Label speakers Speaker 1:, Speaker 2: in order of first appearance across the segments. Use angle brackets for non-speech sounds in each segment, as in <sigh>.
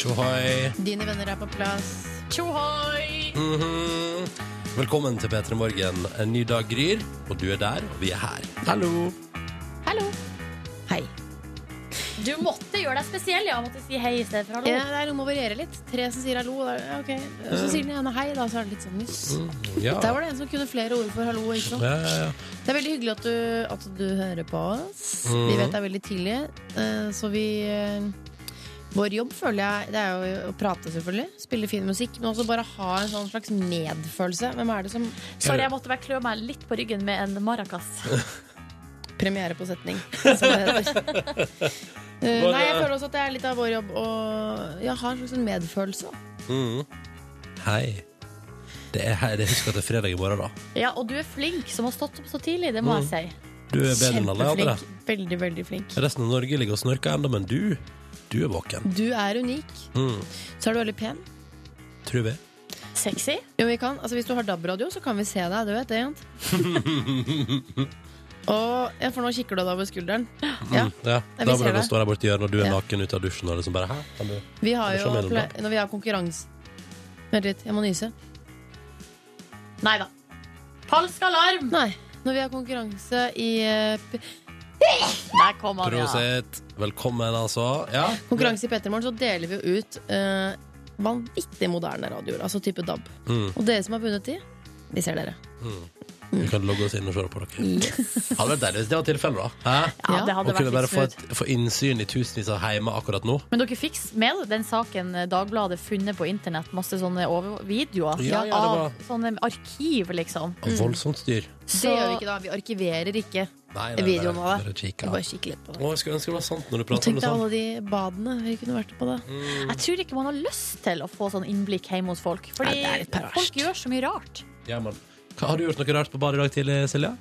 Speaker 1: Tjohoi.
Speaker 2: Dine venner er på plass.
Speaker 3: Tjohoi!
Speaker 1: Mhm. Velkommen til P3 Morgen. En ny dag gryr, og du er der, og vi er her. Hallo.
Speaker 3: Hallo.
Speaker 2: Hei.
Speaker 3: Du måtte gjøre deg spesiell. Jeg måtte si hei i stedet for hallo.
Speaker 2: Ja, det er om å variere litt. Tre som sier hallo, da, ja, ok. Og så sier den ene hei, da, så er det litt sånn nyss.
Speaker 3: Mm,
Speaker 1: Ja.
Speaker 2: Der var det en som kunne flere ord for hallo. Ikke sant?
Speaker 1: Ja, ja, ja.
Speaker 2: Det er veldig hyggelig at du, at du hører på oss.
Speaker 3: Mm.
Speaker 2: Vi vet det er veldig tidlig, eh, så vi eh, Vår jobb føler jeg Det er jo å prate, selvfølgelig. Spille fin musikk. Men også bare ha en sånn slags medfølelse. Hvem er det som
Speaker 3: Sorry, jeg måtte bare klø meg litt på ryggen med en maracas.
Speaker 2: <laughs> Premiere på setning, som det heter. <laughs>
Speaker 3: <laughs>
Speaker 2: Eh, nei, jeg føler også at det er litt av vår jobb å ja, ha en slags sånn medfølelse.
Speaker 1: Mhm. Hei. Det er her. Jeg husker at det er fredag i morgen, da.
Speaker 3: Ja, og du er flink som har stått opp så tidlig. Det må jeg si.
Speaker 1: Mm. Du er bedre enn alle andre.
Speaker 2: Kjempeflink. Veldig, veldig flink.
Speaker 1: Resten av Norge ligger og snorker ennå, men du, du er våken.
Speaker 2: Du er unik.
Speaker 1: Mm.
Speaker 2: Så er du veldig pen.
Speaker 1: Tror vi.
Speaker 3: Sexy.
Speaker 2: Jo, vi kan. Altså, hvis du har DAB-radio, så kan vi se deg. Du vet det, Jent. Og, ja, for nå kikker du deg over skulderen. <laughs>
Speaker 1: Mm.
Speaker 2: Ja.
Speaker 1: Ja.
Speaker 2: Ja, vi
Speaker 1: Da
Speaker 2: ser
Speaker 1: blir det
Speaker 2: det.
Speaker 1: stå der borte i hjørnet, og du er
Speaker 2: Ja.
Speaker 1: naken ut av dusjen, og liksom bare Hæ? Kan du
Speaker 2: Vi har
Speaker 1: Det er
Speaker 2: jo,
Speaker 1: så mellom,
Speaker 2: når vi har konkurranse Vent litt, jeg må nyse.
Speaker 3: Nei da. Falsk alarm!
Speaker 2: Nei. Når vi har konkurranse i eh, p-
Speaker 3: Der kom han, ja.
Speaker 1: Prosit. Velkommen, altså. Ja.
Speaker 2: Konkurranse i Petermorgen, så deler vi jo ut eh, vanvittig moderne radioer. Altså type DAB.
Speaker 1: Mm.
Speaker 2: Og dere som har vunnet de, vi ser dere.
Speaker 1: Vi kan logge oss inn og se på dere. Hadde vært deilig hvis det var tilfellet, da. Hæ?
Speaker 3: Ja, det
Speaker 1: Og
Speaker 3: hadde
Speaker 1: kunne
Speaker 3: vært
Speaker 1: bare
Speaker 3: litt
Speaker 1: få,
Speaker 3: smooth.
Speaker 1: et, få innsyn i tusenvis av hjemme akkurat nå.
Speaker 3: Men dere fikk med den saken Dagbladet funnet på internett? Masse sånne over videoer
Speaker 1: Ja, ja, det var-
Speaker 3: av sånne arkiv, liksom.
Speaker 2: Mm.
Speaker 1: Og voldsomt styr.
Speaker 2: Det gjør vi ikke da. Vi arkiverer ikke.
Speaker 1: Nei,
Speaker 2: Videoen
Speaker 1: bare,
Speaker 2: av det.
Speaker 1: bare kikke.
Speaker 2: Vi bare kikker litt på det.
Speaker 1: Å, jeg skulle ønske det var sant når du prater om
Speaker 2: Tenk
Speaker 1: det
Speaker 2: deg
Speaker 1: sånn.
Speaker 2: alle de badene vi kunne vært på da.
Speaker 1: Mm,
Speaker 3: Jeg tror ikke man har lyst til å få sånn innblikk hjemme hos folk. Fordi
Speaker 2: Nei, det er litt perverst.
Speaker 3: folk gjør så mye rart.
Speaker 1: Ja, men. Hva- Har du gjort noe rart på badet i dag tidlig, Silja?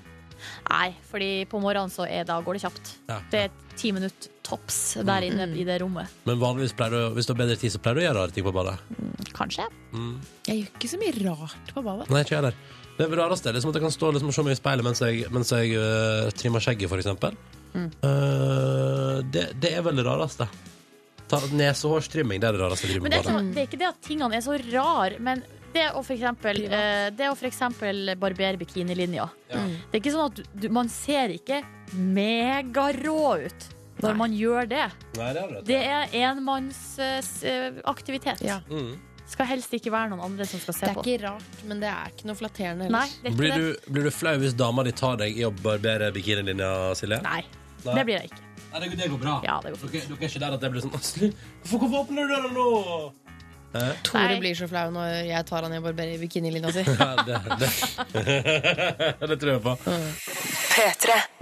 Speaker 3: Nei, fordi på morgenen så er, da går det kjapt.
Speaker 1: Ja.
Speaker 3: Det er ti minutter tops der inne i det rommet.
Speaker 1: Men vanligvis pleier du, hvis du har bedre tid, så pleier du å gjøre rare ting på badet.
Speaker 2: Mm.
Speaker 1: Mm.
Speaker 3: Kanskje.
Speaker 2: Jeg gjør ikke så mye rart på badet.
Speaker 1: Nei, ikke jeg heller. Det er det rareste liksom, at jeg kan stå liksom, og se meg i speilet mens jeg, mens jeg øh, trimmer skjegget, for eksempel.
Speaker 3: Mm.
Speaker 1: Øh, det, det er vel det rareste. Ta, nesehårstrimming, det er det rareste jeg driver
Speaker 3: Men
Speaker 1: med.
Speaker 3: det
Speaker 1: på
Speaker 3: er,
Speaker 1: badet.
Speaker 3: ikke, det er ikke det at tingene er så rar, men det å for eksempel,
Speaker 2: Privat.
Speaker 3: eh, det å for eksempel barbere bikinilinja.
Speaker 1: Ja.
Speaker 3: Det er ikke sånn at du, man ser ikke megarå ut når
Speaker 2: Nei.
Speaker 3: man gjør det.
Speaker 1: Nei, det er det.
Speaker 3: Det er enmannsaktivitet.
Speaker 2: Ja.
Speaker 1: Mm.
Speaker 3: Skal helst ikke være noen andre som skal se
Speaker 2: Det er
Speaker 3: på.
Speaker 2: ikke rart, men det er ikke noe flatterende
Speaker 3: Nei,
Speaker 2: heller.
Speaker 3: det er
Speaker 1: Blir,
Speaker 3: ikke det.
Speaker 1: du, blir du flau hvis dama di tar deg i å barbere bikinilinja, Silje?
Speaker 3: Nei,
Speaker 1: Nei.
Speaker 3: det blir jeg ikke.
Speaker 1: Nei, det, det går bra.
Speaker 3: Ja, det går fint.
Speaker 1: dere, dere er ikke der at det blir sånn Eh. Asle, hvorfor, hvorfor åpner du døra nå?
Speaker 2: Tore
Speaker 3: Nei.
Speaker 2: blir så flau når jeg tar han i å barbere bikinilinja
Speaker 1: <laughs>
Speaker 2: si.
Speaker 1: Ja, det, det. det <laughs> tror jeg på.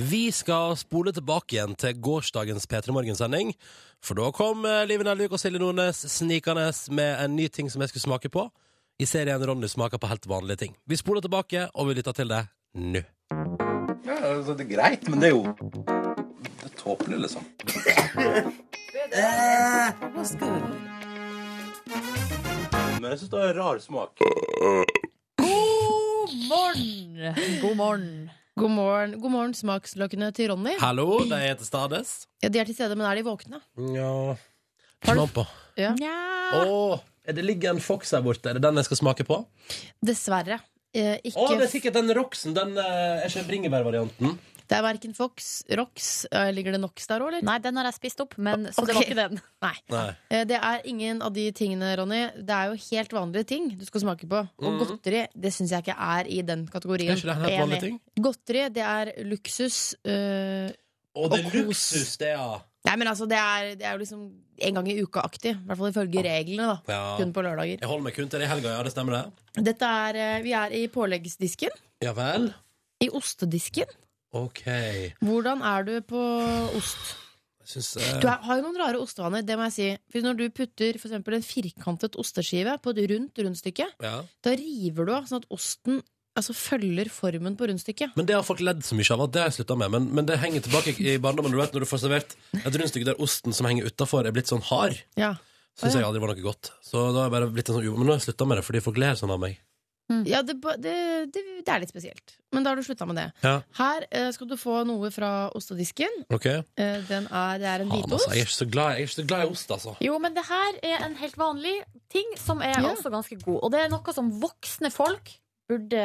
Speaker 1: Vi skal spole tilbake igjen til gårsdagens P3 Morgen-sending. For da kom eh, Live Nelvik og Silje Nordnes snikende med en ny ting som jeg skulle smake på. I serien Ronny smaker på helt vanlige ting. Vi spoler tilbake, og vi lytter til det nå.
Speaker 4: Ja, altså, det er greit, men det er jo Det er tåpelig, liksom.
Speaker 5: Eh,
Speaker 4: Men jeg syns det har rar smak.
Speaker 3: God morgen! God morgen.
Speaker 2: God morgen, God morgen smakslokkene til Ronny.
Speaker 1: Hallo, de heter Stades.
Speaker 2: Ja, de er til stede, men er de våkne?
Speaker 1: Ja Smak på.
Speaker 2: Ja.
Speaker 3: Nja.
Speaker 1: Åh, er det ligger en fox her borte. Er det den jeg skal smake på?
Speaker 2: Dessverre. Eh, ikke
Speaker 1: Å, det er sikkert den roxen. Den eh, er ikke bringebærvarianten.
Speaker 2: Det er verken Fox, Rox eh, Ligger det Nox der òg, eller?
Speaker 3: Nei, den har jeg spist opp, men så det var
Speaker 2: Ok.
Speaker 3: ikke den.
Speaker 2: Nei.
Speaker 1: Nei.
Speaker 2: Eh, Det er ingen av de tingene, Ronny. Det er jo helt vanlige ting du skal smake på. Og godteri det syns jeg ikke er i den
Speaker 1: Mm. Er
Speaker 2: kategorien.
Speaker 1: ikke det helt vanlige ting?
Speaker 2: Godteri det er luksus. eh,
Speaker 1: Å, det
Speaker 2: Og
Speaker 1: er
Speaker 2: kos.
Speaker 1: luksus, det, ja.
Speaker 2: nei, men altså, det er, det er jo liksom en gang i uka-aktig. I hvert fall ifølge reglene, da.
Speaker 1: ja.
Speaker 2: Kun på lørdager.
Speaker 1: Jeg holder meg kun til det i helga, ja. Det stemmer, det.
Speaker 2: Dette er, eh, Vi er i påleggsdisken.
Speaker 1: Ja vel?
Speaker 2: I ostedisken.
Speaker 1: OK. Jeg eh,
Speaker 2: Hvordan er du på ost?
Speaker 1: syns
Speaker 2: Du er, har jo noen rare ostevaner, det må jeg si. For når du putter for eksempel en firkantet osteskive på et rundt rundstykke,
Speaker 1: ja.
Speaker 2: da river du av sånn at osten altså, følger formen på rundstykket.
Speaker 1: Men det har folk ledd så mye av at det har jeg slutta med. Men, men det henger tilbake i barndommen. Du vet når du får servert et rundstykke der osten som henger utafor, er blitt sånn hard.
Speaker 2: Ja.
Speaker 1: Syns
Speaker 2: Å, ja.
Speaker 1: jeg aldri var noe godt. Så da har jeg bare blitt en sånn u- Men nå har jeg slutta med det fordi folk ler sånn av meg.
Speaker 2: Ja, det, ba- det, det, det er litt spesielt. Men da har du slutta med det.
Speaker 1: Ja.
Speaker 2: Her eh, skal du få noe fra ostedisken.
Speaker 1: Ok.
Speaker 2: Eh, den er, det er en
Speaker 1: Faen, altså, jeg, er
Speaker 2: hvitost.
Speaker 1: ikke så glad, jeg er ikke så glad i ost, altså.
Speaker 3: Jo, men det her er en helt vanlig ting som er
Speaker 2: Ja.
Speaker 3: også ganske god. Og det er noe som voksne folk burde,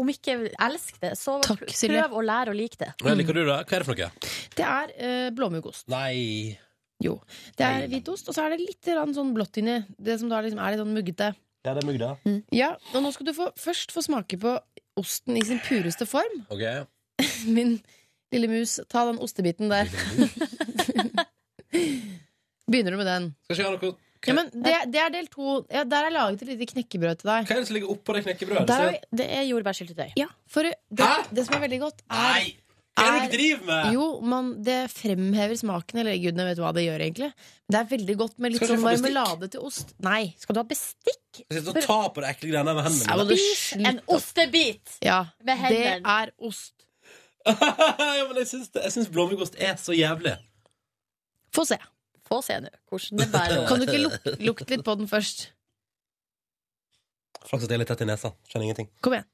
Speaker 3: om ikke elske det, så
Speaker 2: Takk,
Speaker 3: pr-
Speaker 2: Silje.
Speaker 3: prøv å lære å like det.
Speaker 1: Men liker du det? Hva er det for noe?
Speaker 2: Det er eh, blåmuggost.
Speaker 1: Nei
Speaker 2: Jo. Det er hvitost, og så er det litt grann sånn blått inni. Det som da liksom er litt sånn muggete.
Speaker 1: Ja, det er mugg, da.
Speaker 2: Ja, og nå skal du få, først få smake på osten i sin pureste form. <laughs>
Speaker 1: Ok.
Speaker 2: Min lille mus, ta den ostebiten der. <laughs> Begynner du med den?
Speaker 1: Skal ikke jeg ha noe
Speaker 2: Ja, men det, det er del to. Ja, der har jeg laget et lite knekkebrød til deg.
Speaker 1: Hva er det som ligger oppå det knekkebrødet?
Speaker 2: Der har vi,
Speaker 3: Det er jordbærsyltetøy.
Speaker 2: ja, for det,
Speaker 1: Hæ?
Speaker 2: det som er veldig godt, er
Speaker 1: Nei! Hva er det
Speaker 2: er-
Speaker 1: dere driver med?
Speaker 2: Jo, man, det fremhever smaken, eller gudene vet hva det gjør, egentlig. Det er veldig godt med litt
Speaker 1: Skal du
Speaker 2: sånn
Speaker 1: få bestikk?
Speaker 2: marmelade til ost. Nei.
Speaker 3: Skal du ha bestikk?
Speaker 1: Jeg sitter og tar på de ekle greiene med hendene.
Speaker 2: Ja,
Speaker 1: mine.
Speaker 2: men du
Speaker 3: Spis en
Speaker 2: slutt opp.
Speaker 3: ostebit!
Speaker 2: Ja,
Speaker 3: Med
Speaker 2: det
Speaker 3: hendene.
Speaker 2: er ost.
Speaker 1: <laughs> ja, men jeg syns, det- jeg syns blåmuggost er så jævlig.
Speaker 2: Få se.
Speaker 3: Få se nå hvordan det bærer.
Speaker 2: Kan du ikke
Speaker 3: <laughs>
Speaker 2: luk lukte litt på den først?
Speaker 1: Flaks at jeg er litt tett i nesa. Skjønner ingenting.
Speaker 2: Kom igjen.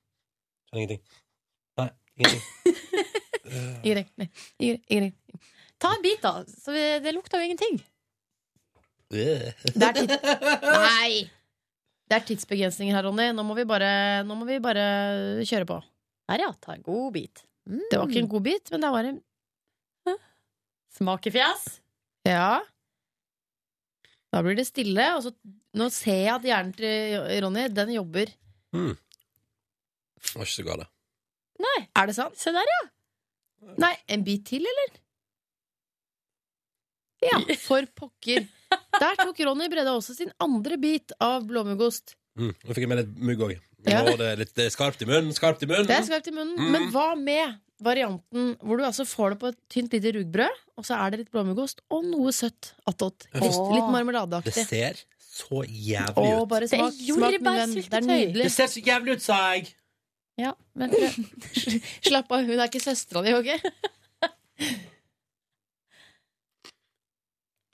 Speaker 1: Skjønner ingenting. Nei, ingenting.
Speaker 2: <laughs> Ingrid. Nei. Ingrid. Ingrid.
Speaker 3: Ta en bit, da. Så det, det lukter jo ingenting.
Speaker 1: Øh.
Speaker 2: Det er tids... Nei! Det er tidsbegrensninger her, Ronny. Nå må vi bare, nå må vi bare kjøre på.
Speaker 3: Der, ja. Ta en god bit. Mm.
Speaker 2: Det var ikke en god bit, men det var en
Speaker 3: Smakefjes.
Speaker 2: Ja. Da blir det stille. Og så, nå ser jeg at hjernen til Ronny, den jobber.
Speaker 1: Mm. Det var ikke så galt.
Speaker 2: Er det sant?
Speaker 3: Se der, ja.
Speaker 2: Nei, en bit til, eller? Ja, for pokker. Der tok Ronny Brede også sin andre bit av blåmuggost.
Speaker 1: Mm. Nå fikk jeg med litt mugg òg.
Speaker 2: Ja.
Speaker 1: Det, er litt- det er skarpt i munnen, skarpt i munnen.
Speaker 2: Det er skarpt i munnen,
Speaker 1: Mm.
Speaker 2: men hva med varianten hvor du altså får det på et tynt lite rugbrød, og så er det litt blåmuggost og noe søtt attåt.
Speaker 1: Ja.
Speaker 2: Litt, litt
Speaker 1: Det
Speaker 2: marmeladeaktig.
Speaker 1: ser så jævlig
Speaker 2: Å,
Speaker 1: ut.
Speaker 2: bare
Speaker 3: Det er
Speaker 2: smak, smak min venn. Det er
Speaker 3: jordbærsyltetøy.
Speaker 2: nydelig.
Speaker 1: Det ser så jævlig ut, sa jeg!
Speaker 3: Ja, men prøv.
Speaker 2: <laughs> Slapp av, hun er ikke søstera di, ok? <laughs>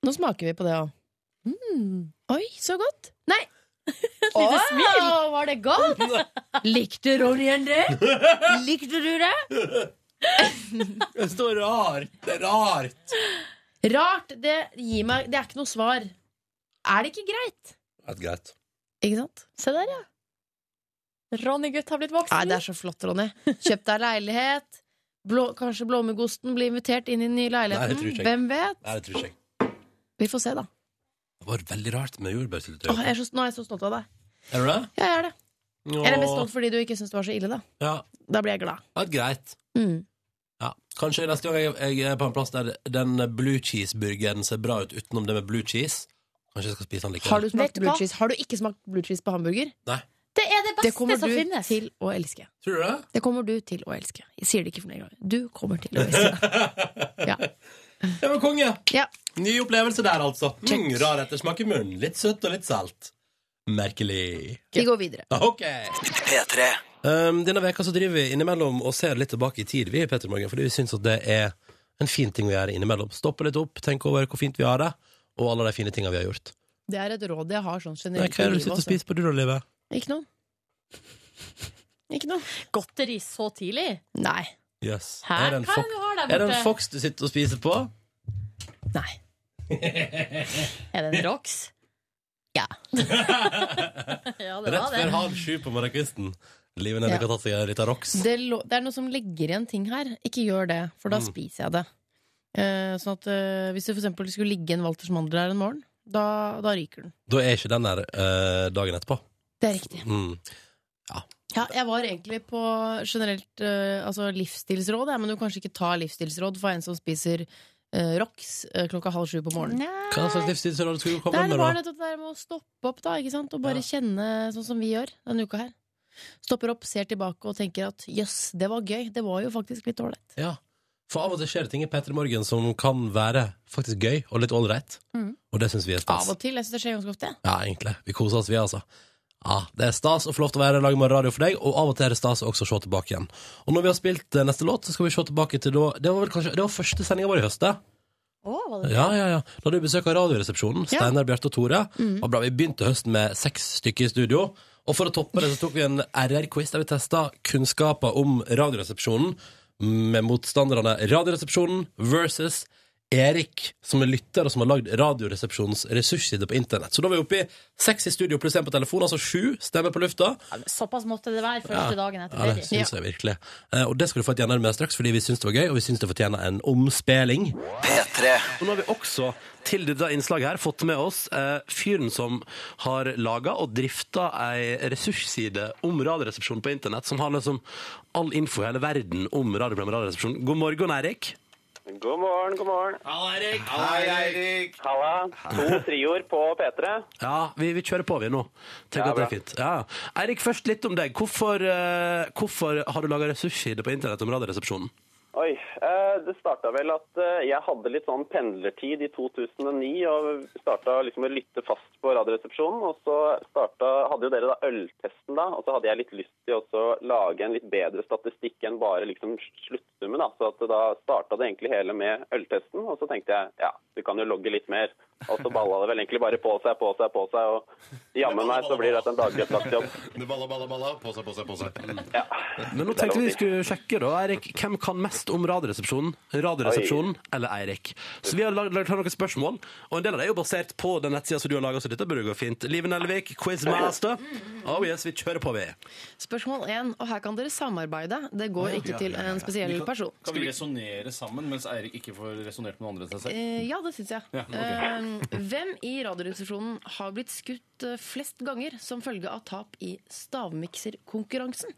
Speaker 2: Nå smaker vi på det òg.
Speaker 3: Mm.
Speaker 2: Oi, så godt! Nei! Et
Speaker 3: lite smil.
Speaker 2: Var det
Speaker 1: <laughs>
Speaker 2: godt? Likte Ronjen det? Likte du det?
Speaker 1: Det er så rart. Det er rart.
Speaker 2: Rart. Det gir meg Det er ikke noe svar. Er det ikke greit?
Speaker 1: Det er greit.
Speaker 2: Ikke sant?
Speaker 3: Se der, ja. Ronny-gutt har blitt
Speaker 2: Nei,
Speaker 3: voksen.
Speaker 2: det er så flott, Ronny. Kjøp deg leilighet. Blå, kanskje blåmuggosten blir invitert inn i den nye
Speaker 1: Nei, det
Speaker 2: leiligheten.
Speaker 1: tror jeg ikke.
Speaker 2: Hvem vet?
Speaker 1: Nei, det tror ikke jeg.
Speaker 2: Vi får se, da.
Speaker 1: Det var veldig rart med jordbærsyltetøy.
Speaker 2: Åh, jeg er så, nå er jeg så stolt av deg.
Speaker 1: Er du det?
Speaker 2: Ja, jeg er det.
Speaker 1: Nå-
Speaker 2: Eller mest stolt fordi du ikke syns det var så ille, da. Mm.
Speaker 1: Ja,
Speaker 2: Da blir jeg glad.
Speaker 1: det er greit. Ja. Kanskje neste gang jeg, jeg er på en plass der den blue cheese-burgeren ser bra ut utenom det med blue cheese. Kanskje jeg skal spise den likevel.
Speaker 2: Har du
Speaker 3: Vet
Speaker 2: smakt
Speaker 3: du
Speaker 2: blue
Speaker 3: hva?
Speaker 2: cheese? Har du ikke smakt blue cheese på hamburger?
Speaker 3: Det er
Speaker 2: Det
Speaker 3: det beste
Speaker 2: kommer
Speaker 3: som
Speaker 2: du
Speaker 3: finnes.
Speaker 2: til å elske.
Speaker 1: Tror du det?
Speaker 2: Det kommer du til å elske. Jeg sier det ikke flere ganger. Du kommer
Speaker 1: <laughs>
Speaker 2: til å elske. Ja.
Speaker 1: Det var konge!
Speaker 2: Ja.
Speaker 1: Ny opplevelse der, altså.
Speaker 2: Check.
Speaker 1: Mm, rar ettersmak i munnen. Litt søtt og litt salt. Merkelig.
Speaker 2: Vi går videre.
Speaker 1: <laughs> Ok. Um, denne veka så driver vi innimellom og ser litt tilbake i tid, vi i Petter Morgen, fordi vi syns at det er en fin ting å gjøre innimellom. Stoppe litt opp, tenke over hvor fint vi har det, og alle de fine tinga vi har gjort.
Speaker 2: Det er et råd jeg har sånn
Speaker 1: Nei,
Speaker 2: generelt.
Speaker 1: hva er det du
Speaker 2: i livet
Speaker 1: sitter og
Speaker 2: også.
Speaker 1: spiser på, du da, Live?
Speaker 2: Ikke noe. <laughs> Ikke noe.
Speaker 3: Godteri så tidlig.
Speaker 2: Nei.
Speaker 1: Yes.
Speaker 3: Hæ?
Speaker 1: Er det en
Speaker 3: Hva er
Speaker 1: fok-
Speaker 3: det du har der
Speaker 1: er det en
Speaker 3: borte?
Speaker 1: fox du sitter og spiser på?
Speaker 2: Nei.
Speaker 3: Er
Speaker 1: <laughs>
Speaker 3: det en Rox? Ja. ja, det
Speaker 1: Rett
Speaker 3: var det.
Speaker 1: før halv sju på morgenkvisten. Livet nede
Speaker 2: Ja.
Speaker 1: ja. har tatt seg en liten rocks.
Speaker 2: Det, lå- det er noe som legger igjen ting her. Ikke gjør det, for da
Speaker 1: Mm.
Speaker 2: spiser jeg det. Eh, sånn at eh, Hvis det for eksempel skulle ligge en Walters mandel her en morgen, da, da ryker den.
Speaker 1: Da er ikke den der eh, dagen etterpå.
Speaker 2: Det er riktig.
Speaker 1: Mm.
Speaker 2: Ja, jeg var egentlig på generelt eh, altså livsstilsråd, jeg, men du kan kanskje ikke ta livsstilsråd for en som spiser eh, Rox eh, klokka halv sju på morgenen.
Speaker 1: Hva slags livsstilsråd skulle du komme
Speaker 2: Nei, det
Speaker 1: med,
Speaker 2: var
Speaker 1: da?
Speaker 2: nettopp det der med å stoppe opp da, ikke sant? og bare
Speaker 1: Ja.
Speaker 2: kjenne sånn som vi gjør denne uka her. Stopper opp, ser tilbake og tenker at jøss, det var gøy. Det var jo faktisk litt ålreit.
Speaker 1: Ja. For av og til skjer det ting i P3 Morgen som kan være faktisk gøy og litt ålreit.
Speaker 3: Mm.
Speaker 1: Og det syns vi er
Speaker 2: Av
Speaker 6: Altså.
Speaker 1: stas.
Speaker 2: og til. Jeg syns det skjer ganske ofte. jeg.
Speaker 1: Ja, egentlig. Vi koser oss, vi, altså. Ja, Det er stas å få lov til å være lage med radio for deg, og av og til er det stas å også se tilbake igjen. Og når vi har spilt eh, neste låt, så skal vi se tilbake til da Det var vel kanskje det var første sendinga vår i høst, det?
Speaker 3: Å, var det det?
Speaker 1: Ja, ja, ja. Da hadde vi besøk av Radioresepsjonen.
Speaker 2: Ja.
Speaker 3: Mm.
Speaker 1: Steinar, Bjarte og Tore. Var bra. Vi begynte høsten med seks stykker i studio. Og for å toppe det så tok vi en RR-quiz der vi testa kunnskaper om Radioresepsjonen med motstanderne Radioresepsjonen versus Erik, som er lytter og som har lagd Radioresepsjonens ressursside på internett. Så da var vi oppe i seks i studio pluss én på telefon, altså sju stemmer på lufta.
Speaker 3: Såpass måtte det være første dagen etter
Speaker 1: Ja, det
Speaker 3: Bergen.
Speaker 1: syns jeg virkelig. Eh, Og det skal du få et gjennom med straks, fordi vi syns det var gøy, og vi syns det fortjener en omspilling. Og nå har vi også til dette innslaget her fått med oss eh, fyren som har laga og drifta ei ressursside om Radioresepsjonen på internett, som har liksom all info i hele verden om radioprogrammet Radioresepsjonen. God morgen, Erik.
Speaker 7: God morgen, god morgen.
Speaker 4: Hei, Eirik.
Speaker 7: Halla. To trioer på P3.
Speaker 1: Ja, vi, vi kjører på, vi nå. Tenk at
Speaker 7: Ja,
Speaker 1: det er
Speaker 7: bra.
Speaker 1: fint. Ja. Eirik, først litt om deg. Hvorfor, eh, hvorfor har du laga ressursside på internett om Radioresepsjonen?
Speaker 7: Oi, eh, det starta vel at eh, jeg hadde litt sånn pendlertid i 2009 og starta liksom å lytte fast på Radioresepsjonen. Og så starta, hadde jo dere da øltesten, da, og så hadde jeg litt lyst til også å lage en litt bedre statistikk enn bare liksom sluttsummen. da, Så at da starta det egentlig hele med øltesten, og så tenkte jeg ja, du kan jo logge litt mer. Og så balla det vel egentlig bare på seg, på seg, på seg, og jammen meg så blir dette en dagliglagtjobb.
Speaker 8: Det balla, balla, balla. På seg, på seg, på seg.
Speaker 7: Ja.
Speaker 1: Men nå
Speaker 7: Det er
Speaker 1: tenkte
Speaker 7: lov å
Speaker 1: vi
Speaker 7: si.
Speaker 1: skulle sjekke da, Eirik, hvem kan mest om radioresepsjonen? Radioresepsjonen eller Eirik? Så vi har lagd lagd noen spørsmål, og en del av det er jo basert på den nettsida som du har laga, så dette burde gå fint. Live Nelvik, quizmaster. Oh yes, vi kjører på, vi.
Speaker 2: Spørsmål 1, og her kan dere samarbeide. Det går ikke til en spesiell person.
Speaker 6: Kan vi resonnere sammen, mens Eirik ikke får resonnert med noen andre enn seg selv?
Speaker 2: Eh, ja, det syns jeg.
Speaker 6: Ja, ok.
Speaker 2: Eh, hvem i Radioresepsjonen har blitt skutt eh, flest ganger som følge av tap i stavmikserkonkurransen?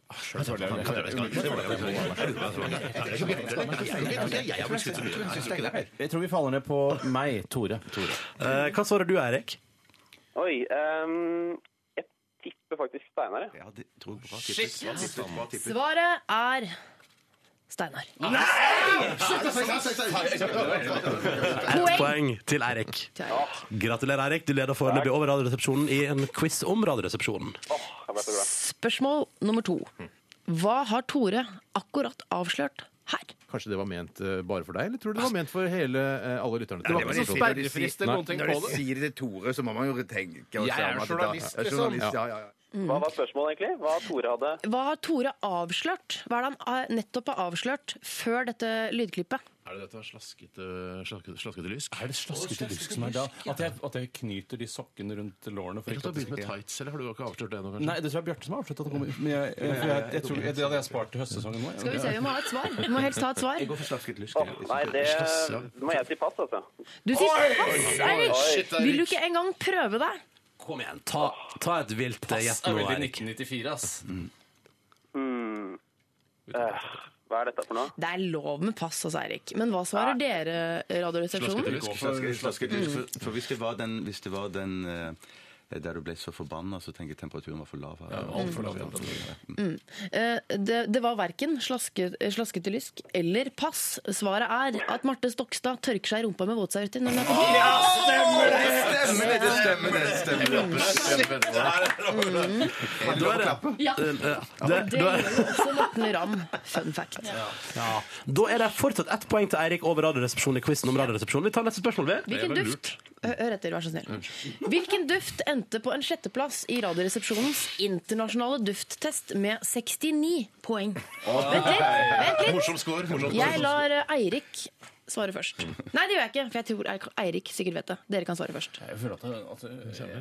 Speaker 6: Jeg tror vi faller ned på meg, Tore. Tore.
Speaker 1: Eh, hva svarer du, Eirik?
Speaker 7: Oi, ehm, jeg tipper faktisk Steinar. jeg.
Speaker 2: Svaret er Steinar.
Speaker 1: Ett poeng til Eirik. Gratulerer, Eirik. Du leder foreløpig over Radioresepsjonen i en quiz om Radioresepsjonen.
Speaker 7: Jeg ble så glad.
Speaker 2: Spørsmål nummer to. Hva har Tore akkurat avslørt her?
Speaker 8: Kanskje det var ment eh, bare for deg, eller tror du det var ment for hele, eh, alle lytterne? Det var ikke
Speaker 9: det
Speaker 8: sånn
Speaker 9: var litt-
Speaker 8: sperrefrist eller noen ting
Speaker 9: Når
Speaker 8: på
Speaker 9: du
Speaker 8: det.
Speaker 9: sier det til Tore, så må man jo tenke. også
Speaker 8: Jeg er
Speaker 9: om at det-
Speaker 8: journalist,
Speaker 9: Ja, journalist,
Speaker 8: liksom.
Speaker 9: Ja, ja, ja.
Speaker 7: Hva var spørsmålet egentlig? Hva Tore hadde?
Speaker 2: Hva har Tore avslørt? Hva er det han eh, nettopp har avslørt før dette lydklippet?
Speaker 8: Er det dette slaskete, slaskete, slaskete lysk?
Speaker 6: Er det slaskete lysk som er da? At jeg, at jeg knyter de sokkene rundt lårene for
Speaker 8: Ikke at du har
Speaker 6: ikke at det
Speaker 8: begynt med
Speaker 6: stikker?
Speaker 8: tights, eller har du ikke avslørt det ennå, kanskje?
Speaker 6: Nei, det tror jeg er Bjarte som har avsluttet at det kommer ut. Men jeg, jeg, jeg, jeg, tror, jeg, det hadde jeg spart til høstsesongen nå.
Speaker 2: Skal vi se, vi må ha et svar. Vi må helst ha et svar.
Speaker 7: Åh, nei, det må jeg si pass, altså.
Speaker 2: Du sier pass, Eirik!
Speaker 9: Shit, Eirik.
Speaker 2: Vil du ikke engang prøve deg?
Speaker 1: Kom igjen, ta, ta et vilt eh,
Speaker 6: Yes,
Speaker 1: gjett nå, Eirik.
Speaker 6: 1994, ass.
Speaker 7: Mm. Eh, Hva er dette for noe?
Speaker 6: Eh,
Speaker 2: Det er lov med pass, altså, Eirik. Men hva svarer dere, eh, Radioresepsjonen?
Speaker 10: Slaske- slaske- for- For hvis det var den, hvis det var den eh, der du ble så forbanna, så tenker jeg temperaturen var for lav. her.
Speaker 2: Eh, Det, det var verken slaske, eh, slaskete lysk eller pass. Svaret er at Marte Stokstad tørker seg i rumpa med våtservietter. når hun er på do.
Speaker 9: Stemmer det, det stemmer det, det stemmer det.
Speaker 1: Da er det,
Speaker 3: Ja.
Speaker 1: eh, det,
Speaker 2: Mm. Det
Speaker 1: da er-
Speaker 2: gjør også Morten Ramm. Fun fact.
Speaker 1: Da er det fortsatt ett poeng til Eirik over Radioresepsjonen i quizen om Radioresepsjonen. Vi tar neste spørsmål, vi.
Speaker 2: Hvilken duft Hø- Hør etter, vær så snill. Hvilken duft endte på en sjetteplass i Radioresepsjonens internasjonale dufttest med 69 poeng? Vent litt! Vent litt.
Speaker 8: Morsom score. Morsom
Speaker 2: Jeg
Speaker 8: score.
Speaker 2: lar eh, Eirik svare først. Nei, det gjør jeg ikke, for jeg tror Eik- Eirik sikkert vet det. Dere kan svare først.
Speaker 6: Jeg føler at det, at det, har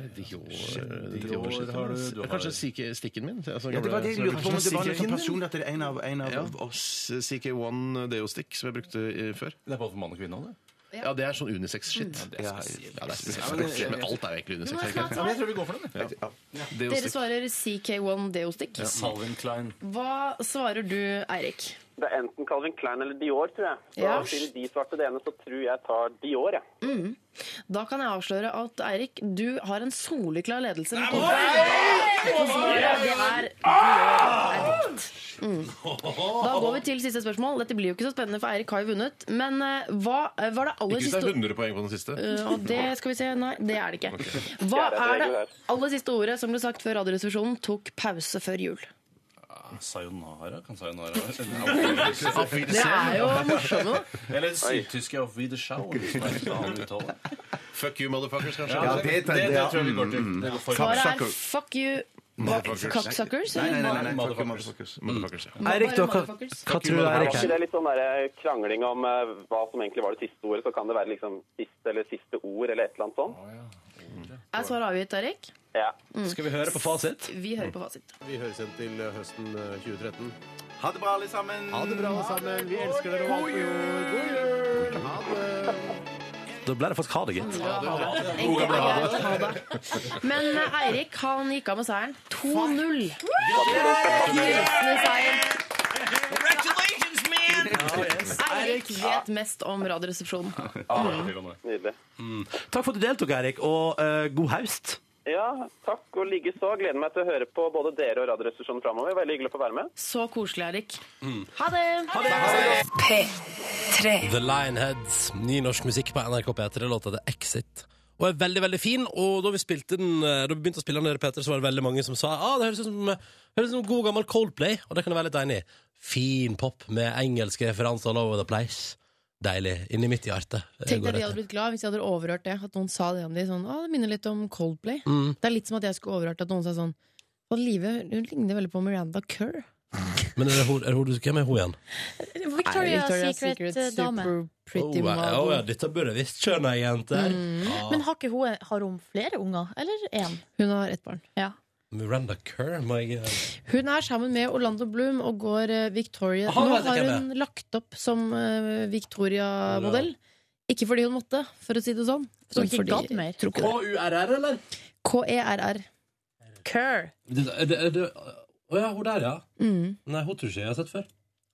Speaker 6: du- du har-
Speaker 8: Kanskje CK stikken min? Altså,
Speaker 10: Det var det jeg lurte på, men det var
Speaker 8: Kanskje
Speaker 10: litt sånn personlig at det er en av, en av
Speaker 8: Ja.
Speaker 10: oss.
Speaker 8: CK1 Deo-stick som jeg brukte eh, før.
Speaker 6: det er både for mann og kvinne. det.
Speaker 8: Ja, det er sånn unisex-shit. Ja,
Speaker 10: Ja,
Speaker 8: det er spesielt. Men alt er jo egentlig
Speaker 2: Du må
Speaker 8: unisex.
Speaker 2: snart svare.
Speaker 6: Jeg tror vi går for den. jeg.
Speaker 2: Dere svarer CK1 Deostick.
Speaker 6: Salvin Klein.
Speaker 2: Hva svarer du, Eirik?
Speaker 7: Det er enten Calvin Klein eller Dior, tror jeg. Så
Speaker 2: Ja.
Speaker 7: Siden de svarte det ene, så tror jeg tar Dior, jeg.
Speaker 2: Mm. Da kan jeg avsløre at Eirik, du har en soleklar ledelse. Med Nei, Ah! svaret det er Eirik. Mm. Da går vi til siste spørsmål. Dette blir jo ikke så spennende, for Eirik har jo vunnet. Men eh, hva eh, var det aller
Speaker 8: Hvis det
Speaker 2: siste
Speaker 8: er 100 poeng på den siste.
Speaker 2: Eh, Og det skal vi se. Nei, det er det ikke. Hva er det aller siste ordet som ble sagt før Radioresepsjonen tok pause før jul?
Speaker 6: Ah, Sayonara? Kan
Speaker 8: <laughs>
Speaker 6: sayonara være?
Speaker 2: Det er jo morsomme, da.
Speaker 6: Eller sydtyske Auf Wiederschauen. som liksom. er en annen uttale.
Speaker 8: Fuck you, motherfuckers, kanskje.
Speaker 9: Ja, det
Speaker 8: Mm,
Speaker 6: Det, det tror jeg vi går til. Det går for-
Speaker 2: Svaret er fuck you, Cocksuckers?
Speaker 10: Nei, nei,
Speaker 2: eller?
Speaker 10: nei, nei, fuck you, motherfuckers. Mm. Motherfuckers, ja.
Speaker 11: Eirik, da, hva,
Speaker 2: Motherfuckers.
Speaker 11: hva tror du,
Speaker 7: Var
Speaker 11: Eirik?
Speaker 7: ikke det litt sånn der krangling om eh, hva som egentlig var det siste ordet? Så kan det være liksom siste eller siste ord eller et eller annet sånt?
Speaker 2: Er svaret avgitt, Eirik?
Speaker 7: Ja.
Speaker 1: Skal vi høre på fasit?
Speaker 2: Vi hører på fasit.
Speaker 8: Vi høres igjen til høsten eh, 2013.
Speaker 10: Ha det bra, alle sammen.
Speaker 8: Ha det bra, alle sammen. Vi elsker dere. God jul! God jul! Ha det!
Speaker 1: Da ble det faktisk ha det, gitt.
Speaker 2: Enkelt og greit. Ha det.
Speaker 11: <laughs>
Speaker 2: Men eh, Eirik han gikk av med seieren. 2-0. Frelsende seier. Eirik vet mest om Radioresepsjonen.
Speaker 11: Ah,
Speaker 2: Mm.
Speaker 7: Nydelig.
Speaker 11: Mm. Takk for at du deltok, Eirik, og eh, god haust.
Speaker 7: Ja, takk og likeså. Gleder meg til å høre på både dere og Radioresepsjonen framover. Veldig hyggelig å få være med.
Speaker 2: Så koselig, Eirik.
Speaker 1: Mm.
Speaker 2: Ha det!
Speaker 1: The Lionheads, ny norsk musikk på NRK P3, låta The Exit. Og er veldig, veldig fin, og da vi spilte den eh, Da vi begynte å spille den, der, Peter, så var det veldig mange som sa ah, det høres ut som, høres ut som god gammel Coldplay, og det kan jeg være litt enig i. Fin pop med engelske referanser all over the place. Deilig. Inni mitt hjerte. Det
Speaker 2: Tenk
Speaker 1: går
Speaker 2: deg de
Speaker 1: rett
Speaker 2: hadde
Speaker 1: inn.
Speaker 2: blitt glad hvis de hadde overhørt det. At noen sa det om de sånn, å, det minner litt om Coldplay.
Speaker 1: Mm.
Speaker 2: Det er litt som at jeg skulle overhørt at noen sa sånn «Å, Live, hun ligner veldig på Miranda Kerr.
Speaker 1: Men er det, ho- er det, ho- du- hvem er hun igjen?
Speaker 3: Victoria's Secret-dame.
Speaker 2: Super
Speaker 1: Å
Speaker 2: pretty
Speaker 1: ja,
Speaker 2: model. Mm.
Speaker 1: å, ja, dette burde jeg visst, skjønner jeg, jenter. Ah,
Speaker 3: Men har ikke hun har hun flere unger? Eller én?
Speaker 2: Hun har ett barn.
Speaker 3: Ja.
Speaker 1: Miranda Kerr, må jeg eh,
Speaker 2: Hun er sammen med Orlando Bloom og går eh, Victoria
Speaker 1: Aha,
Speaker 2: Nå
Speaker 1: vet jeg
Speaker 2: har
Speaker 1: hvem
Speaker 2: hun lagt opp som eh, Victoria-modell. Ikke fordi hun måtte, for å si det sånn.
Speaker 3: Så hun
Speaker 2: Men
Speaker 3: ikke
Speaker 2: fordi- E
Speaker 3: gadd mer?
Speaker 2: Tror ikke det.
Speaker 1: K-U-R-R, eller? E
Speaker 2: E K-E-R-R. Kerr.
Speaker 1: Det, er det, er det, å ja, hun der, ja.
Speaker 2: Å
Speaker 1: Nei, hun tror ikke jeg har sett før.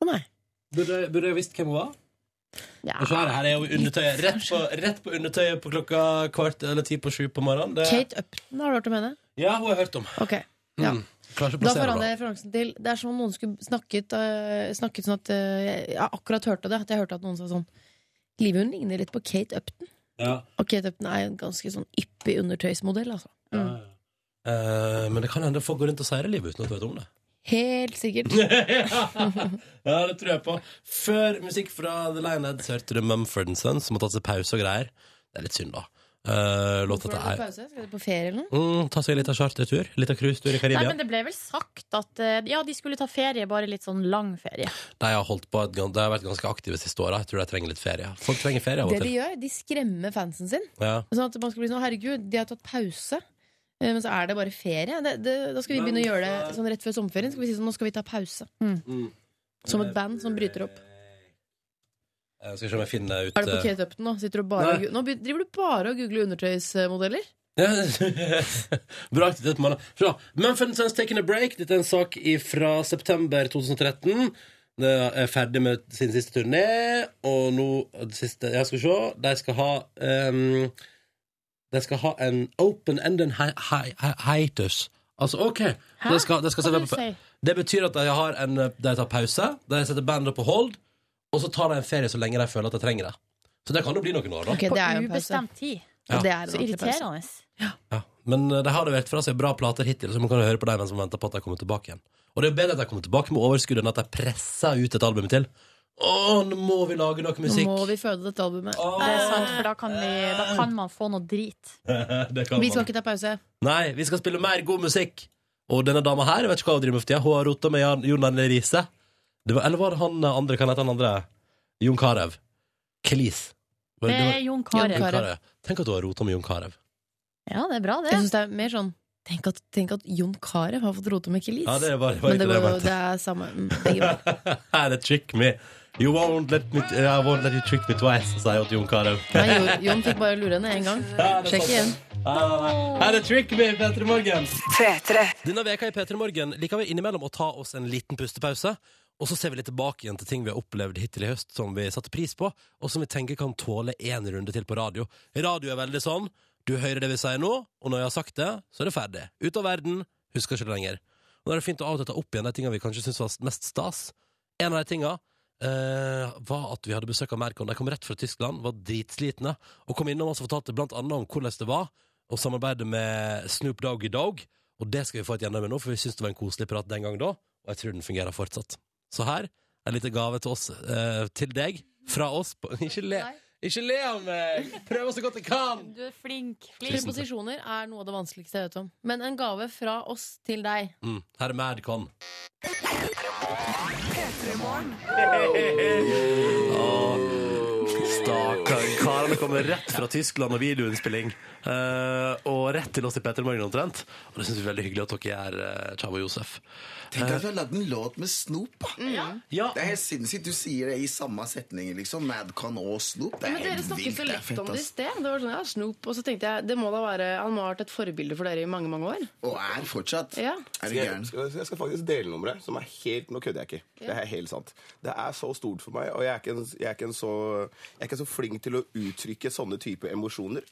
Speaker 2: nei.
Speaker 1: Burde, burde jeg visst hvem hun var?
Speaker 2: Ja.
Speaker 1: Og så her, her er jo undertøyet rett på, rett på undertøyet på klokka kvart eller ti på sju på morgenen. Det,
Speaker 2: Kate Upton, har du hørt om henne?
Speaker 1: Ja, hun har jeg hørt om.
Speaker 2: Ok. Ja.
Speaker 1: Mm. Klarer ikke å
Speaker 2: Da
Speaker 1: plassere
Speaker 2: forandrer
Speaker 1: henne.
Speaker 2: jeg referansen til Det er som om noen skulle snakket, eh, snakket sånn at eh, jeg akkurat hørte det. At jeg hørte at noen sa sånn Livet hun ligner litt på Kate Upton.
Speaker 1: Ja.
Speaker 2: Og Kate Upton er jo en ganske sånn yppig undertøysmodell, altså.
Speaker 1: Ja, ja. Eh, men det kan hende folk går rundt og sier det livet uten at du vet om det.
Speaker 2: Helt
Speaker 1: <laughs>
Speaker 2: sikkert.
Speaker 1: ja, det tror jeg på. Før musikk fra The Lionheads hørte du Mumford Sons, som har tatt seg pause og greier. Det er litt synd, da. Eh, låta
Speaker 2: Hvorfor har du
Speaker 1: til er
Speaker 2: pause? Skal du på ferie eller noe?
Speaker 1: mm, Ta seg en liten chartertur. Liten cruisetur i
Speaker 3: Nei,
Speaker 1: Karibia.
Speaker 3: men det ble vel sagt at eh, ja, de skulle ta ferie, bare litt sånn lang ferie.
Speaker 1: De har holdt på et, gan- de har vært ganske aktive siste åra. Jeg tror de trenger litt ferie. Folk trenger ferie av og
Speaker 2: Det de
Speaker 1: til.
Speaker 2: gjør, de skremmer fansen sin.
Speaker 1: Ja.
Speaker 2: Sånn at man skal bli sånn, herregud, de har tatt pause. eh, Men så er det bare ferie. Det, det, da skal vi begynne å gjøre det sånn rett før sommerferien. Skal vi si sånn, nå skal vi ta pause.
Speaker 1: Mm.
Speaker 2: Som et band som bryter opp.
Speaker 1: Jeg Eh, skal se om jeg finner ut eh,
Speaker 2: Er det på Kate Upton nå? Sitter du bare og,
Speaker 1: Nei.
Speaker 2: gu- nå be- driver du bare og googler undertøysmodeller?
Speaker 1: Ja. <laughs> Bra aktivitet på mandag. Se da. Mumford Sons Taking a Break. Dette er en sak fra september 2013. Det er ferdig med sin siste turné, og nå det siste, Jeg skal se. De skal ha ehm, De skal ha en open-ended hi- hi- hi- hiatus. Altså, OK! De skal, de skal sette
Speaker 3: Hva vil du
Speaker 1: på-
Speaker 3: si?
Speaker 1: Det betyr at de, har en, de tar pause, de setter bandet på hold, og så tar de en ferie så lenge de føler at de trenger det. Så det kan jo bli noen år, da.
Speaker 2: Ok,
Speaker 3: På
Speaker 2: det er jo en pause.
Speaker 3: ubestemt tid.
Speaker 1: Ja.
Speaker 2: Det er en
Speaker 3: Så
Speaker 2: ordentlig pause.
Speaker 3: irriterende.
Speaker 1: Ja. Men eh, de har levert fra seg bra plater hittil, så man kan høre på dem mens man venter på at de kommer tilbake igjen. Og det er jo bedre at de kommer tilbake med overskudd enn at de presser ut et album til. Å, nå må vi lage noe
Speaker 2: Nå
Speaker 1: musikk!
Speaker 2: må vi føde dette albumet.
Speaker 1: Å,
Speaker 3: Det er sant, for da kan, vi, da kan man få noe drit.
Speaker 1: <laughs> det kan
Speaker 2: Vi
Speaker 1: man.
Speaker 2: skal ikke ta pause.
Speaker 1: Nei, vi skal spille mer god musikk! Og denne dama her, jeg vet ikke hva hun driver med for tida, hun har rota med Jan- Jon Arne Riise. Det var- Eller var det han eh, andre, kan hete han andre? Jon Carew. Kelis. Var
Speaker 3: Det
Speaker 1: det-
Speaker 3: er Jon Carew.
Speaker 1: Jon
Speaker 2: Carew.
Speaker 1: Carew. Tenk at du har rota med Jon Carew.
Speaker 3: Ja, det er bra, det.
Speaker 2: Jeg synes det er mer sånn Tenk at, tenk at Jon Carew har fått rote med Kelis.
Speaker 1: Ja, det var, var
Speaker 2: Men
Speaker 1: ikke
Speaker 2: det,
Speaker 1: det jeg
Speaker 2: går,
Speaker 1: mente.
Speaker 2: det er samme mm, begge veier.
Speaker 1: <laughs> Her er Trick Me. You won't let, me, I won't let you trick me twice, sier jeg til Jon Carew.
Speaker 2: Nei, Jon, Jon fikk bare lure henne én gang. Sjekk igjen.
Speaker 1: Her Ah, er Trick Me, Petter Morgen. Denne veka i Petter Morgen liker vi innimellom å ta oss en liten pustepause. Og så ser vi litt tilbake igjen til ting vi har opplevd hittil i høst som vi satte pris på, og som vi tenker kan tåle én runde til på radio. Radio er veldig sånn. Du hører det vi sier nå, og når jeg har sagt det, så er det ferdig. Ut av verden. Husker ikke det lenger. Og da er det fint å av og til ta opp igjen de tingene vi kanskje syns var mest stas. En av de tinga eh, var at vi hadde besøk av Mercon. De kom rett fra Tyskland, var dritslitne, og kom innom oss og fortalte blant annet om hvordan det var å samarbeide med Snoop Doggy Dog. Og det skal vi få et gjennom med nå, for vi syns det var en koselig prat den gang da, og jeg tror den fungerer fortsatt. Så her er en liten gave til oss, eh, til deg, fra oss på <laughs> Ikke le. Ikke le av meg! Prøver så godt jeg kan!
Speaker 3: Du er flink. flink.
Speaker 2: Preposisjoner er noe av det vanskeligste jeg vet om. Men en gave fra oss til deg.
Speaker 1: Mm, her er Madcon. Stakkar karene kommer rett fra Tyskland og videoinnspilling. eh, og rett til oss i Petter Morgen omtrent. Og det syns vi er veldig hyggelig at dere er eh, Chavo og Josef.
Speaker 12: Tenk at du har lagd en låt med Snoop, da. Det er helt sinnssykt. Du sier det i samme setning, liksom. Madcon og Snoop.
Speaker 13: Ja,
Speaker 12: Det er
Speaker 13: Men dere
Speaker 12: helt
Speaker 13: snakket
Speaker 12: vilt.
Speaker 13: så
Speaker 12: Det er
Speaker 13: lett
Speaker 12: fett,
Speaker 13: om det i
Speaker 12: ass.
Speaker 13: sted. Det var sånn, ja, snop. Og så tenkte jeg, det må da være Han må ha vært et forbilde for dere i mange, mange år.
Speaker 12: Og er fortsatt.
Speaker 13: Ja.
Speaker 12: Er du
Speaker 14: Skal
Speaker 12: gæren?
Speaker 14: jeg, skal, jeg skal faktisk dele nummeret, som er helt Nå kødder jeg ikke.
Speaker 13: Ja.
Speaker 14: Det er helt sant. Det er så stort for meg, og jeg er ikke, en, jeg er ikke, en så, jeg er ikke så flink til å uttrykke sånne type emosjoner.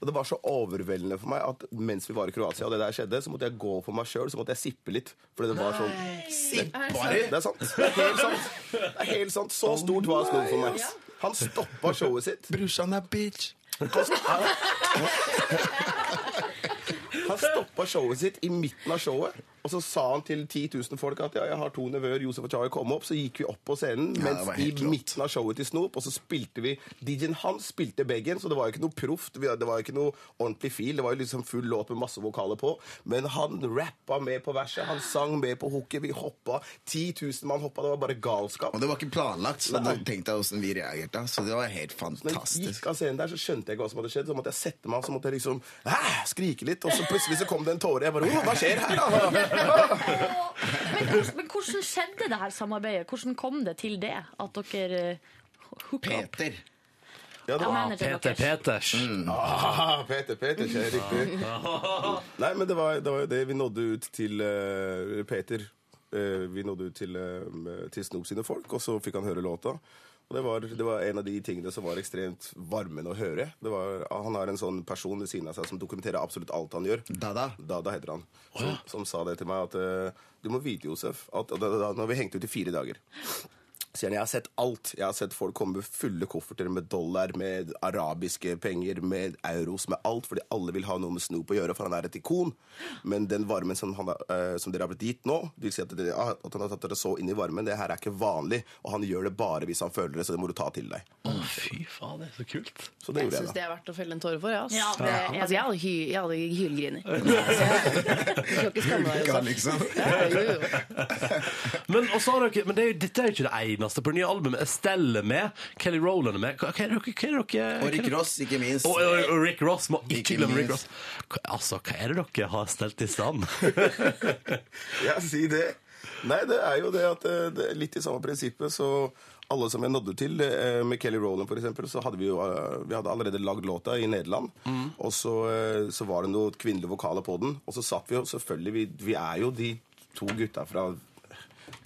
Speaker 14: Og det var så overveldende for meg at mens vi var i Kroatia, og det der skjedde, så måtte jeg gå for meg sjøl, så måtte jeg sippe litt. Fordi det var sånn
Speaker 12: Sippa
Speaker 14: det, det er sant. Det er helt sant. Det er helt sant. Så stort var Snoop for meg. Han stoppa showet sitt.
Speaker 12: Brorsan er bitch.
Speaker 14: Han stoppa showet sitt i midten av showet. Og så sa han til 10 000 folk at ja, jeg har to nevøer, Josef og Chai, kom opp. Så gikk vi opp på scenen
Speaker 12: Ja, det
Speaker 14: mens
Speaker 12: var
Speaker 14: i
Speaker 12: helt rått.
Speaker 14: midten av showet til Snoop, og så spilte vi DJ-en hans spilte begge, så det var jo ikke noe proft. vi- Det var jo ikke noe ordentlig fil. Det var jo liksom full låt med masse vokaler på. Men han rappa med på verset, han sang med på hooket, vi hoppa. 10 000 mann hoppa, det var bare galskap.
Speaker 12: Og det var ikke planlagt, så
Speaker 14: Nei.
Speaker 12: tenk deg hvordan vi reagerte. Så det var helt
Speaker 14: jeg
Speaker 12: fantastisk.
Speaker 14: gikk av scenen der, så skjønte jeg ikke hva som hadde skjedd. Så måtte jeg sette meg, så måtte jeg liksom «Æ!» skrike litt. Og så plutselig så kom det en tåre. Jeg bare «Åh, Hva skjer her, da?
Speaker 3: Men, hvordan- men hvordan skjedde det her samarbeidet? Hvordan kom det til det? At dere eh, hooka opp?
Speaker 12: Peter.
Speaker 14: Ja,
Speaker 3: Ja, manageren
Speaker 1: Peter Peters.
Speaker 12: Mm. <laughs>
Speaker 14: Ah, Peter Peters, ja,
Speaker 10: <laughs>
Speaker 14: riktig. Nei, men det var, det var jo det. Vi nådde ut til eh, Peter. Eh, vi nådde ut til, eh, til Snoop sine folk, og så fikk han høre låta. Og det var, det var en av de tingene som var ekstremt varmende å høre. Det var, han har en sånn person ved siden av seg som dokumenterer absolutt alt han gjør.
Speaker 12: Dada.
Speaker 14: Dada heter han. Som, som sa det til meg at eh, du må vite, Josef, at og da, da, da, når vi hengte ut i fire dager Sier han, jeg har sett alt. Jeg har sett folk komme med fulle kofferter med dollar, med arabiske penger, med euros, med alt, fordi alle vil ha noe med Snoop å gjøre, for han er et ikon. Men den varmen som, han, eh, som dere har blitt gitt nå, det vil si at, dere, ah, at han har tatt dere så inn i varmen, det her er ikke vanlig, og han gjør det bare hvis han føler det, så det må du ta til deg.
Speaker 1: Fy faen, det er så kult.
Speaker 14: Så det
Speaker 13: Jeg
Speaker 14: gjorde
Speaker 13: syns
Speaker 14: jeg,
Speaker 13: det
Speaker 14: da.
Speaker 13: er verdt å felle en tåre for. Ja, ass.
Speaker 14: Ja, det er jeg
Speaker 13: altså, jeg hadde, hy jeg hadde hylgriner.
Speaker 12: Du
Speaker 1: <laughs>
Speaker 12: kan liksom.
Speaker 1: Men, og så har dere, men det er jo, dette er jo ikke det eneste på det nye albumet. Estelle er med, Kelly Rowland er med. Hva, hva er dere, hva er dere
Speaker 12: Og Rick Ross, ikke minst.
Speaker 1: Og, og, og Rick Ross. Må ikke,
Speaker 12: Ikke
Speaker 1: glemme Rick Ross.
Speaker 12: minst.
Speaker 1: Hva, altså, hva er det dere har stelt i stand?
Speaker 12: <laughs>
Speaker 14: Ja, si det. Nei, det er jo det at eh, det er litt i samme prinsippet, så alle som jeg nådde til, eh, med Kelly Rowland for eksempel, så hadde vi jo eh, vi hadde allerede lagd låta i Nederland. Og så, eh, så var det noen kvinnelige vokaler på den. Og så satt vi jo selvfølgelig Vi, vi er jo de to gutta fra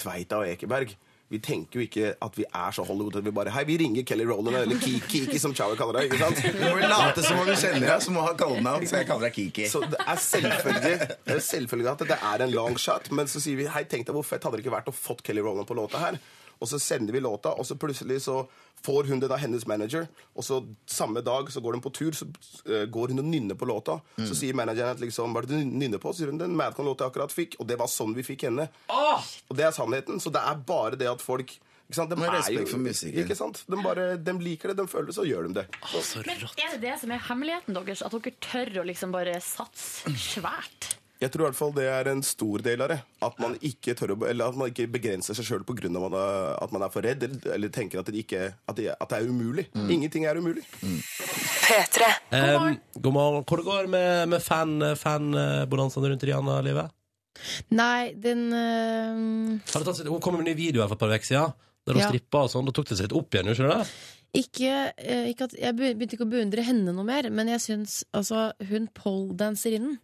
Speaker 14: Tveita og Ekeberg. Vi tenker jo ikke at vi er så Hollywood at vi bare Hei, vi ringer Kelly Rowland, eller Ki- Kiki, som Chow kaller deg, ikke sant?
Speaker 12: Du må late som om du kjenner deg, så må ha kallenavn, så jeg kaller deg Kiki.
Speaker 14: Så det er selvfølgelig, det er selvfølgelig at det er en long shot, men så sier vi hei, tenk deg hvor fett hadde det ikke vært å fått Kelly Rowland på låta her. Og så sender vi låta, og så plutselig så får hun det av hennes manager. Og så samme dag så går de på tur, så eh, går hun og nynner på låta. Så sier manageren at liksom, hva er det du nynner på? Så sier hun den Madcon-låta jeg akkurat fikk. Og det var sånn vi fikk henne. Og det er sannheten. Så det er bare det at folk ikke sant? De
Speaker 12: Med
Speaker 14: er
Speaker 12: respekt
Speaker 14: jo-
Speaker 12: for musikken.
Speaker 14: Ikke sant? De, bare, de liker det, de føler det, så gjør de det.
Speaker 3: Men er det det som er hemmeligheten deres? At dere tør å liksom bare satse svært?
Speaker 14: Jeg tror i hvert fall det er en stor del av det. At man ikke, tør å, eller at man ikke begrenser seg sjøl pga. at man er for redd, eller, eller tenker at det, ikke, at, det, at det er umulig. Ingenting er umulig.
Speaker 1: Um, god morgen. Hvordan går det med, med fan- fan-bonanzaen rundt Rihanna-livet?
Speaker 2: Nei, den eh,
Speaker 1: Har det tatt sitt- Hun kom med en ny video her for et par uker siden, der hun
Speaker 2: Ja.
Speaker 1: strippa og sånn. Da tok det seg litt opp igjen, gjorde det ikke det?
Speaker 2: ikke, eh, ikke at, Jeg be- begynte ikke å beundre henne noe mer, men jeg syns altså Hun poledanserinnen,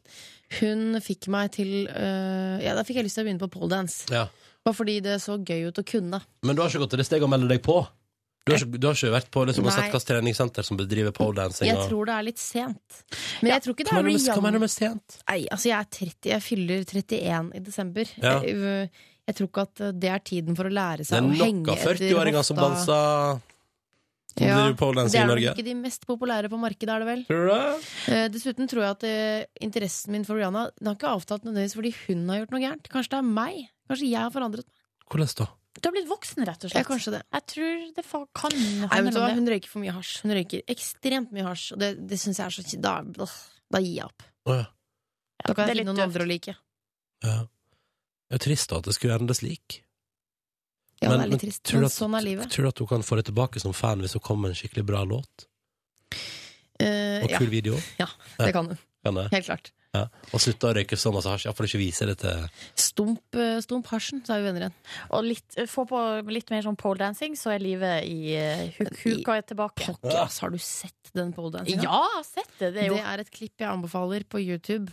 Speaker 2: hun fikk meg til eh, Ja, da fikk jeg lyst til å begynne på poledance.
Speaker 1: Ja.
Speaker 2: Bare fordi det så gøy ut å kunne.
Speaker 1: Men du har ikke gått til det steget å melde deg på? Du har ikke, du har ikke vært på liksom, og
Speaker 2: Nei.
Speaker 1: sett hvilket treningssenter som bedriver poledancing?
Speaker 2: Jeg
Speaker 1: og-
Speaker 2: tror det er litt sent. Men jeg tror ikke det
Speaker 1: Hva
Speaker 2: er
Speaker 1: mener du med- hva mener du med
Speaker 2: sent? Nei, altså jeg er 30, jeg fyller 31 i desember.
Speaker 1: Ja.
Speaker 2: Jeg, øh, jeg tror ikke at øh, det er tiden for å lære
Speaker 1: det
Speaker 2: seg
Speaker 1: er
Speaker 2: å
Speaker 1: nok
Speaker 2: henge
Speaker 1: av
Speaker 2: etter
Speaker 1: 40-åringer som
Speaker 2: hofta.
Speaker 1: danser som
Speaker 2: Ja,
Speaker 1: driver
Speaker 2: Det
Speaker 1: poledancing i
Speaker 2: er
Speaker 1: Norge.
Speaker 2: nok ikke de mest populære på markedet, er det vel?
Speaker 1: Tror du det?
Speaker 2: Eh, Dessuten tror jeg at eh, interessen min for Rihanna Den har ikke avtatt nødvendigvis fordi hun har gjort noe gærent. Kanskje det er meg. Kanskje jeg har forandret meg.
Speaker 1: Hvordan da?
Speaker 3: Du har blitt voksen, rett og
Speaker 2: Ja,
Speaker 3: slett.
Speaker 2: kanskje det.
Speaker 3: Jeg tror det fa- kan
Speaker 2: Nei, vet du
Speaker 3: handle
Speaker 2: hva?
Speaker 3: om det.
Speaker 2: Hun røyker for mye hasj. Hun røyker ekstremt mye hasj. Og det, det syns jeg er så kj- da, åh, da gir jeg opp.
Speaker 1: Å, ja.
Speaker 2: Da kan
Speaker 3: det er
Speaker 2: jeg finne
Speaker 3: litt
Speaker 2: noen andre å like.
Speaker 1: Det er trist da at det skulle ende slik.
Speaker 2: Ja, det er litt trist,
Speaker 1: tror du
Speaker 2: men
Speaker 1: at-
Speaker 2: sånn er livet.
Speaker 1: Tror du at hun kan få det tilbake som fan hvis hun kommer med en skikkelig bra låt?
Speaker 2: Eh,
Speaker 1: Og
Speaker 2: ja.
Speaker 1: kul video?
Speaker 2: Ja, det kan hun.
Speaker 1: Kan det?
Speaker 2: Helt klart.
Speaker 1: Ja. Og slutte å røyke sånn, så masse hasj? Iallfall ikke vise det til
Speaker 2: Stump, eh, stump hasjen, så er vi venner igjen.
Speaker 3: Og litt, eh, få på litt mer sånn poledancing, så er livet i eh, huk huka er tilbake.
Speaker 2: Pokker, ass, har du sett den poledansen?
Speaker 3: Ja, jeg har sett det. Det er jo
Speaker 2: et klipp jeg anbefaler på YouTube.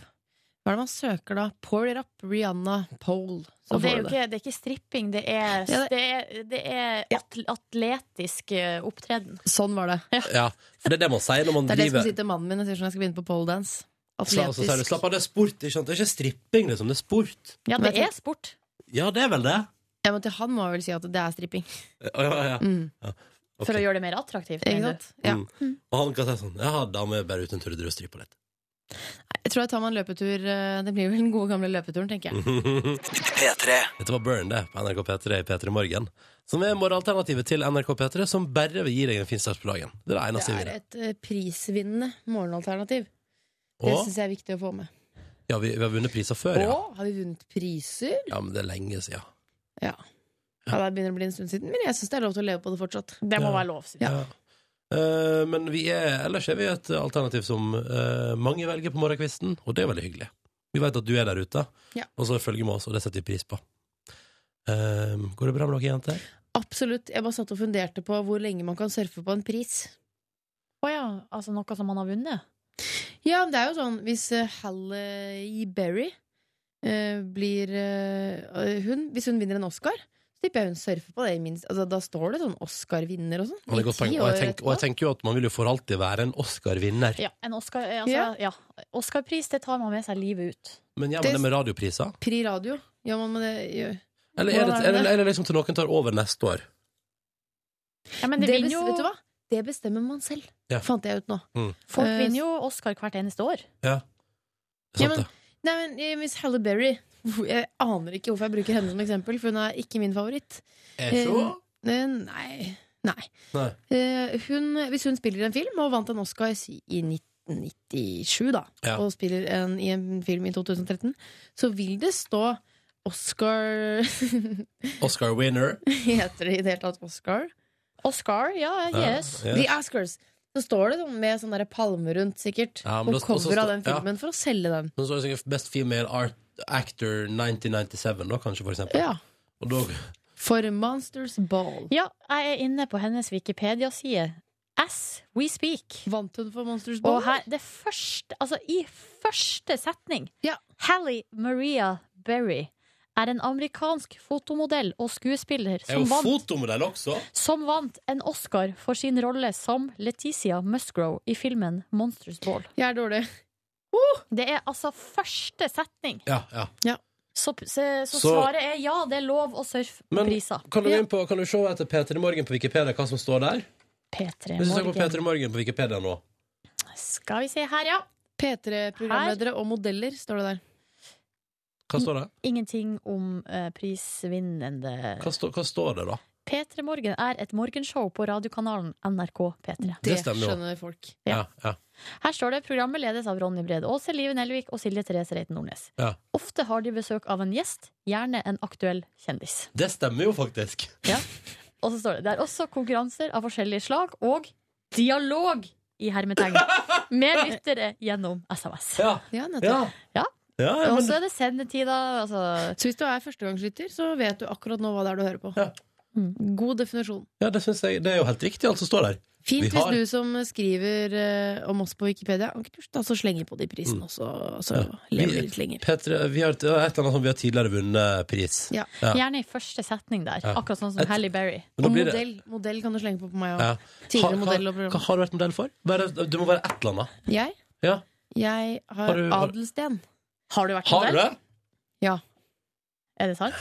Speaker 2: Hva er det man søker da? Pour it up, Rihanna, pole. Så
Speaker 3: Og det
Speaker 2: får
Speaker 3: er
Speaker 2: du
Speaker 3: jo ikke, det er ikke stripping, det er,
Speaker 2: sånn- Ja, det-
Speaker 3: det er, det er at, atletisk eh, opptreden.
Speaker 2: Sånn var det.
Speaker 1: Ja, for det er det man sier når man
Speaker 2: Det er det som
Speaker 1: driver
Speaker 2: sitter mannen min og sier sånn jeg skal begynne på poledance.
Speaker 1: Sla- og så sier du,
Speaker 2: Atletisk.
Speaker 1: Slapp av, det er sport. Ikke sant? Det er ikke stripping, liksom. Det er sport.
Speaker 2: Ja, det er
Speaker 3: sport.
Speaker 1: Ja, det er vel det.
Speaker 2: Ja, men til han må jeg vel si at det er
Speaker 1: <laughs>
Speaker 2: stripping.
Speaker 1: Å, ja, ja.
Speaker 2: Mm.
Speaker 1: ja. ok.
Speaker 3: For å gjøre det mer attraktivt.
Speaker 2: Ikke
Speaker 3: mener du?
Speaker 2: sant? Ja.
Speaker 1: Mm. Og han kan si sånn Ja, da må jeg bare ut en tur og drive og strippe litt.
Speaker 2: Jeg tror jeg tar meg en løpetur. eh, Det blir vel den gode gamle løpeturen, tenker jeg.
Speaker 1: P3. Dette var Burn, det, på NRK P3 i P3 Morgen. Som er morgenalternativet til NRK P3, som bare vil gi deg en fin start på dagen. Det er det eneste
Speaker 2: Det
Speaker 1: vi
Speaker 2: er
Speaker 1: gjør.
Speaker 2: et eh, prisvinnende morgenalternativ. Det
Speaker 1: Og
Speaker 2: syns jeg er viktig å få med.
Speaker 1: ja, vi, vi har vunnet priser før, ja.
Speaker 2: Å, har vi vunnet priser?
Speaker 1: Ja, men det er lenge siden.
Speaker 2: Ja. ja, det begynner å bli en stund siden, men jeg syns det er lov til å leve på det fortsatt.
Speaker 3: Det må
Speaker 1: Ja.
Speaker 3: være lov.
Speaker 1: Ja. Eh, men vi er, ellers er vi et alternativ som eh, mange velger på morgenkvisten, og det er veldig hyggelig. Vi vet at du er der ute,
Speaker 2: Ja.
Speaker 1: og så følger med oss, og det setter vi pris på. Eh, går det bra med dere jenter?
Speaker 2: Absolutt. Jeg bare satt og funderte på hvor lenge man kan surfe på en pris.
Speaker 3: Å ja, altså noe som man har vunnet?
Speaker 2: Ja, men det er jo sånn hvis eh, Halle i Berry eh, blir eh, hun, Hvis hun vinner en Oscar, så tipper jeg hun surfer på det. i Minst, altså, da står det sånn Oscar-vinner og sånn.
Speaker 1: Og, det er godt
Speaker 2: i
Speaker 1: poeng.
Speaker 2: ti
Speaker 1: og, jeg
Speaker 2: år
Speaker 1: tenker, og jeg tenker jo at man vil jo for alltid være en Oscar-vinner.
Speaker 3: Ja, en Oscar, eh, altså,
Speaker 2: Ja.
Speaker 3: ja. Oscarpris, det tar man med seg livet ut.
Speaker 1: Men gjør man det med radiopriser?
Speaker 2: Pri radio. Gjør man med det? Gjør.
Speaker 1: Eller er det,
Speaker 2: Hvordan er
Speaker 1: er, det,
Speaker 2: det?
Speaker 1: er det liksom til noen tar over neste år?
Speaker 3: det
Speaker 2: Det
Speaker 3: vinner
Speaker 2: bes-
Speaker 3: jo-
Speaker 2: Vet du hva? Det bestemmer man selv,
Speaker 1: Ja.
Speaker 2: fant jeg ut nå.
Speaker 1: Mm.
Speaker 3: Folk
Speaker 2: Eh,
Speaker 3: vinner jo Oscar hvert eneste år.
Speaker 1: Ja.
Speaker 2: Ja, men, nei, men eh, Miss Halle Berry hvor- Jeg aner ikke hvorfor jeg bruker henne som eksempel, for hun er ikke min favoritt.
Speaker 1: Er så?
Speaker 2: Eh, eh, Nei. nei.
Speaker 1: Nei.
Speaker 2: Eh, hun, hvis hun spiller i en film, og vant en Oscar i 1997, da,
Speaker 1: Ja.
Speaker 2: og spiller en, i en film i 2013, så vil det stå Oscar <laughs>
Speaker 1: Oscar-winner.
Speaker 2: Heter det i det hele tatt Oscar?
Speaker 3: Oscar, ja,
Speaker 1: Ja, yes. yes.
Speaker 2: The Oscars. Så står det sånn med sånn der palme rundt, sikkert,
Speaker 1: Ja, men da-
Speaker 2: på
Speaker 1: og så
Speaker 2: cover av
Speaker 1: står-
Speaker 2: den filmen, for å selge den.
Speaker 1: Men så er det sikkert Best Female Art Actor 1997, da, kanskje, for eksempel.
Speaker 2: Ja.
Speaker 1: Og da,
Speaker 2: For Monsters Ball.
Speaker 3: Ja, jeg er inne på hennes Wikipedia-side. As we speak.
Speaker 2: Vant hun for Monsters
Speaker 3: Og
Speaker 2: Ball?
Speaker 3: her, det første, altså i første setning
Speaker 2: ja.
Speaker 3: Hallie Maria Berry er en amerikansk fotomodell og skuespiller
Speaker 1: er
Speaker 3: som
Speaker 1: jo
Speaker 3: vant,
Speaker 1: fotomodell også!
Speaker 3: som vant en Oscar for sin rolle som Leticia Musgrove i filmen Monsters Ball.
Speaker 2: Jeg er dårlig.
Speaker 3: Det er altså første setning.
Speaker 1: Ja, ja.
Speaker 3: Så, så, så
Speaker 1: Så-
Speaker 3: svaret er ja, det er lov å surfe på
Speaker 1: Men
Speaker 3: priser.
Speaker 1: kan du, gå inn på, kan du se etter P3 Morgen på Wikipedia hva som står der?
Speaker 3: P3
Speaker 1: Hvis du søker på
Speaker 3: Morgen.
Speaker 1: P3 Morgen på Wikipedia nå
Speaker 3: Skal vi se her, ja.
Speaker 2: P3-programledere og modeller, står det der.
Speaker 1: Hva står det?
Speaker 3: Ingenting om eh, prisvinnende
Speaker 1: Hva, står- hva står det, da?
Speaker 3: P3 Morgen er et morgenshow på radiokanalen NRK P3.
Speaker 1: Det stemmer jo.
Speaker 2: skjønner folk.
Speaker 1: Ja, ja,
Speaker 3: Her står det programmet ledes av Ronny Brede Aase, Live Nelvik og Silje Therese Reiten Nordnes.
Speaker 1: ja.
Speaker 3: Ofte har de besøk av en gjest, gjerne en aktuell kjendis.
Speaker 1: Det stemmer jo faktisk.
Speaker 3: Og så står det det er også konkurranser av forskjellige slag og dialog
Speaker 1: <laughs>
Speaker 3: i hermetegn med lyttere gjennom SMS.
Speaker 1: Ja,
Speaker 2: Ja, nettopp.
Speaker 3: Ja.
Speaker 1: Ja,
Speaker 3: Og så er det sendetider. Altså.
Speaker 2: Så hvis du er førstegangslytter, så vet du akkurat nå hva det er du hører på.
Speaker 3: Mm.
Speaker 2: God definisjon.
Speaker 1: Ja, det synes jeg Det er jo helt riktig, alt som står der.
Speaker 2: Fint
Speaker 1: Vi
Speaker 2: hvis
Speaker 1: har-
Speaker 2: du som skriver eh, om oss på Wikipedia, kan ikke du da så slenge på de prisene
Speaker 1: Mm.
Speaker 2: også, så lever vi litt lenger.
Speaker 1: Petre, vi har, det er et eller annet som vi har tidligere vunnet pris.
Speaker 2: Ja.
Speaker 1: Ja.
Speaker 3: Gjerne i første setning der,
Speaker 1: Ja.
Speaker 3: akkurat sånn
Speaker 1: Et-
Speaker 3: som Halle Berry.
Speaker 1: Men da
Speaker 2: Og
Speaker 1: blir det-
Speaker 2: modell, modell kan du slenge på på meg
Speaker 1: Ja.
Speaker 2: òg. Tidligere
Speaker 1: Ha-
Speaker 2: modell og
Speaker 1: hva,
Speaker 2: program.
Speaker 1: hva har du vært modell for? Bare, du må være et eller annet.
Speaker 2: Jeg,
Speaker 1: Ja.
Speaker 2: jeg har,
Speaker 1: Har du- har-
Speaker 2: adelsten. Har du vært
Speaker 1: Har du det?
Speaker 2: Ja.
Speaker 3: Er det sant?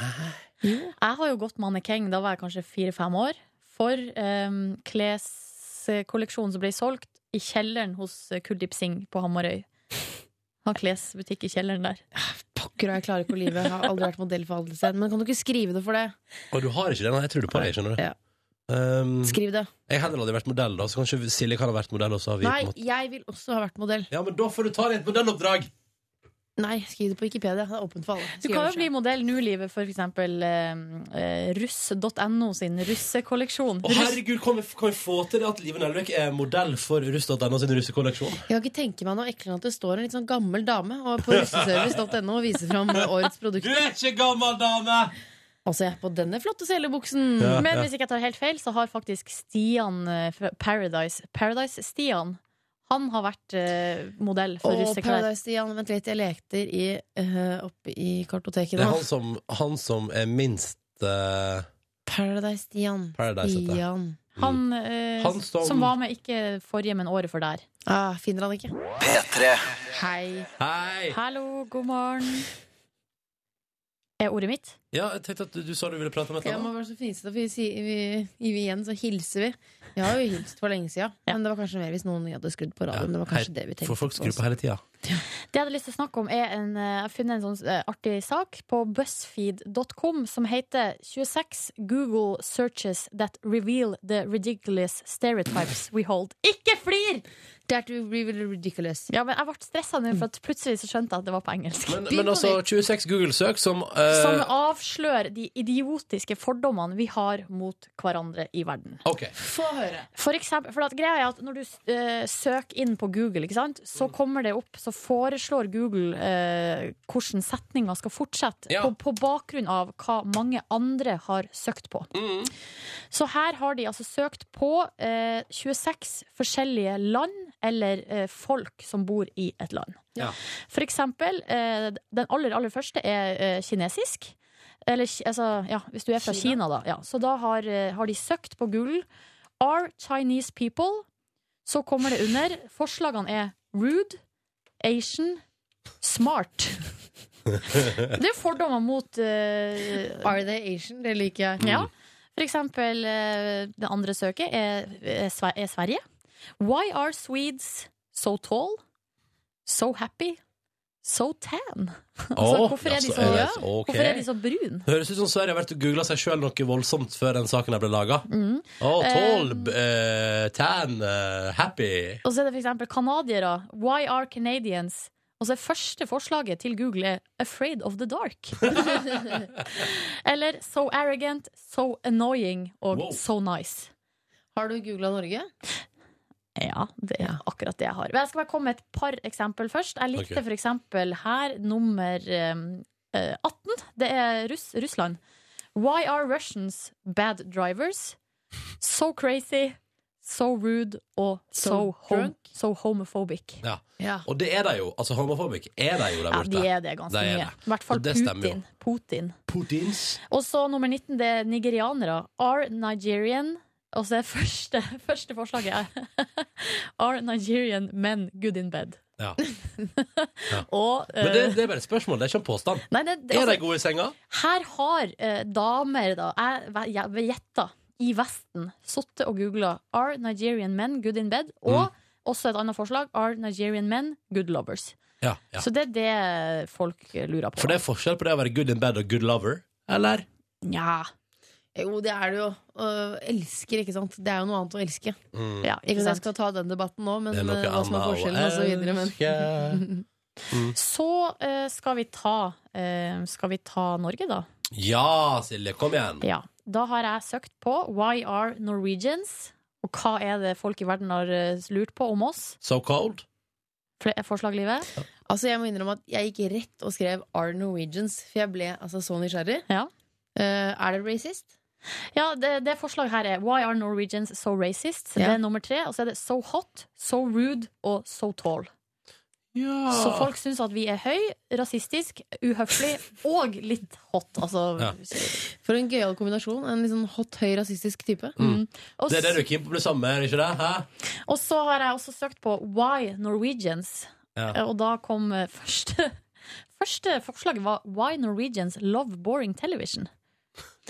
Speaker 3: Jeg har jo gått mannekeng, da var jeg kanskje fire-fem år, for um, kleskolleksjonen som ble solgt i kjelleren hos eh, Kuldeep Singh på Hamarøy. Han klesbutikk i kjelleren der.
Speaker 2: sukker og jeg klarer ikke å lyve. Har aldri vært modell for Adelsten. Men kan du ikke skrive det for det?
Speaker 1: Og du har ikke den? Jeg tror det på deg, skjønner du.
Speaker 2: Ja.
Speaker 1: Um,
Speaker 2: Skriv det.
Speaker 1: Jeg har heller aldri vært modell, da, så kanskje Silje kan ha vært modell. Og så har vi på
Speaker 2: Nei,
Speaker 1: en måte-
Speaker 2: jeg vil også ha vært modell.
Speaker 1: Ja, men da får du ta deg et modelloppdrag!
Speaker 2: Nei, skriv det på Wikipedia. Det er åpent for alle.
Speaker 3: Du
Speaker 2: Skriv
Speaker 3: kan
Speaker 2: det
Speaker 3: jo bli modell nå, Livet, for f.eks. Eh, russ.no sin russekolleksjon.
Speaker 1: Å, herregud, kan vi, kan vi få til det at Live Nelvik er modell for russ.no sin russekolleksjon?
Speaker 2: Jeg kan ikke tenke meg noe eklere enn at det står en litt sånn gammel dame og på russeservice.no og viser fram årets produkter.
Speaker 1: Du er ikke gammel dame!
Speaker 2: Altså, jeg er på denne flotte selebuksen.
Speaker 1: Ja,
Speaker 3: Men
Speaker 1: ja.
Speaker 3: hvis ikke jeg tar helt feil, så har faktisk Stian eh, fra Paradise Paradise-Stian Han har vært eh, modell for
Speaker 2: Og
Speaker 3: russeklær.
Speaker 2: Paradise-Stian, vent litt, jeg lekte i, eh, oppe i kartoteket
Speaker 1: Det er sånn,
Speaker 2: nå.
Speaker 1: han som, han som er minst eh,
Speaker 2: Paradise-Stian.
Speaker 1: Paradise, heter det.
Speaker 2: Stian.
Speaker 3: Han, eh,
Speaker 1: Han som-
Speaker 3: som... var med ikke forrige, men året før der.
Speaker 2: Ah, finner han ikke.
Speaker 1: P3.
Speaker 2: Hei.
Speaker 1: Hei!
Speaker 3: Hallo, god morgen. Er ordet mitt?
Speaker 1: Ja, jeg tenkte at du, du sa du ville prate om et
Speaker 2: Jeg
Speaker 1: eller
Speaker 2: må
Speaker 1: annet.
Speaker 2: være så fnisete, for vi, sier- vi, vi igjen så hilser vi. Vi har jo hilst for lenge siden, men det var kanskje mer hvis noen hadde skrudd på radioen. Det var kanskje det vi tenkte
Speaker 1: For folk
Speaker 2: på
Speaker 1: skrur
Speaker 2: også.
Speaker 1: på hele tida.
Speaker 3: Det jeg hadde lyst til å snakke om er en, eh, Jeg har funnet en sånn eh, artig sak på buzzfeed.com som heter 26 Google searches that reveal the ridiculous stereotypes we hold. Ikke flir!
Speaker 2: That we reveal ridiculous.
Speaker 3: Ja, men jeg ble stressa nå, for at plutselig så skjønte jeg at det var på engelsk.
Speaker 1: Men, men altså, 26 Google-søk som eh,
Speaker 3: Som avslører de idiotiske fordommene vi har mot hverandre i verden.
Speaker 1: Ok.
Speaker 2: Få høre.
Speaker 3: For eksempel, for at greia er at Når du eh, søker inn på Google, ikke sant? så kommer det opp Så foreslår Google eh, hvordan setninga skal fortsette,
Speaker 15: Ja.
Speaker 3: på, på bakgrunn av hva mange andre har søkt på. Så her har de altså søkt på eh, 26 forskjellige land eller eh, folk som bor i et land. For eksempel, eh, den aller, aller første er eh, kinesisk. Eller ki- altså, ja, hvis du er fra Kina, da. Ja. Så da har, eh, har de søkt på Google. Are Chinese people? Så kommer det under. Forslagene er rude, Asian, smart. Det er fordommer mot eh,
Speaker 2: Are they Asian? Det liker jeg.
Speaker 1: Mm.
Speaker 3: Ja. For eksempel, eh, det andre søket er, er, Sve- er Sverige. Why are Swedes so tall? So happy? So tan? <laughs> Altså,
Speaker 1: Å,
Speaker 3: hvorfor,
Speaker 1: ja,
Speaker 3: er de
Speaker 1: så
Speaker 3: så,
Speaker 1: er det- ok.
Speaker 3: hvorfor er de så brune?
Speaker 1: Høres ut som Sverige har vært og googla seg sjøl noe voldsomt før den saken her ble laga.
Speaker 3: Mm.
Speaker 1: Å, tolv,
Speaker 2: Um,
Speaker 1: eh, tan, eh, happy.
Speaker 3: Og så er det for eksempel kanadiere. Why are Canadians? Og så er første forslaget til Google er 'Afraid of the
Speaker 2: <laughs>
Speaker 3: dark'. Eller 'So arrogant', 'So annoying' og
Speaker 2: Wow.
Speaker 3: 'So nice'.
Speaker 2: Har du googla Norge?
Speaker 3: Ja, det er akkurat det jeg har. Men jeg skal bare komme med et par eksempel først. Jeg likte
Speaker 2: Ok.
Speaker 3: for eksempel her nummer eh, eh, 18. Det er Russ, Russland. Why are Russians bad drivers? So crazy, so rude og so,
Speaker 1: So
Speaker 3: hom-
Speaker 1: drunk?
Speaker 3: so homophobic.
Speaker 1: Ja.
Speaker 3: Ja.
Speaker 1: Og det er de jo. Altså, homofobik er de jo der
Speaker 3: Ja,
Speaker 1: borte.
Speaker 3: de er det ganske
Speaker 1: De er
Speaker 3: mye.
Speaker 1: det.
Speaker 3: I hvert fall
Speaker 1: Og det stemmer jo.
Speaker 3: Putin. Putin.
Speaker 1: Putins.
Speaker 3: Og så nummer 19, det er nigerianere. Are Nigerian Og så er første, <laughs> første forslaget er <laughs> Are Nigerian men good in bed? <laughs>
Speaker 1: Ja.
Speaker 3: Og
Speaker 1: Men det,
Speaker 3: eh,
Speaker 1: det er bare et spørsmål, det er ikke en påstand.
Speaker 3: Nei, det- det-
Speaker 1: er de
Speaker 3: altså-
Speaker 1: gode i senga?
Speaker 3: her har eh, damer, da, jeg jeg gjetta, i Vesten sittet og googla Are Nigerian men good in bed?
Speaker 1: Mm.
Speaker 3: Og også et annet forslag Are Nigerian men good lovers?
Speaker 1: Ja, ja.
Speaker 3: Så det er det folk lurer på.
Speaker 1: For det er forskjell på det å være good in bed og good lover, eller?
Speaker 3: Nja.
Speaker 2: Jo, det er det jo. Øh, elsker, ikke sant. Det er jo noe annet å elske.
Speaker 1: Mm.
Speaker 3: Ja,
Speaker 2: ikke
Speaker 3: ikke
Speaker 2: at jeg
Speaker 3: sant?
Speaker 2: skal ta den debatten nå, men
Speaker 1: Det er noe
Speaker 3: eh,
Speaker 2: øh, hva som er
Speaker 1: annet å
Speaker 2: forskjellen, og så videre.
Speaker 3: <laughs>
Speaker 2: Men.
Speaker 1: elske. Mm.
Speaker 3: Så eh, skal vi ta eh, Skal vi ta Norge, da?
Speaker 1: Ja, Silje, kom igjen.
Speaker 3: Ja. Da har jeg søkt på Why are Norwegians? Og hva er det folk i verden har eh, lurt på om oss?
Speaker 1: So cold?
Speaker 3: Fle- Forslag, Livet?
Speaker 2: Altså, jeg må innrømme at jeg gikk rett og skrev 'Are Norwegians', for jeg ble altså så nysgjerrig. Eh, er det racist?
Speaker 3: Ja, det, det forslaget her er Eh, Why are Norwegians so racist?
Speaker 2: Ja.
Speaker 3: Det er nummer tre. Og så er det so hot, so rude og so tall.
Speaker 2: Ah.
Speaker 3: Så folk syns at vi er høy, rasistisk, uhøflig og litt hot. Altså
Speaker 2: For en gøyal kombinasjon. En litt sånn hot, høy, rasistisk type.
Speaker 1: Mm.
Speaker 3: Og
Speaker 1: Det er det du er keen på å bli sammen med, er det ikke det? Hæ?
Speaker 3: Og så har jeg også søkt på Why Norwegians.
Speaker 1: Ja.
Speaker 3: Og da kom eh, <laughs> første Første forslaget var Why Norwegians love boring television.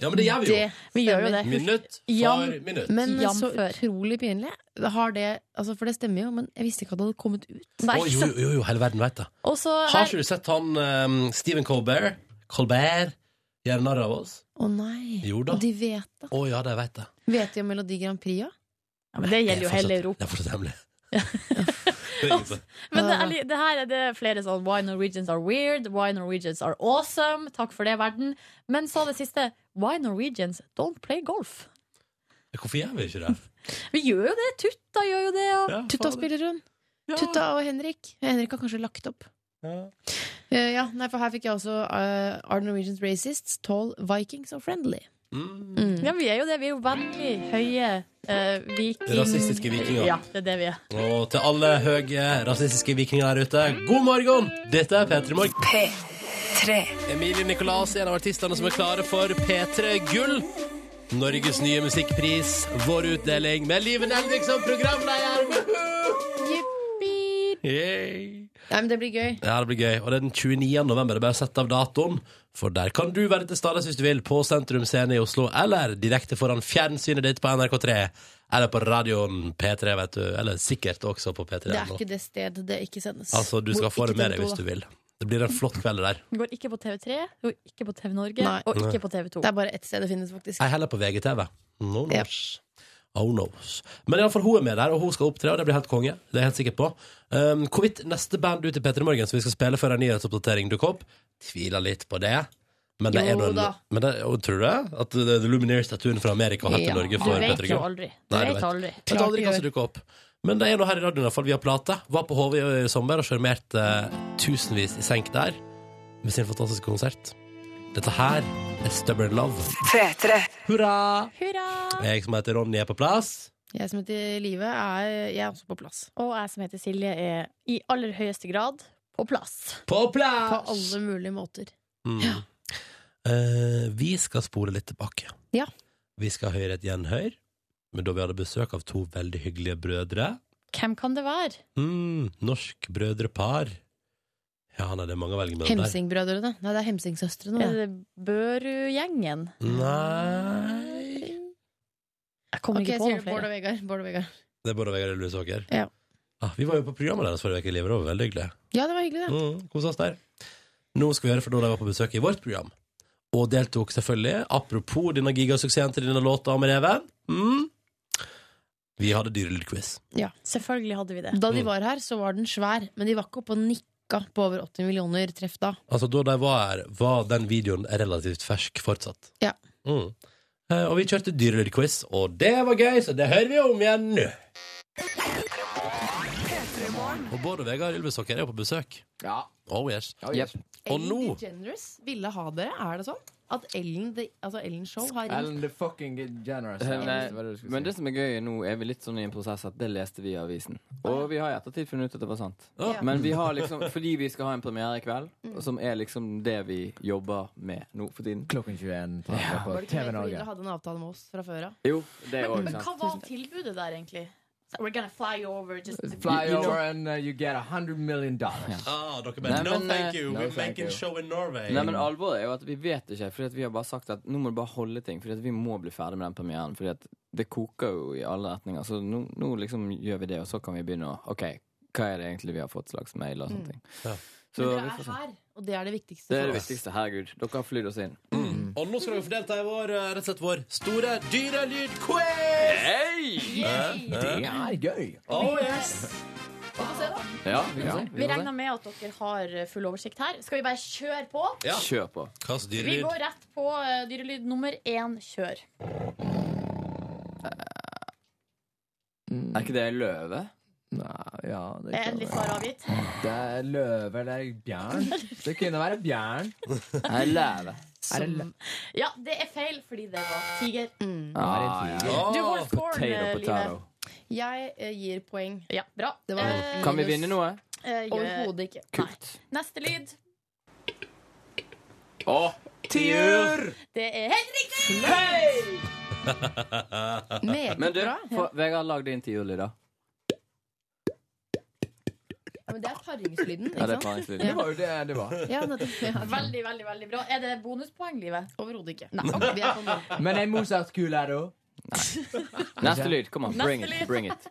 Speaker 1: Ja, men det gjør vi jo.
Speaker 3: Vi gjør jo det.
Speaker 1: Minutt for
Speaker 3: Jam-
Speaker 1: minutt.
Speaker 2: Men så
Speaker 3: Jamfør.
Speaker 2: utrolig pinlig. Har det, altså, for det stemmer jo, men jeg visste ikke at det hadde kommet ut.
Speaker 1: Å, jo, jo, jo, hele verden veit det.
Speaker 3: Og så
Speaker 1: Har ikke du sett han eh, Stephen Colbert? Colbert gjør narr av oss?
Speaker 2: Å nei.
Speaker 1: Jo da.
Speaker 2: Og de vet,
Speaker 1: Å ja, de veit det.
Speaker 2: vet de om Melodi Grand Prix, ja?
Speaker 3: men det gjelder jo
Speaker 1: fortsatt-
Speaker 3: hele Europa.
Speaker 1: Det er fortsatt hemmelig. <laughs> Det er ingen som-
Speaker 3: Men
Speaker 1: Eh.
Speaker 3: det, er, li- det her er det flere sånn Why Norwegians are weird, why Norwegians are awesome. Takk for det, verden. Men så det siste. Why Norwegians don't play golf.
Speaker 1: Hvorfor gjør vi ikke det?
Speaker 3: Vi gjør jo det. Tutta gjør jo det. Og...
Speaker 2: Tutta spiller hun. Tutta og Henrik. Henrik har kanskje lagt opp.
Speaker 1: Ja.
Speaker 2: Eh, ja, nei, for her fikk jeg også eh, Are Norwegians Racists, Tall Vikings og Friendly.
Speaker 1: Mm.
Speaker 3: Ja, vi er jo det. Vi er jo veldig høye eh, viking...
Speaker 1: Rasistiske vikinger.
Speaker 3: Ja, det er det vi er.
Speaker 1: Og til alle høye rasistiske vikinger der ute, god morgen! Dette er P3 Morgen. Emilie Nicolas er en av artistene som er klare for P3 Gull. Norges nye musikkpris, vår utdeling med Liven Elvik som programleder!
Speaker 2: Yippee.
Speaker 1: Yay.
Speaker 2: Nei, men det blir gøy.
Speaker 1: Ja, det blir gøy. Og det er den 29. november. Det er bare å sette av datoen. For der kan du være til stede hvis du vil, på Sentrum Scene i Oslo, eller direkte foran fjernsynet ditt på NRK3. Eller på radioen P3, vet du. Eller sikkert også på P3.
Speaker 2: Det er ikke det sted det ikke sendes.
Speaker 1: Altså, du skal
Speaker 2: Hvor-
Speaker 1: få det
Speaker 2: ikke
Speaker 1: med
Speaker 2: TV
Speaker 1: deg hvis du
Speaker 2: to, da.
Speaker 1: vil. Det blir en flott kveld der.
Speaker 3: Vi går ikke på TV3, vi går ikke på TV Norge,
Speaker 1: Nei.
Speaker 3: og
Speaker 1: Nei.
Speaker 3: ikke på TV2.
Speaker 2: Det er bare ett sted det finnes, faktisk.
Speaker 1: Jeg heller på VGTV. No knows. Oh knows. Men iallfall hun er med der, og hun skal opptre, og det blir helt konge. Det er jeg helt sikker på. Um, hvorvidt neste band ut i P3 Morgen som vi skal spille før en nyhetsoppdatering dukker opp, tviler litt på det. Men det
Speaker 3: Jo
Speaker 1: er noen,
Speaker 3: da.
Speaker 1: men det, og, tror du det? At The The Lumineers-statuen fra Amerika har til
Speaker 3: Ja.
Speaker 1: Norge
Speaker 3: Du
Speaker 1: for
Speaker 3: vet
Speaker 1: P3
Speaker 3: jo
Speaker 1: Gull?
Speaker 3: aldri. Du
Speaker 1: Nei,
Speaker 3: vet aldri.
Speaker 1: Vet aldri hva som dukker opp. Men det er nå her i radioen, i hvert fall via plate. Var på HV i sommer og sjarmerte eh, tusenvis i senk der med sin fantastiske konsert. Dette her er Stubborn Love. Hurra! Jeg som heter Ronny er på plass.
Speaker 2: Jeg som heter Live, er jeg er også på plass.
Speaker 3: Og jeg som heter Silje, er i aller høyeste grad på plass.
Speaker 1: På plass!
Speaker 2: På alle mulige måter.
Speaker 1: Mm. Eh, vi skal spole litt tilbake.
Speaker 2: Ja.
Speaker 1: Vi skal høre et gjenhør, men da vi hadde besøk av to veldig hyggelige brødre.
Speaker 3: Hvem kan det være?
Speaker 1: Mm, norsk brødrepar. Ja, nei, det er mange å velge mellom der.
Speaker 2: Hemsingbrødrene. Nei, det er Hemsingsøstrene.
Speaker 3: Er det Børud-gjengen?
Speaker 1: Nei
Speaker 3: Jeg kommer
Speaker 2: Ok,
Speaker 3: ikke på
Speaker 2: sier
Speaker 3: noen
Speaker 2: du Bård og
Speaker 3: flere.
Speaker 2: Vegard. Bård og Vegard.
Speaker 1: Det er Bård og Vegard Lusåker.
Speaker 2: Ja.
Speaker 1: Ah, vi var jo på programmet deres forrige uke i livet. Det var veldig hyggelig.
Speaker 2: Ja, det var hyggelig, det.
Speaker 1: Mm, Kos oss der. Nå skal vi høre fra da de var på besøk i vårt program. Og deltok selvfølgelig, apropos denne gigasuksessen til denne låta om reven, mm. vi hadde dyrelydquiz.
Speaker 2: Ja.
Speaker 3: Selvfølgelig hadde vi det.
Speaker 2: Da de
Speaker 1: Mm.
Speaker 2: var her, så var den svær, men de var ikke oppe og nikka på over 80 millioner treff da.
Speaker 1: Altså, da de var her, var den videoen relativt fersk fortsatt.
Speaker 2: Ja.
Speaker 1: Mm. Eh, Og vi kjørte dyrelydquiz, og det var gøy, så det hører vi om igjen nå. Og Bård og Vegard Ylvesåker er jo på besøk.
Speaker 13: Ja.
Speaker 1: Oh yes. Og
Speaker 13: Ellen
Speaker 1: nå
Speaker 2: eh,
Speaker 13: DeGeneres ville ha dere. Er det sånn? At Ellen, de, altså Ellen Show har
Speaker 15: Ellen
Speaker 13: ringt
Speaker 15: the fucking generous.
Speaker 16: Eh,
Speaker 17: Nei, men det som er gøy nå, er vi litt sånn i en prosess at det leste vi i avisen. Og vi har i ettertid funnet ut at det var sant.
Speaker 15: Ja.
Speaker 17: Men vi har liksom, fordi vi skal ha en premiere i kveld,
Speaker 13: Mm.
Speaker 17: som er liksom det vi jobber med nå for tiden. Klokken 21
Speaker 13: Var det ikke mer fordi dere hadde en avtale med oss fra før av?
Speaker 17: Jo, det er
Speaker 3: Men,
Speaker 17: òg
Speaker 3: men hva
Speaker 17: sant.
Speaker 3: var tilbudet der, egentlig? So We're gonna fly you over just
Speaker 15: Fly
Speaker 17: You- you
Speaker 15: over
Speaker 17: know-
Speaker 15: and uh, you get 100 million dollars.
Speaker 1: Ah, dere
Speaker 17: bare, Nei, "No, men, thank eh, you,
Speaker 1: we're making show in Norway."
Speaker 17: Nei, men Alvoret er jo at vi vet ikke, fordi at vi har bare sagt at nå må du bare holde ting. Fordi at vi må bli ferdig med den premieren. Fordi at det koker jo i alle retninger. Så nå, nå liksom gjør vi det, og så kan vi begynne å OK, hva er det egentlig vi har fått slags mail og
Speaker 2: Mm.
Speaker 17: sånne ting.
Speaker 2: Men
Speaker 17: Så
Speaker 2: dere
Speaker 17: vi
Speaker 2: er
Speaker 17: får se.
Speaker 2: her, og det er det viktigste.
Speaker 17: Det er
Speaker 2: for
Speaker 17: det
Speaker 2: oss.
Speaker 17: viktigste. Herregud, dere har flydd oss inn.
Speaker 1: Og nå skal dere få delta i vår, eh, rett og slett vår store dyrelydquiz!
Speaker 17: Hey!
Speaker 1: Det
Speaker 15: er gøy.
Speaker 1: Eh? Oh yes!
Speaker 17: Ja, vi kan se.
Speaker 3: Vi regner med at dere har eh, full oversikt her. Skal vi bare kjøre på?
Speaker 17: Kjør på.
Speaker 1: Hva slags
Speaker 3: Vi går rett på eh, dyrelyd nummer én. Kjør.
Speaker 17: Er ikke det løve?
Speaker 15: Nei, ja det
Speaker 2: Eh,
Speaker 3: Er endelig svar Eh, avgitt?
Speaker 15: Det er løve eller bjørn. Det kunne være bjørn.
Speaker 17: Nei, løve.
Speaker 15: Er det løve?
Speaker 3: Mm. Ja, det er feil fordi det var tiger.
Speaker 2: Mm.
Speaker 15: Ah,
Speaker 17: ja. Oh,
Speaker 3: Du holdt scoren, eh, Live.
Speaker 2: Jeg eh, gir poeng.
Speaker 3: Ja, bra.
Speaker 2: Det var
Speaker 17: Kan vi vinne noe?
Speaker 3: Eh, gjør-
Speaker 2: Overhodet ikke.
Speaker 3: Neste lyd.
Speaker 17: Å! Tiur!
Speaker 3: Det er helt riktig!
Speaker 17: Men du, få- Vegard, lag din tiurlyd, da.
Speaker 2: men det er paringslyden.
Speaker 17: Ja, det er paringslyden. Det var jo det det var.
Speaker 2: Ja, nettopp. Ja.
Speaker 3: Veldig, veldig veldig bra. Er det bonuspoeng, Livet?
Speaker 2: Overhodet ikke.
Speaker 17: Men ei Mozart-kule her, da? Neste lyd. Kom an.
Speaker 3: Neste
Speaker 17: Bring it.
Speaker 3: lyd.
Speaker 17: Bring it.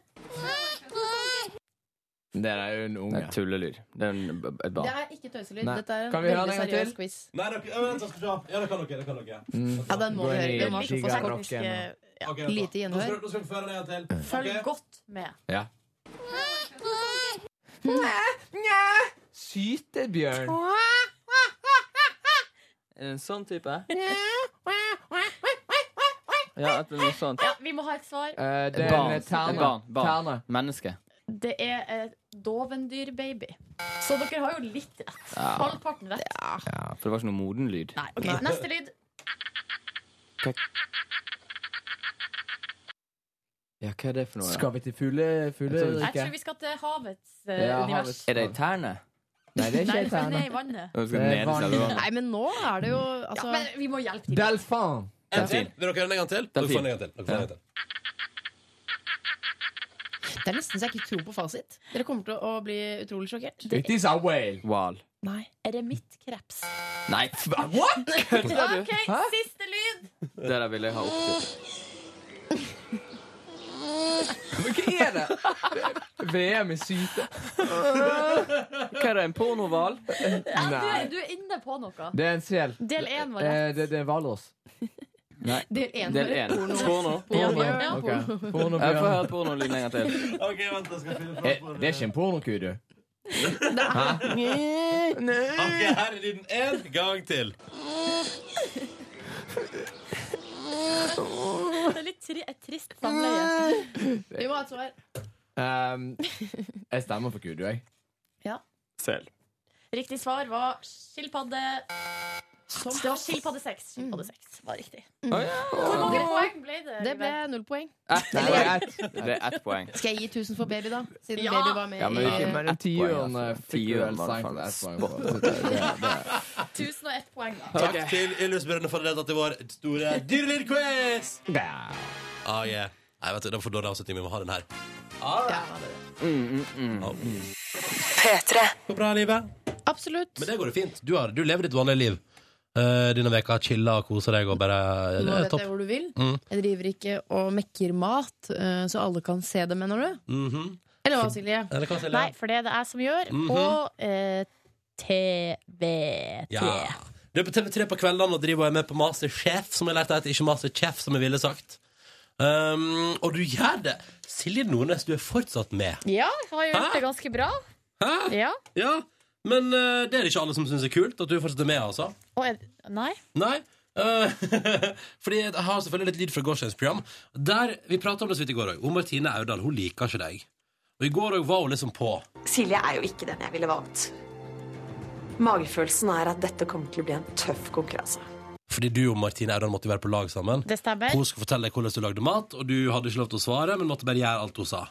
Speaker 17: Det er jo en unge. Det er tullelyd. Det er en, et barn.
Speaker 2: Det er ikke tøyselyd.
Speaker 17: Nei.
Speaker 2: Dette er en
Speaker 17: Kan vi høre den
Speaker 2: veldig
Speaker 17: en gang
Speaker 2: seriøs
Speaker 17: til?
Speaker 2: quiz.
Speaker 1: Nei, dere, ja, vent, jeg skal se. ja, det kan dere. Det kan dere.
Speaker 2: Ja, den må
Speaker 1: Gå
Speaker 2: vi
Speaker 1: inn
Speaker 2: høre.
Speaker 1: i
Speaker 2: Den var ikke for
Speaker 1: gigarocken
Speaker 2: teknisk, eh, ja,
Speaker 1: Ok, vent da.
Speaker 2: lite
Speaker 1: Nå skal-
Speaker 2: gjenhør.
Speaker 1: Nå skal vi få høre det en gang til.
Speaker 3: Følg
Speaker 1: Ok.
Speaker 3: godt med.
Speaker 17: Ja. Sytebjørn. Er det en sånn type? Ja, et eller annet sånt.
Speaker 3: Ja, vi må ha et svar.
Speaker 2: Eh,
Speaker 17: Et
Speaker 11: det er en
Speaker 17: barn. Et
Speaker 11: terne.
Speaker 17: barn. barn.
Speaker 11: Terne.
Speaker 17: Menneske.
Speaker 3: Det er et dovendyrbaby. Så dere har jo litt rett.
Speaker 17: Ja.
Speaker 3: Halvparten rett.
Speaker 17: Ja, for det var ikke noe moden lyd.
Speaker 3: Nei, ok, Neste lyd.
Speaker 17: Ja, hva er det for noe?
Speaker 11: Skal vi til fugle...
Speaker 3: Jeg
Speaker 11: fugleriket?
Speaker 3: tror vi skal til havets eh,
Speaker 17: Ja,
Speaker 3: univers.
Speaker 17: Er det ei terne? Nei, det
Speaker 3: Nei, den er i vannet.
Speaker 17: Nå skal den nede, så er det vann.
Speaker 2: Nei, men nå er det jo altså,
Speaker 3: Men vi må hjelpe til.
Speaker 11: Delfin.
Speaker 1: En til. Vil dere høre den en gang til? Dere får den en gang til. Dere får den en gang til.
Speaker 2: Det er nesten så jeg ikke tror på fasit. Dere kommer til å bli utrolig sjokkert.
Speaker 17: It is a whale.
Speaker 2: Nei.
Speaker 17: <laughs>
Speaker 3: Eremittkrep.
Speaker 17: Nei, f- what?! Kødder du?
Speaker 3: OK,
Speaker 17: Hæ?
Speaker 3: siste lyd.
Speaker 17: Det der vil jeg ha opp Men hva er det? VM i syte. Hva er det, en pornohval?
Speaker 3: Ja, du,
Speaker 17: Nei.
Speaker 3: er- du er inne på noe.
Speaker 11: Det er en sel.
Speaker 3: Del én var
Speaker 11: Eh,
Speaker 3: rett.
Speaker 11: det, det er hvalross.
Speaker 17: Nei.
Speaker 2: Del én.
Speaker 17: Del én.
Speaker 11: Porno.
Speaker 17: Porno.
Speaker 11: Porno.
Speaker 17: Ja.
Speaker 11: Ok. Porno,
Speaker 17: Jeg får
Speaker 11: Bjørn.
Speaker 17: høre pornolyden en gang til.
Speaker 1: Ok, vent, jeg skal finne
Speaker 11: Eh, Det er ikke en pornoku, du.
Speaker 1: Ok, her er lyden en gang til.
Speaker 3: Det er litt tri et trist samleie.
Speaker 2: Vi må ha et svar.
Speaker 11: Ehm, jeg stemmer for Kudu, jeg.
Speaker 2: Ja.
Speaker 11: Sel.
Speaker 3: Riktig svar var skilpadde Det var skilpadde seks. Skilpadde seks var riktig. Hvor mange poeng ble det?
Speaker 2: Det ble null poeng.
Speaker 17: Ett poeng. Det er ett poeng.
Speaker 2: Skal jeg gi 1000 for baby, da? Siden
Speaker 3: Ja.
Speaker 2: baby var med
Speaker 17: Ja, men
Speaker 2: i-
Speaker 17: ikke
Speaker 11: Men en tiøren eh, fikk du
Speaker 17: Tiøren
Speaker 11: vel
Speaker 17: var det
Speaker 11: seint.
Speaker 17: faen
Speaker 11: et poeng
Speaker 17: spot.
Speaker 11: for. Det- det- det-
Speaker 3: 1001 poeng, da.
Speaker 1: Takk til illustrerende for at dere deltatt i vår store dyrelydquiz. Ah, yeah. Nei, vet du, Den får dårlig avslutning. Vi må ha den her. Ja. Går bra, livet?
Speaker 2: Absolutt.
Speaker 1: Men det går det fint. Du, har, du lever ditt vanlige liv. Uh, Denne veka chilla og koser deg og bare det
Speaker 2: Nå
Speaker 1: er
Speaker 2: vet jeg
Speaker 1: topp.
Speaker 2: hvor du vil.
Speaker 1: Mm.
Speaker 2: Jeg driver ikke og mekker mat, eh, så alle kan se det, mener du?
Speaker 1: Mhm.
Speaker 2: Eller hva, Silje?
Speaker 1: Eller hva, Silje?
Speaker 3: Nei, for det er det jeg som gjør.
Speaker 1: Mhm.
Speaker 3: På eh, TV3.
Speaker 1: Ja. Du er på TV3 på kveldene og driver og er med på Masterchef, som jeg lærte at ikke Masterchef, som jeg ville sagt. Um, og du gjør det! Silje Nordnes, du er fortsatt med.
Speaker 3: Ja, jeg har gjort det ganske bra.
Speaker 1: Hæ?
Speaker 3: Ja.
Speaker 1: Ja, men eh, det er det ikke alle som syns er kult, at du fortsetter med, altså.
Speaker 3: Og er, nei.
Speaker 1: Nei. eh, <laughs> fordi jeg har selvfølgelig litt lyd fra gårsdagens program. Der, Vi prata om det så vidt i går òg. Martine Aurdal hun liker ikke deg. Og i går òg var hun liksom på.
Speaker 5: Silje er jo ikke den jeg ville valgt. Magefølelsen er at dette kommer til å bli en tøff konkurranse.
Speaker 1: Fordi du og Martine Aurdal måtte jo være på lag sammen.
Speaker 3: Det stemmer.
Speaker 1: Hun skulle fortelle deg hvordan du lagde mat, og du hadde ikke lov til å svare, men måtte bare gjøre alt hun sa.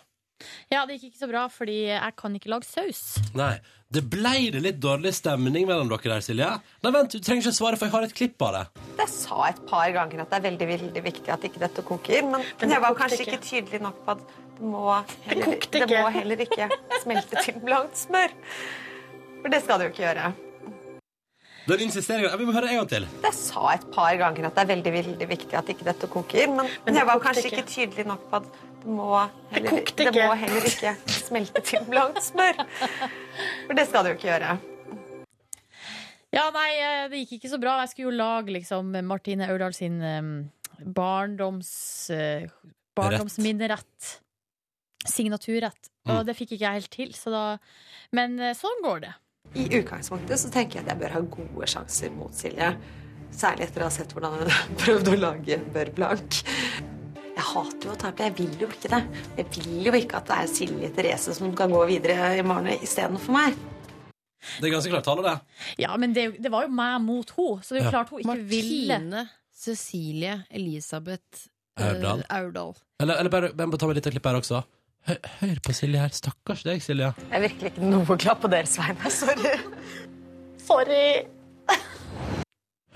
Speaker 3: Ja, det gikk ikke så bra, fordi jeg kan ikke lage saus.
Speaker 1: Nei, Det blei det litt dårlig stemning mellom dere der, Silje. Nei, vent, du trenger ikke svare, for jeg har et klipp av det.
Speaker 5: Jeg sa et par ganger at det er veldig, veldig viktig at ikke dette koker, men, men jeg var kanskje ikke tydelig nok på at det må heller, det må heller ikke smelte til blankt smør. For det skal det jo ikke gjøre.
Speaker 1: Den insisteringen, ja, Vi må høre det en gang til.
Speaker 5: Jeg sa et par ganger at det er veldig, veldig viktig at ikke dette koker, men, men jeg var kanskje ikke tydelig nok på at det må heller,
Speaker 16: kokte
Speaker 5: det
Speaker 16: ikke.
Speaker 5: må heller ikke smelte til blankt smør. For det skal det jo ikke gjøre.
Speaker 3: Ja, nei, eh, det gikk ikke så bra. Jeg skulle jo lage liksom Martine Aurdal sin eh, barndoms... eh, barndomsminnerett. Signaturrett. Og
Speaker 5: Mm.
Speaker 3: det fikk ikke jeg helt til, så da Men eh, sånn går det.
Speaker 5: I utgangspunktet så tenker jeg at jeg bør ha gode sjanser mot Silje. Særlig etter å ha sett hvordan hun <laughs> har prøvd å lage Bør Blank. Jeg hater jo å tape. Jeg vil jo ikke det. Jeg vil jo ikke at det er Silje Therese som kan gå videre i morgen istedenfor meg.
Speaker 1: Det er ganske klart tale, det.
Speaker 3: Ja, men det, er jo- det var jo meg mot henne, så det er jo
Speaker 1: Ja.
Speaker 3: klart hun ikke ville.
Speaker 2: Martine, Cecilie, Elisabeth eh,
Speaker 1: Aurdal.
Speaker 2: Aurdal.
Speaker 1: Eller, eller bare, bare ta med litt av klippet her også. Hør, hør på Silje her. Stakkars deg, Silje.
Speaker 5: Jeg er virkelig ikke noe glad på deres vegne. <laughs> Sorry.
Speaker 3: Sorry.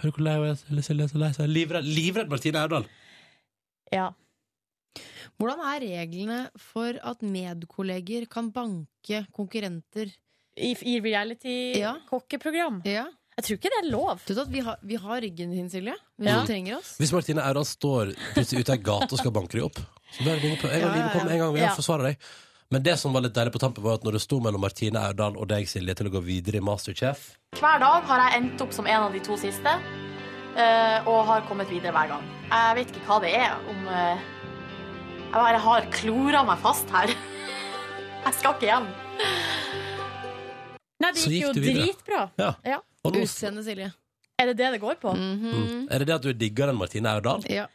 Speaker 1: Hør hvor lei hun er. Silje, Silje er så lei seg. Livredd, livredd Martine Aurdal.
Speaker 3: Ja.
Speaker 2: Hvordan er reglene for at medkolleger kan banke konkurrenter?
Speaker 3: I, i reality-kokkeprogram?
Speaker 2: Jeg
Speaker 3: tror ikke det er lov.
Speaker 2: Du vet at vi har, vi har ryggen din, Silje. Hvis
Speaker 1: Ja.
Speaker 2: du trenger oss.
Speaker 1: Hvis Martine Aurdal står plutselig ute i ei gate og skal banke deg opp, så bør du ringe på. En gang
Speaker 2: Ja, ja,
Speaker 1: livet kommer, en gang vil jeg
Speaker 2: ja.
Speaker 1: forsvare deg. Men det som var litt deilig på tampen, var at når det sto mellom Martine Aurdal og deg, Silje, til å gå videre i Masterchef
Speaker 3: Hver dag har jeg endt opp som en av de to siste, eh, og har kommet videre hver gang. Jeg vet ikke hva det er om eh, Jeg bare har klora meg fast her. <laughs> Jeg skal ikke hjem. Nei, det
Speaker 1: Så
Speaker 3: gikk,
Speaker 1: gikk
Speaker 3: jo
Speaker 1: du videre.
Speaker 3: dritbra.
Speaker 1: Ja. Og nå-
Speaker 2: Utseendet, Silje.
Speaker 3: Er det det det går på?
Speaker 1: Mm. Er det det at du digger den Martine Aurdal?
Speaker 2: Ja.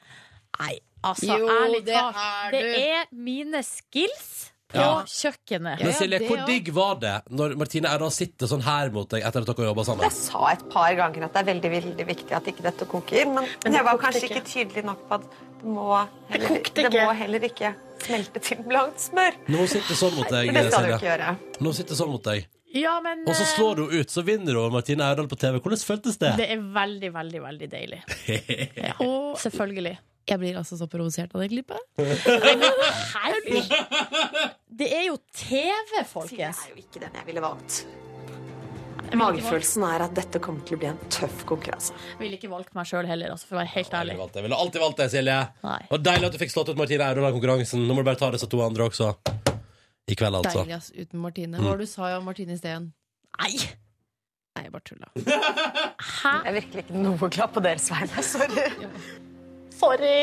Speaker 3: Nei, altså,
Speaker 2: Jo,
Speaker 3: ærlig
Speaker 2: det
Speaker 3: talt.
Speaker 2: er
Speaker 3: Det
Speaker 2: du.
Speaker 3: er mine skills på
Speaker 1: Ja.
Speaker 3: kjøkkenet.
Speaker 1: Men Silje, hvor digg var det når Martine Aurdal sitter sånn her mot deg etter at dere har jobba sammen?
Speaker 5: Jeg sa et par ganger at det er veldig, veldig viktig at ikke dette koker, men,
Speaker 1: Men det
Speaker 5: jeg var
Speaker 1: kokte
Speaker 5: kanskje
Speaker 1: ikke.
Speaker 5: ikke tydelig nok på at det må heller,
Speaker 3: kokte
Speaker 5: det
Speaker 3: ikke.
Speaker 5: må heller ikke smelte til blankt smør.
Speaker 1: Når hun sitter sånn mot deg,
Speaker 5: Men det skal du ikke
Speaker 1: Silje.
Speaker 5: gjøre. eh,
Speaker 1: Når hun sitter sånn mot deg.
Speaker 3: Ja, men
Speaker 1: Og så slår hun ut, så vinner hun Martine Aurdal på TV. Hvordan føltes det? <laughs>
Speaker 3: Det er veldig, veldig, veldig deilig.
Speaker 1: ja.
Speaker 3: Eh,
Speaker 2: Og selvfølgelig. Jeg blir altså så provosert av det klippet.
Speaker 3: Herregud. Det er jo TV, folkens.
Speaker 5: Det er jo ikke den jeg ville valgt. eh, Magefølelsen er at dette kommer til å bli en tøff konkurranse.
Speaker 3: Jeg ville ikke valgt meg sjøl heller, altså, for å være helt ærlig.
Speaker 1: valgt deg. Ville alltid valgt deg, Silje. Det var deilig at du fikk slått ut Martine Aurdal i konkurransen. Nå må du bare ta disse to andre også. I kveld, altså.
Speaker 2: Deilig, ass, uten Martine.
Speaker 1: Mm.
Speaker 2: Hva var det du sa om Martine i sted?
Speaker 3: Nei!
Speaker 2: Nei, jeg bare
Speaker 1: <laughs>
Speaker 2: tulla.
Speaker 5: Jeg er virkelig ikke noe glad på deres vegne. <laughs> Sorry.
Speaker 3: Sorry.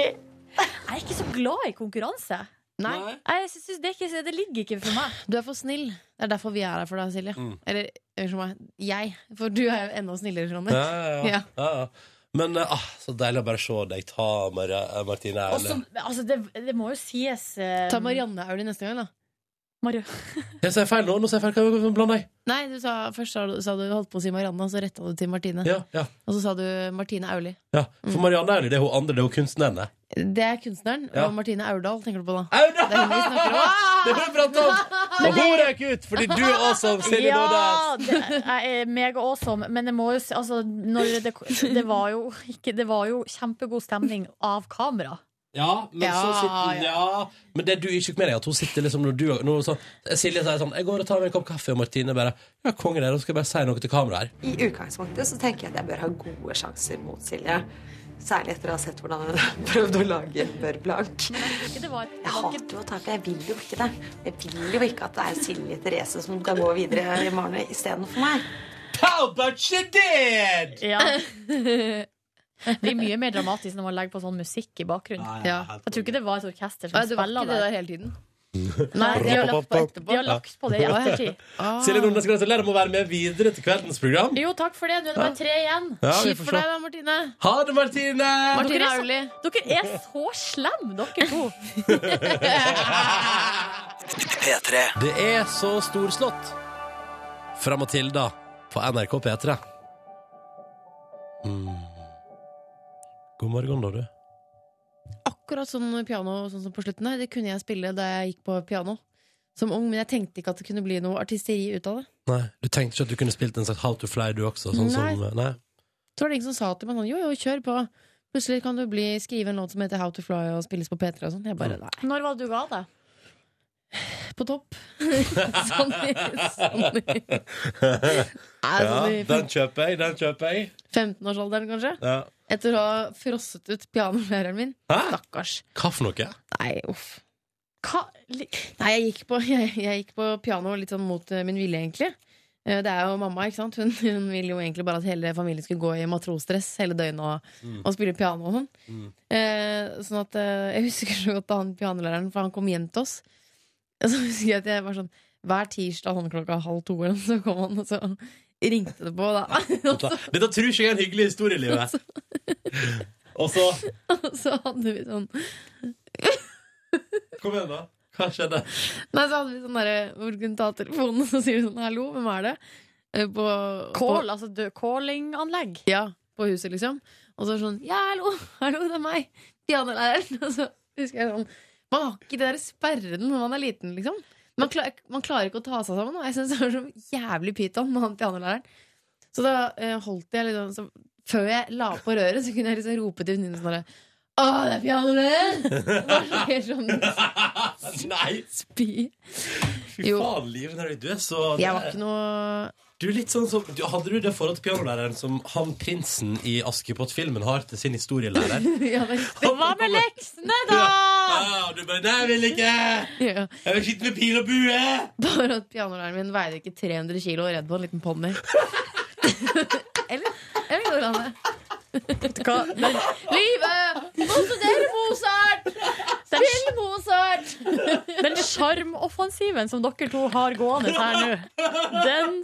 Speaker 3: Jeg er ikke så glad i konkurranse.
Speaker 2: Nei.
Speaker 3: Jeg synes det, er ikke, det ligger ikke for meg.
Speaker 2: Du er for snill. Det er derfor vi er her for deg, Silje.
Speaker 1: Mm.
Speaker 2: Eller unnskyld meg, jeg. For du er jo enda snillere, Ronny.
Speaker 1: Ja, ja, ja. ja, ja. Men eh, ah, så deilig å bare se deg ta Maria, eh, Martine
Speaker 3: Og så-
Speaker 1: Aurdal.
Speaker 3: altså, det, det må jo sies eh,
Speaker 2: Ta Marianne Auli neste gang, da.
Speaker 3: Mario.
Speaker 1: Jeg sier feil nå. Nå sier jeg feil. Hva- hva- hva- Bland deg.
Speaker 2: Nei, du sa, først sa du, sa du holdt på å si Marianne, og så retta du til Martine.
Speaker 1: Ja, ja.
Speaker 2: Og så sa du Martine Auli.
Speaker 1: Ja, for Marianne Aurdal det er hun andre, det er hun kunstneren. det.
Speaker 2: Det er kunstneren.
Speaker 1: Ja.
Speaker 2: Og Martine Aurdal tenker du på da. Det er hun vi snakker om.
Speaker 1: <laughs> Det er hun prater
Speaker 2: <laughs>
Speaker 1: om! Og hun røk ut fordi du er
Speaker 3: <laughs>
Speaker 1: awesome, Silje
Speaker 3: Ja,
Speaker 1: Nordnes!
Speaker 3: det, jeg er mega awesome, men det må jo si altså, når det, det, var jo ikke, det var jo kjempegod stemning av kamera.
Speaker 1: Ja, men så
Speaker 3: Ja,
Speaker 1: sitter ja. Men det du ikke fikk med deg, at hun sitter liksom når du når hun så, Silje sier sånn 'Jeg går og tar meg en kopp kaffe', og Martine bare 'Ja, kongen er her, nå skal jeg bare si noe til kameraet her'.
Speaker 5: I utgangspunktet så tenker jeg at jeg bør ha gode sjanser mot Silje. Særlig etter å ha sett hvordan <laughs> hun prøvde å lage Bør Blank.
Speaker 3: Det var, det
Speaker 5: Jeg
Speaker 3: var
Speaker 5: hater jo å tape, jeg vil jo ikke det. Jeg vil jo ikke at det er Silje Therese som kan gå videre i morgen istedenfor meg.
Speaker 1: How about she did?
Speaker 3: Ja.
Speaker 2: <laughs>
Speaker 3: Det blir mye mer dramatisk når man legger på sånn musikk i bakgrunnen.
Speaker 2: Ja.
Speaker 3: Jeg tror ikke det var et orkester som
Speaker 2: Nei, det var
Speaker 3: spilla
Speaker 2: ikke det der hele tiden.
Speaker 3: <laughs> Nei, de har lagt på
Speaker 1: Rappapapap.
Speaker 3: etterpå. De har lagt på det i
Speaker 1: Ja. <laughs> Ah.
Speaker 3: ettertid.
Speaker 1: Silje Nordnes, gratulerer med å være med videre til kveldens program.
Speaker 3: Jo, takk for det. Nå er det bare tre igjen.
Speaker 1: Ja, vi Kjipt får for se. deg
Speaker 2: da, Martine.
Speaker 1: Ha det, Martine!
Speaker 2: Martine
Speaker 3: dere,
Speaker 2: Auli.
Speaker 3: er så, dere er så slem, dere to.
Speaker 1: P3. Det er så storslått fra Matilda på NRK P3. Mm. God morgen, da, du.
Speaker 2: Akkurat sånn piano sånn som på slutten der, det kunne jeg spille da jeg gikk på piano som ung, men jeg tenkte ikke at det kunne bli noe artisteri ut av det.
Speaker 1: Nei, Du tenkte ikke at du kunne spilt en slags How to Fly, du også? Sånn
Speaker 2: Nei. <laughs>
Speaker 1: Som, nei.
Speaker 2: Så var det ingen som sa til meg sånn jo, jo, kjør på. Plutselig kan du bli, skrive en låt som heter How to Fly og spilles på P3 og sånn. Jeg bare nei. <laughs>
Speaker 3: Når var det du ga deg?
Speaker 2: På topp. sånn, i-
Speaker 1: <laughs>
Speaker 2: sånn. i-
Speaker 1: ja,
Speaker 2: sånn i-
Speaker 1: den kjøper jeg, den kjøper jeg.
Speaker 2: 15-årsalderen, kanskje.
Speaker 1: Ja.
Speaker 2: Etter å ha frosset ut pianolæreren min.
Speaker 1: Hæ?
Speaker 2: Stakkars.
Speaker 1: Hva for noe?
Speaker 2: Nei, uff. Nei, jeg gikk på, <laughs> jeg, jeg gikk på piano litt sånn mot eh, min vilje, egentlig. Eh, Det er jo mamma, ikke sant? Hun, <laughs> hun ville jo egentlig bare at hele familien skulle gå i matrosdress hele døgnet og,
Speaker 13: Mm.
Speaker 2: og spille piano og sånn.
Speaker 13: Mm.
Speaker 2: Eh, sånn at eh, Jeg husker <laughs> så godt da han pianolæreren, for han kom hjem til oss. Og så husker jeg at jeg var sånn hver tirsdag sånn klokka halv to, eller noe, så kom han, og så ringte det på. Da.
Speaker 1: Dette, dette tror ikke jeg er en hyggelig historie, i
Speaker 2: <laughs>
Speaker 1: livet. Og så
Speaker 2: Og så hadde vi sånn
Speaker 1: Kom igjen, da. Hva skjedde?
Speaker 2: Nei, så hadde vi sånn derre hvor du kunne ta telefonen, <laughs> og så sier du sånn 'hallo, hvem er det?' Eh, På,
Speaker 3: Call,
Speaker 2: på,
Speaker 3: altså dø- callinganlegg.
Speaker 2: ja, på huset, liksom. Og så er det sånn 'ja, hallo, <laughs> hallo, det er meg', pianolæreren. <laughs> Og så husker jeg sånn Man har ikke det der sperren når man er liten, liksom. Man, klar, man klarer ikke å ta seg sammen, og jeg syns det var så jævlig pyton med han pianolæreren. Så da eh, holdt jeg liksom så, Før jeg la på røret, så kunne jeg liksom rope til venninnen sånn derre Å, det er pianoen! Hva skjer sånn?
Speaker 1: <laughs> Nei!
Speaker 2: Spy.
Speaker 1: Fy faen, Liven Henrik, du er så
Speaker 2: Jeg var ikke noe
Speaker 1: Du er litt sånn som du, Hadde du det forholdet til pianolæreren som han prinsen i Askepott-filmen har til sin historielærer?
Speaker 2: <laughs> <laughs> ja, det er riktig.
Speaker 3: Hva med leksene, da?
Speaker 1: Ja, Ah, du bare Nei, jeg vil ikke!
Speaker 2: Ja.
Speaker 1: Jeg vil sitte med pil og bue!
Speaker 2: Bare at pianolæreren min veide ikke 300 kilo og redd på en liten ponni. Eller? Jeg vet ikke hvordan det er. Hva? Men, livet! Må studere Mozart! Spill Mozart!
Speaker 3: Den sjarmoffensiven som dere to har gående her nå, den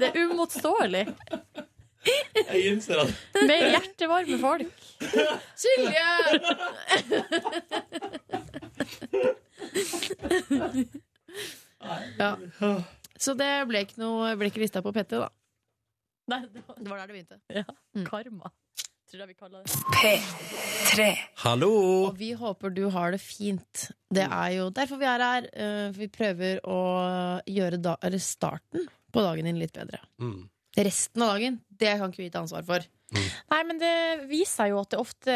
Speaker 3: Det er uimotståelig.
Speaker 1: Jeg innser at
Speaker 3: Med hjertevarme folk.
Speaker 2: Ja. Så det ble ikke, noe, ble ikke lista på PT, da. Mm.
Speaker 3: Nei, det var der det begynte. Ja. Karma, tror jeg vi kaller det.
Speaker 2: P3.
Speaker 1: Hallo!
Speaker 2: Og vi håper du har det fint. Det er jo derfor vi er her. eh, for Vi prøver å gjøre da, eller starten på dagen din litt bedre.
Speaker 1: Mm.
Speaker 2: Resten av dagen, det kan ikke vi ta ansvar for.
Speaker 3: Nei, men det viser seg jo at det ofte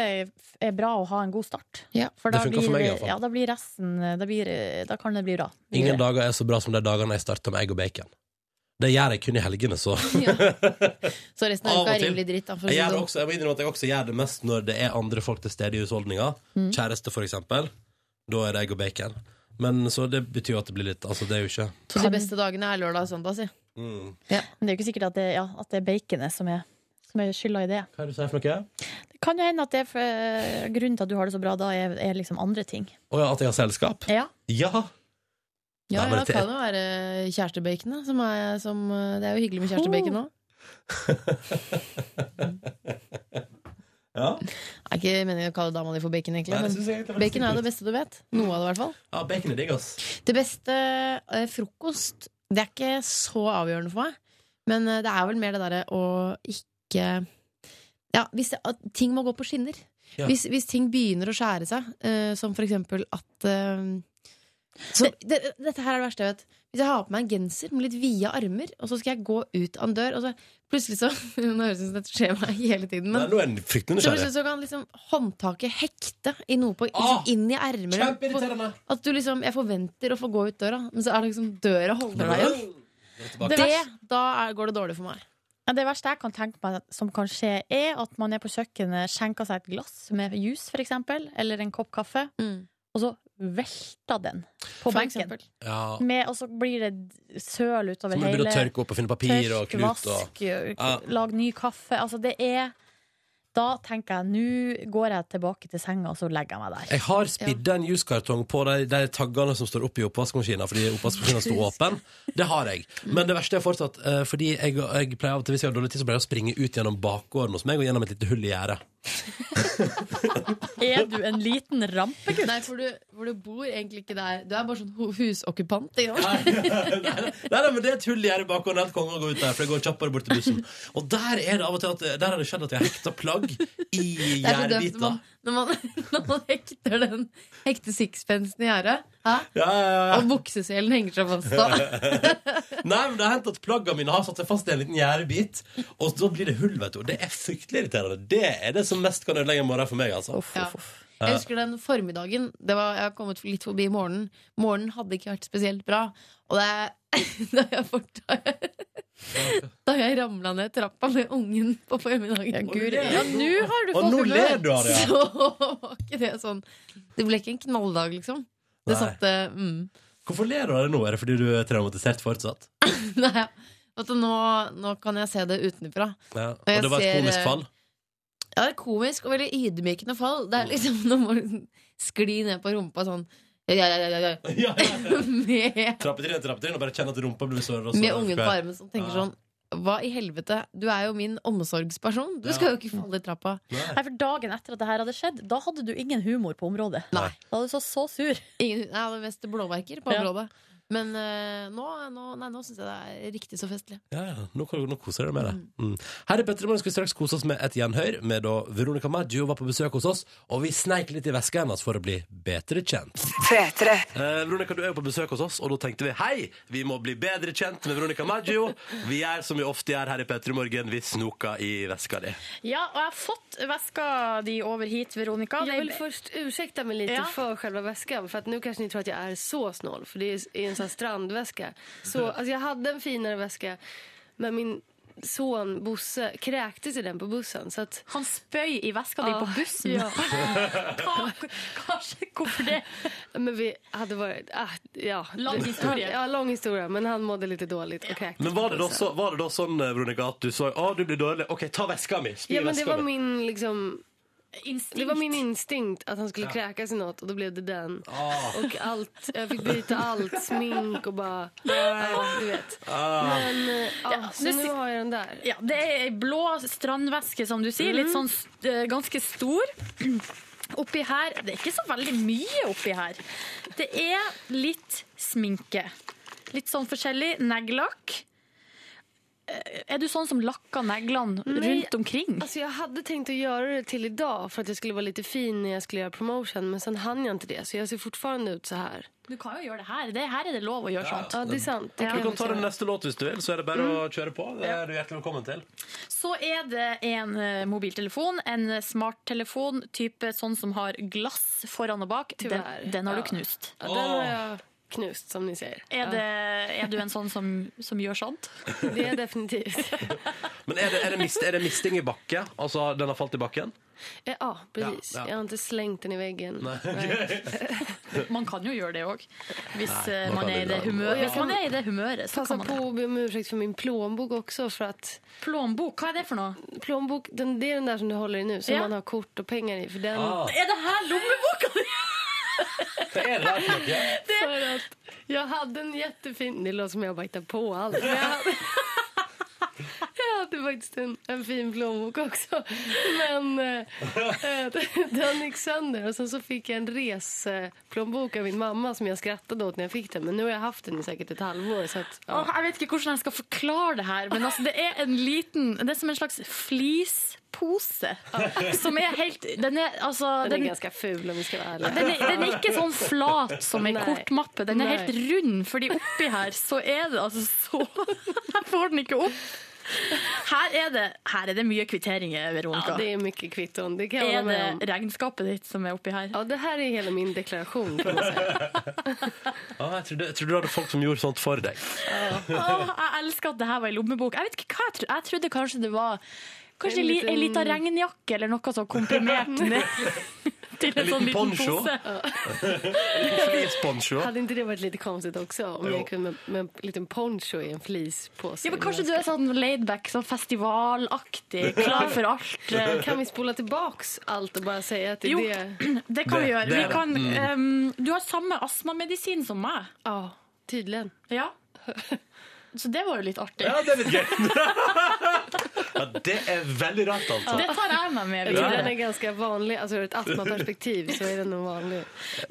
Speaker 3: er bra å ha en god start. For da
Speaker 1: Det funker
Speaker 3: blir,
Speaker 1: for meg i hvert fall.
Speaker 3: Ja, da blir resten da, blir, da kan det bli bra.
Speaker 1: Ingen dager er så bra som de dagene jeg starter med egg og bacon. Det gjør jeg kun i helgene, så. <laughs>
Speaker 2: Så resten
Speaker 1: Av
Speaker 2: av
Speaker 1: og
Speaker 2: uka er
Speaker 1: til.
Speaker 2: rimelig Sånn dritt. Da, for
Speaker 1: Jeg,
Speaker 2: å si det
Speaker 1: gjør det
Speaker 2: sånn.
Speaker 1: også, jeg må innrømme at jeg også gjør det mest når det er andre folk til stede i husholdninga.
Speaker 2: Mm.
Speaker 1: Kjæreste, for eksempel. Da er det egg og bacon. Men så det betyr jo at det blir litt Altså, det er jo ikke
Speaker 2: Så de beste dagene er lørdag og søndag, si.
Speaker 1: mm.
Speaker 3: Men det er jo ikke sikkert at det, ja, at det er baconet som er, som er skylda i det.
Speaker 1: Hva er det du sier for noe?
Speaker 3: Det kan jo hende at det er for, grunnen til at du har det så bra da, er, er liksom andre ting.
Speaker 1: Å ja, at jeg har selskap?
Speaker 3: Ja.
Speaker 1: Ja!
Speaker 2: Ja,
Speaker 1: Nei,
Speaker 2: ja,
Speaker 1: men
Speaker 2: det
Speaker 1: det-
Speaker 2: kan jo være eh, kjærestebacon, da. Som er, som, eh, det er jo hyggelig med kjærestebacon òg.
Speaker 1: Ja.
Speaker 2: Det er ikke meningen å kalle dama di for bacon, egentlig.
Speaker 1: Nei, det
Speaker 2: men
Speaker 1: synes jeg egentlig var litt
Speaker 2: bacon er
Speaker 1: stygt.
Speaker 2: det beste du vet. Noe av det, i hvert fall.
Speaker 1: ja bacon er digg, ass.
Speaker 2: Det beste eh, frokost Det er ikke så avgjørende for meg, men eh, det er vel mer det derre å ikke Ja, hvis det, at ting må gå på skinner.
Speaker 13: Ja.
Speaker 2: Hvis, hvis ting begynner å skjære seg, eh, som for eksempel at eh, så, det, Dette her er det verste jeg vet. Hvis jeg har på meg en genser med litt vide armer, og så skal jeg gå ut av en dør, og så plutselig så <laughs> Nå høres det ut som dette skjer meg hele tiden, men
Speaker 1: Nei, nå er den fryktelig
Speaker 2: så
Speaker 1: nysgjerrig.
Speaker 2: plutselig så kan liksom håndtaket hekte i noe på, liksom,
Speaker 1: Ah!
Speaker 2: inn i ermet.
Speaker 1: Kjempeirriterende!
Speaker 2: At du liksom, jeg forventer å få gå ut døra, men så er det liksom døra holder deg igjen.
Speaker 3: Det
Speaker 2: Det,
Speaker 3: verste-
Speaker 2: da er, går det dårlig for meg.
Speaker 3: Ja, Det verste jeg kan tenke meg som kan skje, er at man er på kjøkkenet, skjenker seg et glass med juice, for eksempel, eller en kopp kaffe, og så velter den på benken.
Speaker 1: Ja.
Speaker 3: Med, og så blir det søl
Speaker 1: Så må
Speaker 3: utover
Speaker 1: du
Speaker 3: hele
Speaker 1: begynne å tørke opp og finne papir og
Speaker 3: Tørk,
Speaker 1: klut og
Speaker 3: vask,
Speaker 1: Ja.
Speaker 3: lag ny kaffe. Altså, det er Da tenker jeg nå går jeg tilbake til senga, og så legger jeg meg der.
Speaker 1: Jeg har spidd en juskartong på de, de taggene som står oppi oppvaskmaskina fordi oppvaskmaskina sto åpen. Det har jeg.
Speaker 2: Mm.
Speaker 1: Men det verste er fortsatt eh, fordi jeg, jeg pleier av og til, hvis jeg har dårlig tid, så pleier jeg å springe ut gjennom bakgården hos meg og gjennom et lite hull i gjerdet.
Speaker 3: Er du en liten rampegutt?
Speaker 2: Nei, for du, for du bor egentlig ikke der. Du er bare sånn ho- husokkupant. ikke sant?
Speaker 1: Nei, nei, men det er et hull i gjerdet i bakgården. Helt konge å gå ut der, for det går kjappere bort til bussen. Og der er det av og til at Der har det skjedd at jeg har hekta plagg i
Speaker 2: <laughs> Det er så dømt når
Speaker 1: gjerdebiter.
Speaker 2: man, <laughs> når man, <laughs> når man hekter den hekte sixpensen i gjerdet. Hæ?
Speaker 1: Ja, ja, ja.
Speaker 2: Og bukseselen henger seg fast. da.
Speaker 1: <laughs> Nei, men det har hendt at plaggene mine har satt seg fast i en liten gjerdebit, og så blir det hull, vet du. Og Det er fryktelig irriterende. Det er det som mest kan ødelegge en morgen for meg, altså.
Speaker 2: Ja. Jeg husker den formiddagen. Det var, jeg har kommet litt forbi morgenen. Morgenen hadde ikke vært spesielt bra. Og det er <laughs> da jeg ramla ned trappa med ungen på formiddagen. Ja,
Speaker 3: guri. Ja, nå har du
Speaker 2: Og
Speaker 3: fått
Speaker 2: nå
Speaker 3: humør.
Speaker 2: ler du av <laughs> det, ja.
Speaker 13: Så
Speaker 2: var ikke det sånn Det ble ikke en knalldag, liksom. Det
Speaker 1: Nei.
Speaker 2: satte mm. <laughs>
Speaker 1: Hvorfor ler du av det nå? Er det fordi du er traumatisert fortsatt?
Speaker 2: Nei, vet du, nå, nå kan jeg se det utenfra.
Speaker 1: Ja.
Speaker 2: Og jeg
Speaker 1: Og det var et
Speaker 2: ser,
Speaker 1: komisk
Speaker 2: eh,
Speaker 1: fall?
Speaker 2: Ja, det er komisk og veldig ydmykende fall. Det er liksom <laughs> Nå må du skli ned på rumpa sånn ja, ja, ja, ja, ja. <laughs> med,
Speaker 1: Trappetrinn, trappetrinn, og bare kjenne at rumpa blir såret. og så-
Speaker 2: med ungen på armen som tenker
Speaker 1: Ja.
Speaker 2: sånn Hva i helvete? Du er jo min omsorgsperson. Du
Speaker 3: Ja.
Speaker 2: skal jo ikke falle i trappa.
Speaker 3: Nei, for Dagen etter at det her hadde skjedd, da hadde du ingen humor på området.
Speaker 2: Nei.
Speaker 3: Da var du så, så sur.
Speaker 2: Ingen, jeg hadde mest blåmerker på
Speaker 3: Ja.
Speaker 2: området. Men eh, nå, nå, nei, nå syns jeg det er riktig så festlig.
Speaker 1: Ja, ja. Nå, kan- nå koser jeg deg med det. Mm. Her i Petter Morgen skal vi straks kose oss med et gjenhør med da Veronica Maggio var på besøk hos oss, og vi sneik litt i veska hennes for å bli bedre kjent. Eh, Veronica, du er jo på besøk hos oss, og da tenkte vi hei, vi må bli bedre kjent med Veronica Maggio. Vi gjør som vi ofte gjør her i Petter Morgen, vi snoker i veska di.
Speaker 3: Ja, og jeg har fått veska di over hit, Veronica.
Speaker 13: Jag
Speaker 3: Det-
Speaker 13: vill först ursäkta mig lite
Speaker 3: Ja.
Speaker 13: för själva väskan. För att nu kanske ni tror att jag är så snål. För det är i en sån här strandväska.
Speaker 3: <laughs>
Speaker 13: Så, alltså, jag hade en finare väska. Men min son Bosse kräktes i den på bussen. Så att...
Speaker 3: Han spöj i väskan din på bussen?
Speaker 13: Ja.
Speaker 3: <laughs> Kanske, varför det?
Speaker 13: <laughs> Men vi hade varit... Ah, ja.
Speaker 3: Lång historia.
Speaker 13: Ja, lång historia. Men han mådde lite dårligt och kräktes
Speaker 1: Men var det
Speaker 13: på
Speaker 1: da,
Speaker 13: bussen.
Speaker 1: så, var det da sånn, eh, Veronica, at du så å, du blir dårlig, ok, ta veska mi, spy
Speaker 13: Ja, men det
Speaker 1: veska
Speaker 13: var
Speaker 1: mi.
Speaker 13: min liksom...
Speaker 3: Instinkt.
Speaker 13: Det var min instinkt att han skulle
Speaker 1: Ja.
Speaker 13: kräkas i något och då blev det den.
Speaker 1: Ah.
Speaker 13: Och allt, jag fick
Speaker 1: <laughs>
Speaker 13: byta allt, smink och bara... Ja, du vet.
Speaker 1: Ah.
Speaker 13: Men eh, ja,
Speaker 3: Ja,
Speaker 13: så
Speaker 3: nu
Speaker 13: nu
Speaker 3: sit-
Speaker 13: har jag den där.
Speaker 3: Ja, det er ei blå strandveske, som du sier.
Speaker 13: Mm.
Speaker 3: Litt sånn st- eh, ganske stor. <clears throat> Oppi her Det er ikke så veldig mye oppi her. Det er litt sminke. Litt sånn forskjellig. Neglelakk. Eh, Er du sånn som lakker neglene
Speaker 13: Mm.
Speaker 3: rundt omkring?
Speaker 13: Alltså jag hade tänkt att göra det till idag för att jag skulle vara lite fin när jag skulle göra promotion men sen hann jag inte det så jag ser fortfarande ut så här.
Speaker 3: Du kan jo gjøre det her. Det her er det lov å gjøre sånt.
Speaker 13: Ja, det er sant. Det
Speaker 1: Du kan ta den neste låt hvis du vil, så er det bare å kjøre på. Det er du hjertelig velkommen til.
Speaker 3: Så er det en eh, mobiltelefon, en smarttelefon, type sånn som har glass foran og bak. Den,
Speaker 13: Tyvärr.
Speaker 3: den har du
Speaker 13: Ja.
Speaker 3: knust.
Speaker 13: Ja, den har jag knust som ni säger.
Speaker 3: Er, det, er du en sånn som, som gjør sånt?
Speaker 13: Det är definitivt.
Speaker 1: Men er det, er det, mist, er det misting i bakke? Altså, den har falt i bakken?
Speaker 13: Eh, Ja, precis.
Speaker 1: Ja, ja.
Speaker 13: Jag har inte slängt den i väggen.
Speaker 1: Nej.
Speaker 3: Man kan jo gjøre det òg, hvis
Speaker 1: Nei,
Speaker 3: eh,
Speaker 1: man
Speaker 3: man
Speaker 1: kan
Speaker 3: er i
Speaker 1: det
Speaker 3: det
Speaker 1: da.
Speaker 3: humøret.
Speaker 1: Ja.
Speaker 3: Hvis man er i det humøret, så
Speaker 13: Passa
Speaker 3: kan man
Speaker 13: på
Speaker 3: det.
Speaker 13: å be om ursäkt för min plånbok också för att
Speaker 3: Plånbok, vad är det för något?
Speaker 13: Plånbok, den, det är den där som du håller i nu som
Speaker 3: Ja.
Speaker 13: man har kort og penger i för den
Speaker 3: Ah. Är det här lommeboken?
Speaker 13: För att jag hade en jättefin, det låter som jag bara hittar på allt. Men jag, hade, <laughs> jag hade faktiskt en, en fin plånbok också. Men eh, <laughs> eh, den gick sönder och sen så fick jag en resplånbok av min mamma som jag skrattade åt när jag fick den. Men nu har jag haft den i säkert ett halvår. Så att,
Speaker 3: Åh, jeg vet ikke hvordan jeg skal forklare det her, men altså, det er en liten Det er som en slags flispose.
Speaker 13: <laughs>
Speaker 3: Som er helt Den er, altså,
Speaker 13: den, är ganska ful om vi ska vara ärliga.
Speaker 3: den er, den er ikke sånn flat som ei
Speaker 13: Nej.
Speaker 3: kortmappe. Den er
Speaker 13: Nej.
Speaker 3: helt rund, fordi oppi her så er det altså så <laughs> Jeg får den ikke opp. Her er det, her er det mye kvitteringer, Veronica.
Speaker 13: Ja, det är mycket kvitton. Det kan jag
Speaker 3: Er
Speaker 13: hålla med om.
Speaker 3: det regnskapet ditt som er oppi her?
Speaker 13: Ja, det her er hele min deklarasjon.
Speaker 1: Ja, Ah, jeg, trodde, jeg trodde du hadde folk som gjorde sånt for deg.
Speaker 3: <laughs> Åh, jeg elsker at det her var i lommebok. Jeg vet ikke hva jeg trodde. Jeg trodde kanskje det var Kanskje
Speaker 13: En
Speaker 3: en, li,
Speaker 13: liten-
Speaker 3: en liten regnjakke eller noe sånn komprimert ned til en,
Speaker 1: En
Speaker 3: sånn
Speaker 1: liten
Speaker 3: liten
Speaker 1: poncho.
Speaker 3: pose.
Speaker 1: Flisponcho.
Speaker 13: Hadde ikke det vært litt konstigt også? Om
Speaker 1: Jo.
Speaker 13: jeg kunne med, med en liten poncho i en fleecepåse?
Speaker 3: Ja, men kanskje du er sånn laidback, sånn festivalaktig, klar for alt. eh,
Speaker 13: <laughs> Kan vi spole tilbake alt og bare si at det
Speaker 3: Jo,
Speaker 13: er det
Speaker 3: <clears throat> det kan vi
Speaker 13: Det-
Speaker 3: gjøre.
Speaker 13: det er
Speaker 3: Vi
Speaker 13: det.
Speaker 3: kan,
Speaker 13: Mm.
Speaker 3: ehm, du har samme astmamedisin som meg.
Speaker 13: Ja, tydelig. <laughs>
Speaker 3: Ja. Så det var jo litt artig.
Speaker 1: Ja, det er litt gøy. <laughs> ja, det er veldig rart, altså.
Speaker 3: Det tar jeg meg med
Speaker 13: Jeg tror
Speaker 3: videre.
Speaker 13: den er ganske vanlig. Altså Ur et
Speaker 3: <laughs>
Speaker 13: astmaperspektiv så er den noe vanlig.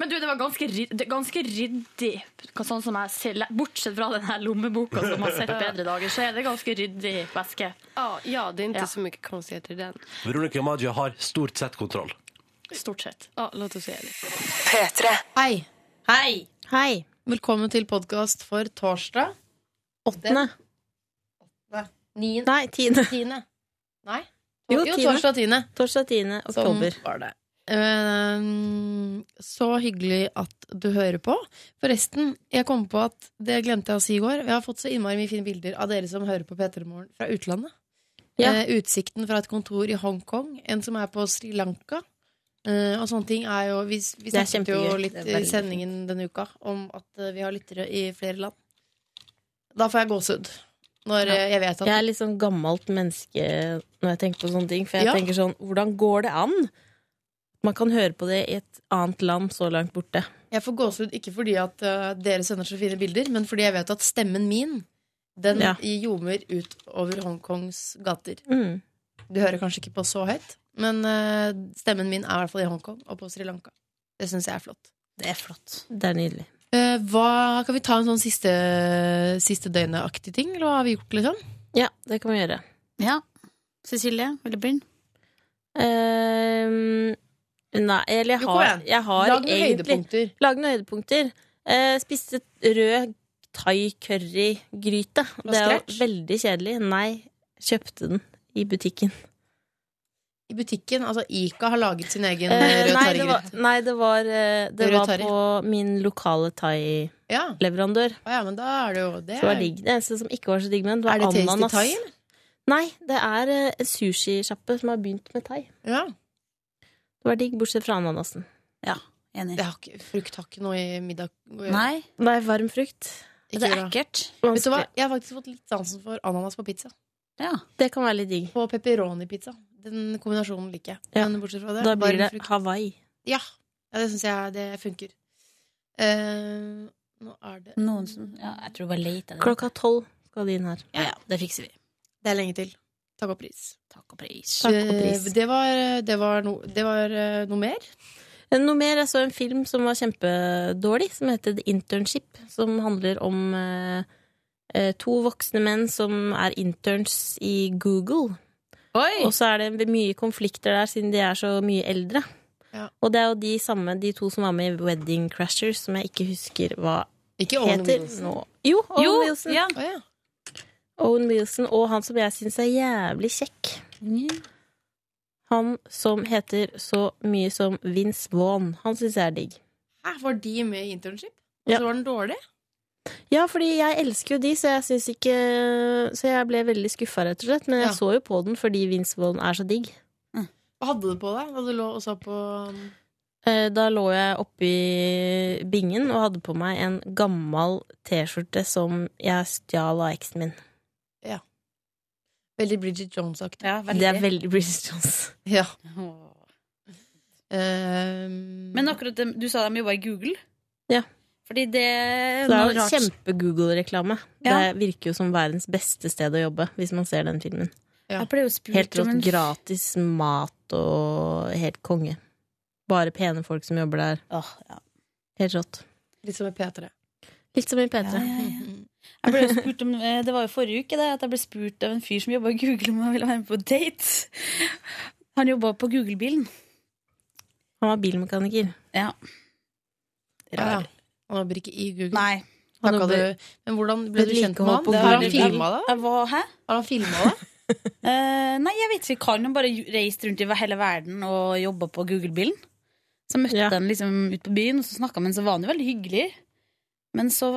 Speaker 3: Men du, det var ganske, ry- det, ganske ryddig, sånn som jeg ser, bortsett fra denne lommeboka som har sett bedre dager, så er det ganske ryddig væske.
Speaker 13: Ja, ja det er ikke så mye konstigheter i den.
Speaker 1: Veronica Maggio har stort sett kontroll.
Speaker 3: Stort sett.
Speaker 13: Ja, la oss se det.
Speaker 2: Hei.
Speaker 3: Hei.
Speaker 2: Hei. Velkommen til podkast for torsdag. Åttende. Nei, tiende. Nei?
Speaker 16: Jo,
Speaker 2: jo
Speaker 16: tiende.
Speaker 2: torsdag tiende.
Speaker 16: Torsdag 10. oktober.
Speaker 2: Sånn var det. Ehm, så hyggelig at du hører på. Forresten, jeg kom på at det glemte jeg å si i går. Jeg har fått så innmari mye fine bilder av dere som hører på P3 Morgen fra utlandet.
Speaker 16: Ja.
Speaker 2: Eh, utsikten fra et kontor i Hongkong, en som er på Sri Lanka. eh, og sånne ting er jo Vi, vi
Speaker 16: Det er
Speaker 2: snakket jo
Speaker 16: kjempegøy.
Speaker 2: litt
Speaker 16: Det er
Speaker 2: i
Speaker 16: veldig
Speaker 2: sendingen denne uka om at eh, vi har lyttere i flere land. Da får jeg gåsehud. Når eh, jeg vet at
Speaker 16: Jeg er litt sånn gammelt menneske når jeg tenker på sånne ting. For jeg
Speaker 2: Ja.
Speaker 16: tenker sånn, hvordan går det an? Man kan høre på det i et annet land så langt borte.
Speaker 2: Jeg får gåsehud ikke fordi at eh, dere sender så fine bilder, men fordi jeg vet at stemmen min den
Speaker 16: Ja.
Speaker 2: ljomer ut over Hongkongs gater.
Speaker 16: Mm.
Speaker 2: Du hører kanskje ikke på så høyt, men eh, stemmen min er i hvert fall i Hongkong og på Sri Lanka. Det syns jeg er flott.
Speaker 16: Det er flott. Det er nydelig.
Speaker 2: Eh, hva, kan vi ta en sånn siste, siste døgnaktig ting, eller hva har vi gjort, liksom?
Speaker 16: Ja, det kan vi gjøre.
Speaker 18: Ja. Cecilie, vil du begynne?
Speaker 16: Ehm, nei, eller jeg
Speaker 18: Jo, kom
Speaker 16: har,
Speaker 18: igjen.
Speaker 16: jeg har
Speaker 18: Lag noen
Speaker 16: egentlig
Speaker 18: høydepunkter.
Speaker 16: Lag noen høydepunkter. Eh, spiste rød thai-curry-gryte.
Speaker 18: Fra
Speaker 16: Det er jo
Speaker 18: scratch?
Speaker 16: veldig kjedelig. Nei, kjøpte den i butikken.
Speaker 2: I butikken, altså Ica har laget sin egen
Speaker 16: Eh,
Speaker 2: rød
Speaker 16: nei, det
Speaker 2: targer.
Speaker 16: var, nei, det var, eh, det
Speaker 2: Rød
Speaker 16: var
Speaker 2: tarry.
Speaker 16: på min lokale thai-leverandør.
Speaker 2: Å ja, men da er det jo det.
Speaker 16: Så det var digg. Det eneste som ikke var så digg med den, det var
Speaker 2: Er det Tasty
Speaker 16: ananas.
Speaker 2: Thai, eller?
Speaker 16: Nei, det er eh, en sushisjappe som har begynt med thai. Det var digg, bortsett fra ananasen.
Speaker 18: Ja, enig.
Speaker 2: Det har ikke, frukt har ikke noe i middag å gjøre.
Speaker 18: Nei.
Speaker 16: Nei, varm frukt.
Speaker 2: Ikke
Speaker 16: Det er
Speaker 2: bra.
Speaker 18: ekkelt.
Speaker 2: Vet du hva, jeg har faktisk fått litt sansen for ananas på pizza.
Speaker 16: Det kan være litt digg.
Speaker 2: På pepperoni-pizza. Den kombinasjonen liker jeg.
Speaker 16: Ja.
Speaker 2: Men bortsett fra det,
Speaker 16: Da blir
Speaker 2: varm
Speaker 16: det
Speaker 2: frukt.
Speaker 16: Hawaii.
Speaker 2: Ja, ja det syns jeg det funker. Eh, nå er det
Speaker 18: Noen som Ja, jeg tror det var late. eller?
Speaker 16: Klokka tolv skal de inn her.
Speaker 18: Ja, ja, det fikser vi.
Speaker 2: Det er lenge til. Takk og pris.
Speaker 18: Takk og pris.
Speaker 2: Eh, Det var, det var, no, det var eh, noe mer?
Speaker 16: Eh, Noe mer, jeg så en film som var kjempedårlig, som heter The Internship, som handler om eh, eh, to voksne menn som er interns i Google. Og så er det mye konflikter der, siden de er så mye eldre.
Speaker 2: Ja.
Speaker 16: Og det er jo de samme, de to som var med i Wedding Crashers, som jeg ikke husker hva
Speaker 2: Ikke Owen
Speaker 16: heter
Speaker 2: Wilson?
Speaker 16: nå. Jo, Owen
Speaker 18: Jo,
Speaker 16: Wilson.
Speaker 18: ja.
Speaker 2: Å, ja.
Speaker 16: Owen Wilson og han som jeg syns er jævlig kjekk.
Speaker 2: Mm.
Speaker 16: Han som heter så mye som Vince Vaughn. Han syns jeg er digg.
Speaker 2: Hæ, var de med i internship? Og
Speaker 16: Ja.
Speaker 2: så var den dårlig?
Speaker 16: Ja, fordi jeg elsker jo de, så jeg syns ikke Så jeg ble veldig skuffa, rett og slett. Men jeg
Speaker 2: Ja.
Speaker 16: så jo på den fordi Vince Vaughn er så digg.
Speaker 2: Hva hadde du på deg da du lå og så på um,
Speaker 16: Eh, Da lå jeg oppi bingen og hadde på meg en gammel T-skjorte som jeg stjal av eksen min.
Speaker 2: Ja. Veldig Bridget Jones-aktig.
Speaker 16: Det er veldig British Jones.
Speaker 2: Ja.
Speaker 18: Men akkurat det, du sa de jobba i Google?
Speaker 16: Ehm. Ja.
Speaker 18: Fordi det
Speaker 16: Så det er jo
Speaker 18: noe rart-
Speaker 16: kjempe-Google-reklame.
Speaker 18: Ja.
Speaker 16: Det virker jo som verdens beste sted å jobbe, hvis man ser den filmen.
Speaker 18: Jeg ble jo spurt
Speaker 16: Helt
Speaker 18: om
Speaker 16: rått
Speaker 18: en-
Speaker 16: gratis mat og helt konge. Bare pene folk som jobber der. Helt rått.
Speaker 2: Litt som i P3.
Speaker 16: Litt som i P3.
Speaker 18: Jeg ble jo spurt om, eh, det var jo forrige uke det, at jeg ble spurt av en fyr som jobba i Google om han ville være med på date. Han jobba på Google-bilen.
Speaker 16: Han var bilmekaniker.
Speaker 18: Ja.
Speaker 2: Ah, ja. Han jobber ikke i Google.
Speaker 18: Nei.
Speaker 2: Takka
Speaker 18: Han jobber-
Speaker 2: du. Men hvordan ble du kjent med han?
Speaker 18: Det
Speaker 2: Har han
Speaker 18: jeg-
Speaker 2: filma det?
Speaker 18: Jeg var, Eh, hæ?
Speaker 2: Har han filma det?
Speaker 18: <laughs> Eh, nei, jeg vet ikke. Kan han bare reist rundt i hele verden og jobba på Google-bilen? Så møtte han liksom ut på byen, og så snakka han, så var han jo veldig hyggelig. Men så,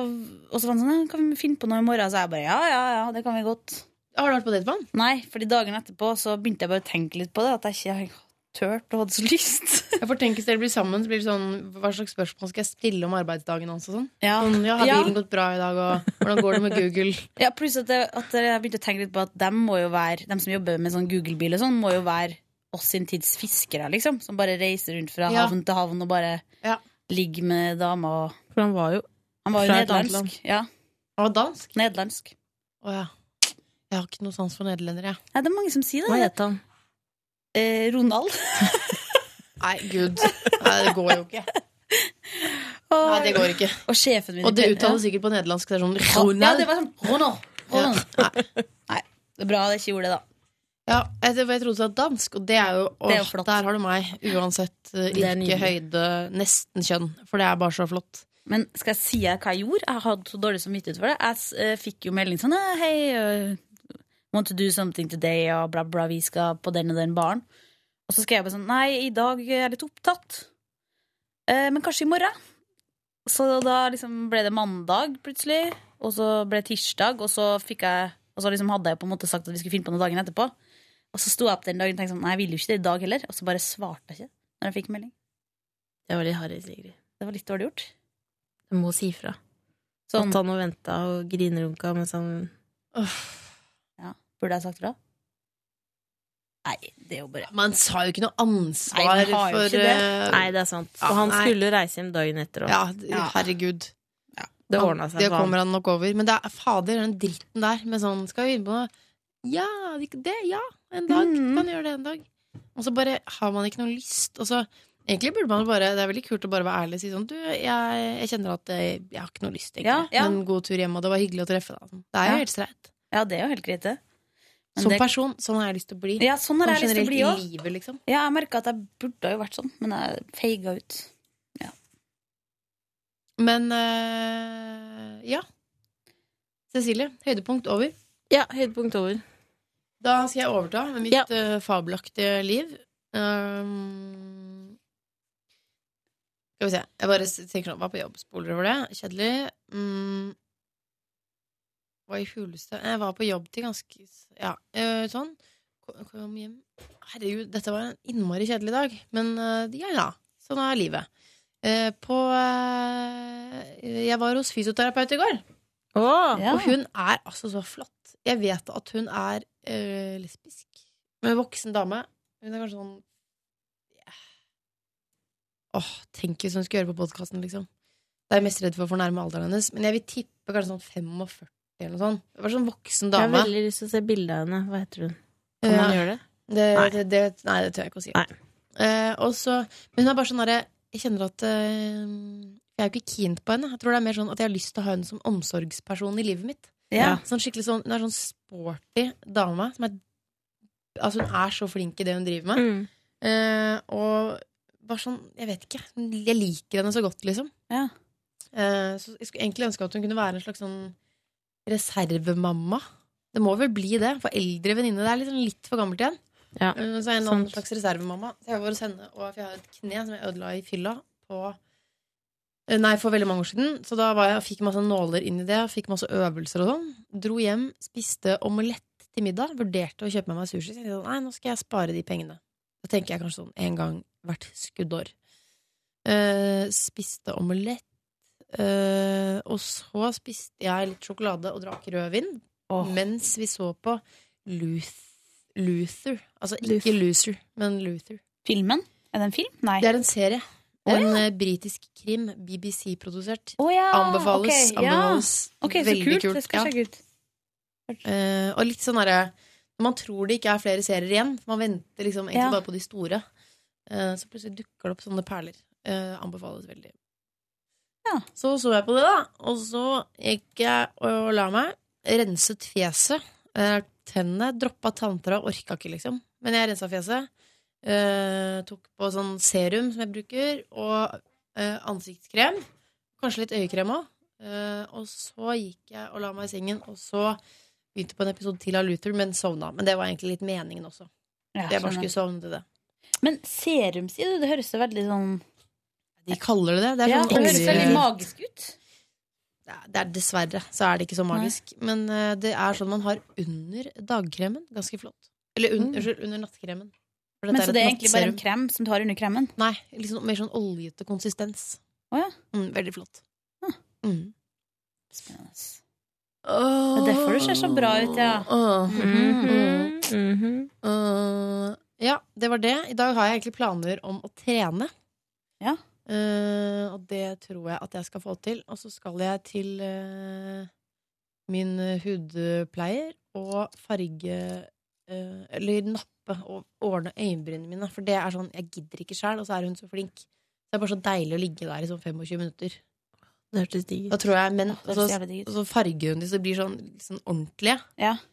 Speaker 18: og så var han sånn, «Ja, kan vi finne på noe i morgen? Så jeg bare, ja, ja, ja, det kan vi godt.
Speaker 2: Har du vært på date med han?
Speaker 18: Nei, fordi dagen etterpå så begynte jeg bare å tenke litt på det, at jeg ikke har tørt og hadde så lyst.
Speaker 2: Jeg får tenke Hvis dere blir sammen, så blir det sånn Hva slags spørsmål skal jeg stille om arbeidsdagen hans og sånn?
Speaker 18: Ja.
Speaker 2: Sånn, ja, har
Speaker 18: Ja.
Speaker 2: bilen gått bra i dag, og hvordan går det med Google?
Speaker 18: Ja, pluss at, jeg- at jeg begynte å tenke litt på at dem må jo være, dem som jobber med sånn Google-bil og sånn, må jo være oss sin tids fiskere, liksom. Som bare reiser rundt fra
Speaker 16: Ja.
Speaker 18: havn til havn og bare ligger med dama og
Speaker 16: For han var jo
Speaker 18: Han var jo
Speaker 16: fra et annet land.
Speaker 18: nederlandsk. Ja.
Speaker 2: Han var dansk?
Speaker 18: Nederlandsk.
Speaker 2: Å ja. Jeg har ikke noe sans for nederlendere, jeg.
Speaker 18: Nei, det er mange som sier det.
Speaker 16: Hva het han?
Speaker 18: Eh, Ronald.
Speaker 2: <laughs> Nei, gud. Nei, det går jo ikke. Nei, det går ikke.
Speaker 18: <laughs> Og sjefen min
Speaker 2: Og det uttales
Speaker 18: uttales
Speaker 2: sikkert på nederlandsk. Det er sånn
Speaker 18: Ja,
Speaker 2: Ronald.
Speaker 18: det var sånn Ronald. Ronald. Nei, det er bra at jeg ikke gjorde det, da.
Speaker 2: Ja, jeg, jeg trodde det var dansk, og det er jo,
Speaker 18: Det er jo
Speaker 2: åh,
Speaker 18: flott.
Speaker 2: Der har du meg. Uansett eh,
Speaker 18: Det er
Speaker 2: yrke,
Speaker 18: nydelig.
Speaker 2: høyde, nesten kjønn. For det er bare så flott.
Speaker 18: Men skal jeg si deg hva jeg gjorde? Jeg hadde så dårlig samvittighet for det. Jeg s- eh, fikk jo melding sånn eh, Hei, eh, want to do something today? Og bla, bla, vi skal på den og den baren. Og så skrev jeg bare sånn Nei, i dag er jeg litt opptatt. Eh, men kanskje i morgen? Så da liksom ble det mandag plutselig, og så ble det tirsdag, og så fikk jeg Og så liksom hadde jeg på en måte sagt at vi skulle finne på noe dagen etterpå. Og så sto jeg opp den dagen og tenkte sånn Nei, jeg ville jo ikke det i dag heller. Og så bare svarte jeg ikke når jeg fikk melding.
Speaker 16: Det var litt harry, Sigrid.
Speaker 18: Det var litt dårlig gjort.
Speaker 16: Du må si fra.
Speaker 18: Sånn.
Speaker 16: At han og venta og sånn- grinerunka mens han
Speaker 18: Ja. Burde jeg sagt fra? Nei, det er jo bare
Speaker 2: Man sa jo ikke noe ansvar
Speaker 16: Nei, man har jo
Speaker 2: for eh,
Speaker 16: ikke det. Nei, det er sant. Og han skulle reise hjem dagen etter også.
Speaker 2: Ja, d- herregud.
Speaker 16: Det ordna seg.
Speaker 2: Det
Speaker 16: for han.
Speaker 2: kommer han nok over. Men det er fader, den dritten der med sånn Skal vi begynne på Ja,
Speaker 18: Mm.
Speaker 2: vi- det, ja. En dag. Kan gjøre det en dag. Og så bare har man ikke noe lyst. Og så Egentlig burde man bare, Det er veldig kult å bare være ærlig og si sånn Du, jeg, jeg kjenner at eh, jeg har ikke noe lyst, egentlig.
Speaker 18: Ja, ja.
Speaker 2: Men god tur hjem, og det var hyggelig å treffe deg. Sånn. Det er jo
Speaker 18: Ja.
Speaker 2: helt streit.
Speaker 18: Ja, det er jo helt greit, det. Men
Speaker 2: Som
Speaker 18: det-
Speaker 2: person, sånn har jeg lyst til å bli.
Speaker 18: Ja, sånn har
Speaker 2: Sånn
Speaker 18: jeg lyst til
Speaker 2: generelt
Speaker 18: å bli
Speaker 2: i
Speaker 18: òg.
Speaker 2: livet, liksom.
Speaker 18: Ja, jeg merka at jeg burde jo vært sånn, men jeg feiga ut.
Speaker 2: Men eh, ja. Cecilie, høydepunkt over.
Speaker 16: Ja, høydepunkt over.
Speaker 2: Da skal jeg overta med mitt eh, fabelaktige liv. Ehm, skal vi se. Jeg bare s- tenker om hva på jobb. Spoler over det. Kjedelig. Mm. Hva i huleste Jeg var på jobb til ganske s- Ja, eh, sånn. Ko- Kom hjem Herregud, dette var en innmari kjedelig dag. Men eh, ja, ja. Sånn er livet. Eh, på eh, Jeg var hos fysioterapeut i går.
Speaker 16: Ja.
Speaker 2: Og hun er altså så flott. Jeg vet at hun er eh, lesbisk. Men voksen dame. Hun er kanskje sånn Åh, tenk hvis hun skulle høre på podkasten, liksom. Da er jeg mest redd for å fornærme alderen hennes. Men jeg vil tippe kanskje sånn 45 eller noe sånt. Det var sånn voksen
Speaker 16: Jeg har
Speaker 2: dame.
Speaker 16: veldig lyst til å se bilde av henne. Hva heter hun? Kan man
Speaker 2: Ja.
Speaker 16: gjøre det?
Speaker 2: Det,
Speaker 16: Nei.
Speaker 2: Det, det, nei, det tør jeg ikke å si. Eh, og så, men hun er bare sånn derre Jeg kjenner at eh, Jeg er jo ikke keen på henne. Jeg tror det er mer sånn at jeg har lyst til å ha henne som omsorgsperson i livet mitt.
Speaker 18: Ja.
Speaker 2: Sånn skikkelig sånn Hun er sånn sporty dame. Som er, altså hun er så flink i det hun driver med. Eh, og bare sånn Jeg vet ikke. hun- Jeg liker henne så godt, liksom. Eh, så jeg skulle egentlig ønske at hun kunne være en slags sånn reservemamma. Det må vel bli det, for eldre venninne det er liksom litt for gammelt igjen.
Speaker 16: Ja,
Speaker 2: Eh, så er jeg en
Speaker 3: Sånn.
Speaker 2: annen
Speaker 16: sant.
Speaker 2: slags reservemamma. Så jeg var hos henne, og for jeg har et kne som jeg ødela i fylla på eh, Nei, for veldig mange år siden. Så da var jeg, og fikk <laughs> masse nåler inn i det, og fikk masse øvelser og sånn. Dro hjem, spiste omelett til middag, vurderte å kjøpe med meg sushi. Så jeg tenkte sånn, nei, nå skal jeg spare de pengene. Da tenker jeg kanskje sånn en gang hvert skuddår. Eh, spiste omelett. eh, og så spiste jeg litt sjokolade og drakk rødvin mens vi så på Luth Luther. Altså ikke Loser, men Luther.
Speaker 18: Filmen? Er det en film? Nei.
Speaker 2: Det er en serie.
Speaker 18: Å,
Speaker 2: en
Speaker 18: ja.
Speaker 2: eh, britisk krim. BBC-produsert.
Speaker 18: ja,
Speaker 2: Anbefales.
Speaker 18: ok, ja.
Speaker 2: anbefales.
Speaker 18: Ok, så kult, det skal jeg sjekke ut.
Speaker 2: Eh, og litt sånn derre Man tror det ikke er flere serier igjen. for Man venter liksom egentlig
Speaker 18: Ja.
Speaker 2: bare på de store. Eh, så plutselig dukker det opp sånne perler. Eh, anbefales veldig. Så så jeg på det, da. Og så gikk jeg og la meg. Renset fjeset. Eh, tennene. Droppa tanntråd. Orka ikke, liksom. Men jeg rensa fjeset. Eh, tok på sånn serum som jeg bruker, og eh, ansiktskrem. Kanskje litt øyekrem òg. Eh, og så gikk jeg og la meg i sengen, og så begynte på en episode til av Luther, men sovna. Men det var egentlig litt meningen også.
Speaker 18: Ja,
Speaker 2: jeg bare
Speaker 18: skjønner.
Speaker 2: skulle sovne til det.
Speaker 18: Men serum, sier du? Det høres jo veldig sånn
Speaker 2: De kaller det det. Det, er
Speaker 18: ja,
Speaker 2: sånn
Speaker 18: det høres
Speaker 2: olje-
Speaker 18: veldig magisk ut.
Speaker 2: det er Dessverre så er det ikke så magisk. Men eh, det er sånn man har under dagkremen. Ganske flott. Eller un,
Speaker 18: Mm.
Speaker 2: unnskyld, under nattkremen. For dette
Speaker 18: Men så
Speaker 2: et
Speaker 18: det er egentlig bare en
Speaker 2: nattserum.
Speaker 18: krem som du har under kremen?
Speaker 2: Nei, liksom mer sånn oljete konsistens. Mm, veldig flott. Mm.
Speaker 18: Spennende. Det er derfor du ser så bra ut, ja.
Speaker 2: Åh.
Speaker 18: Mhm.
Speaker 17: Mm. Mm-hmm.
Speaker 2: Eh, ja, det var det. I dag har jeg egentlig planer om å trene. Eh, og det tror jeg at jeg skal få til. Og så skal jeg til eh, min eh, hudpleier og farge eh, Eller nappe og ordne øyenbrynene mine. For det er sånn, jeg gidder ikke sjæl, og så er hun så flink. Det er bare så deilig å ligge der i sånn 25 minutter.
Speaker 16: Det hørtes digg ut.
Speaker 2: Da tror jeg, men,
Speaker 16: Åh, det
Speaker 2: og,
Speaker 16: er så
Speaker 2: så,
Speaker 16: jævlig digg ut.
Speaker 2: og så farger hun de, så det blir sånn, sånn ordentlige.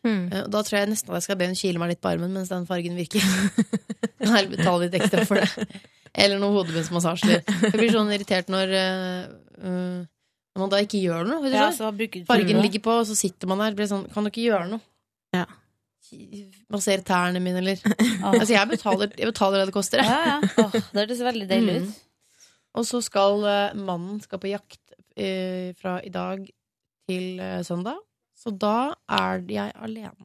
Speaker 16: Mm.
Speaker 2: Eh, og Da tror jeg nesten at jeg skal be hun kile meg litt på armen mens den fargen virker. <laughs> Eller betale litt ekstra for det. Eller noe hodebunnsmassasje. Jeg blir sånn irritert når eh, eh, Når man da ikke gjør noe. vet du
Speaker 18: Ja,
Speaker 2: sånn.
Speaker 18: så bruker du
Speaker 2: Fargen
Speaker 18: tiden.
Speaker 2: ligger på, og så sitter man der og blir sånn Kan du ikke gjøre noe? Massere tærne mine, eller Altså, jeg betaler, jeg betaler det det koster. jeg.
Speaker 18: Ja, ja. Åh, det hørtes veldig deilig ut.
Speaker 2: Og så skal eh, mannen skal på jakt eh, fra i dag til eh, søndag. Så da er jeg alene.